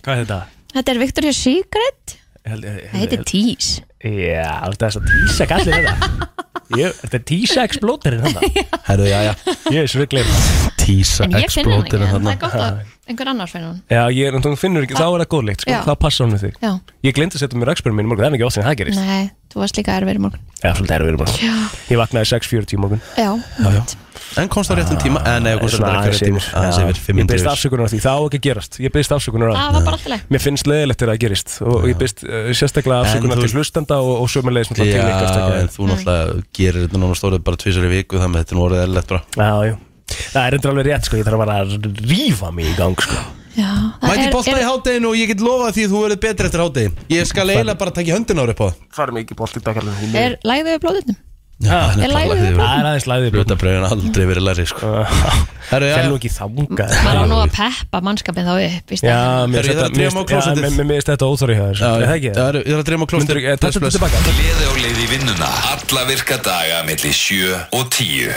Hvað er þetta? Þetta er Victoria Secret Held- held- Það heitir Tease Já, þetta er svo tísa gallið (laughs) þetta Ég, Þetta er tísa explóterinn hann Herðu, já, já. Ég er svegleir Tísa En ég finn hann ekki, explóterinn það er þarna. gott að einhver annar finn hann Já, ég, en þú finnur ekki, þá er það góðleikt sko. Já. Þá passa hún við þig Já, Ég gleyndi að setja mér experiment minn í morgun, það er ekki oft sem það gerist nei, þú varst líka erfið í morgun Já, svolítið erum við morgun Já, Ég vaknaði 6.40 í morgun já, já. En komst á réttum tíma? Eh, nei, komst á Svona réttum tíma. yfir. Aðeins Já. yfir, fimm Ég mínútur beist yfir. afsökunar á því, það á ekki að gerast Ég beist afsökunar á Það var bara alltaf Mér finnst leðilegt þegar það gerist og ég beist uh, sérstaklega En afsökunar þú- til hlustenda og, og sömulegis til ykkar Já, stakkaði. en þú náttúrulega gerir þetta náttúrulega stórið bara tvisar í viku, þannig að þetta er nú orðið eðlilegt bara. Já, já Það er endur alveg rétt sko, ég þarf bara að rífa mig í gang sko Já, það Mæti er- bólta er- í hádeginu og ég get lofað því að þú verður betri eftir hádegin Ég skal eiginlega bara taka í höndin ára upp á það. Það er mikið bólt í dagarlega Er læðið við blóðunum? Það er lægðið bara- Það er aðeins læðið blóta Hlutabröðin aldrei verið læri sko. Herru, já, Fer já. nú ekki þanga Það er nú að peppa mannskapin þá upp í Já, Herru, staðinn. mér ég þarf að drífa mig á klósettið. finnst þetta óþóri hjá þér Já, sko. Er já. Það ekki eh, Já, herru, Ég er að dreyma klóstur Myndur ekki, þetta er Bless, bless. tilbaka Gleði á leið í vinnuna Alla virka daga melli 7 og 10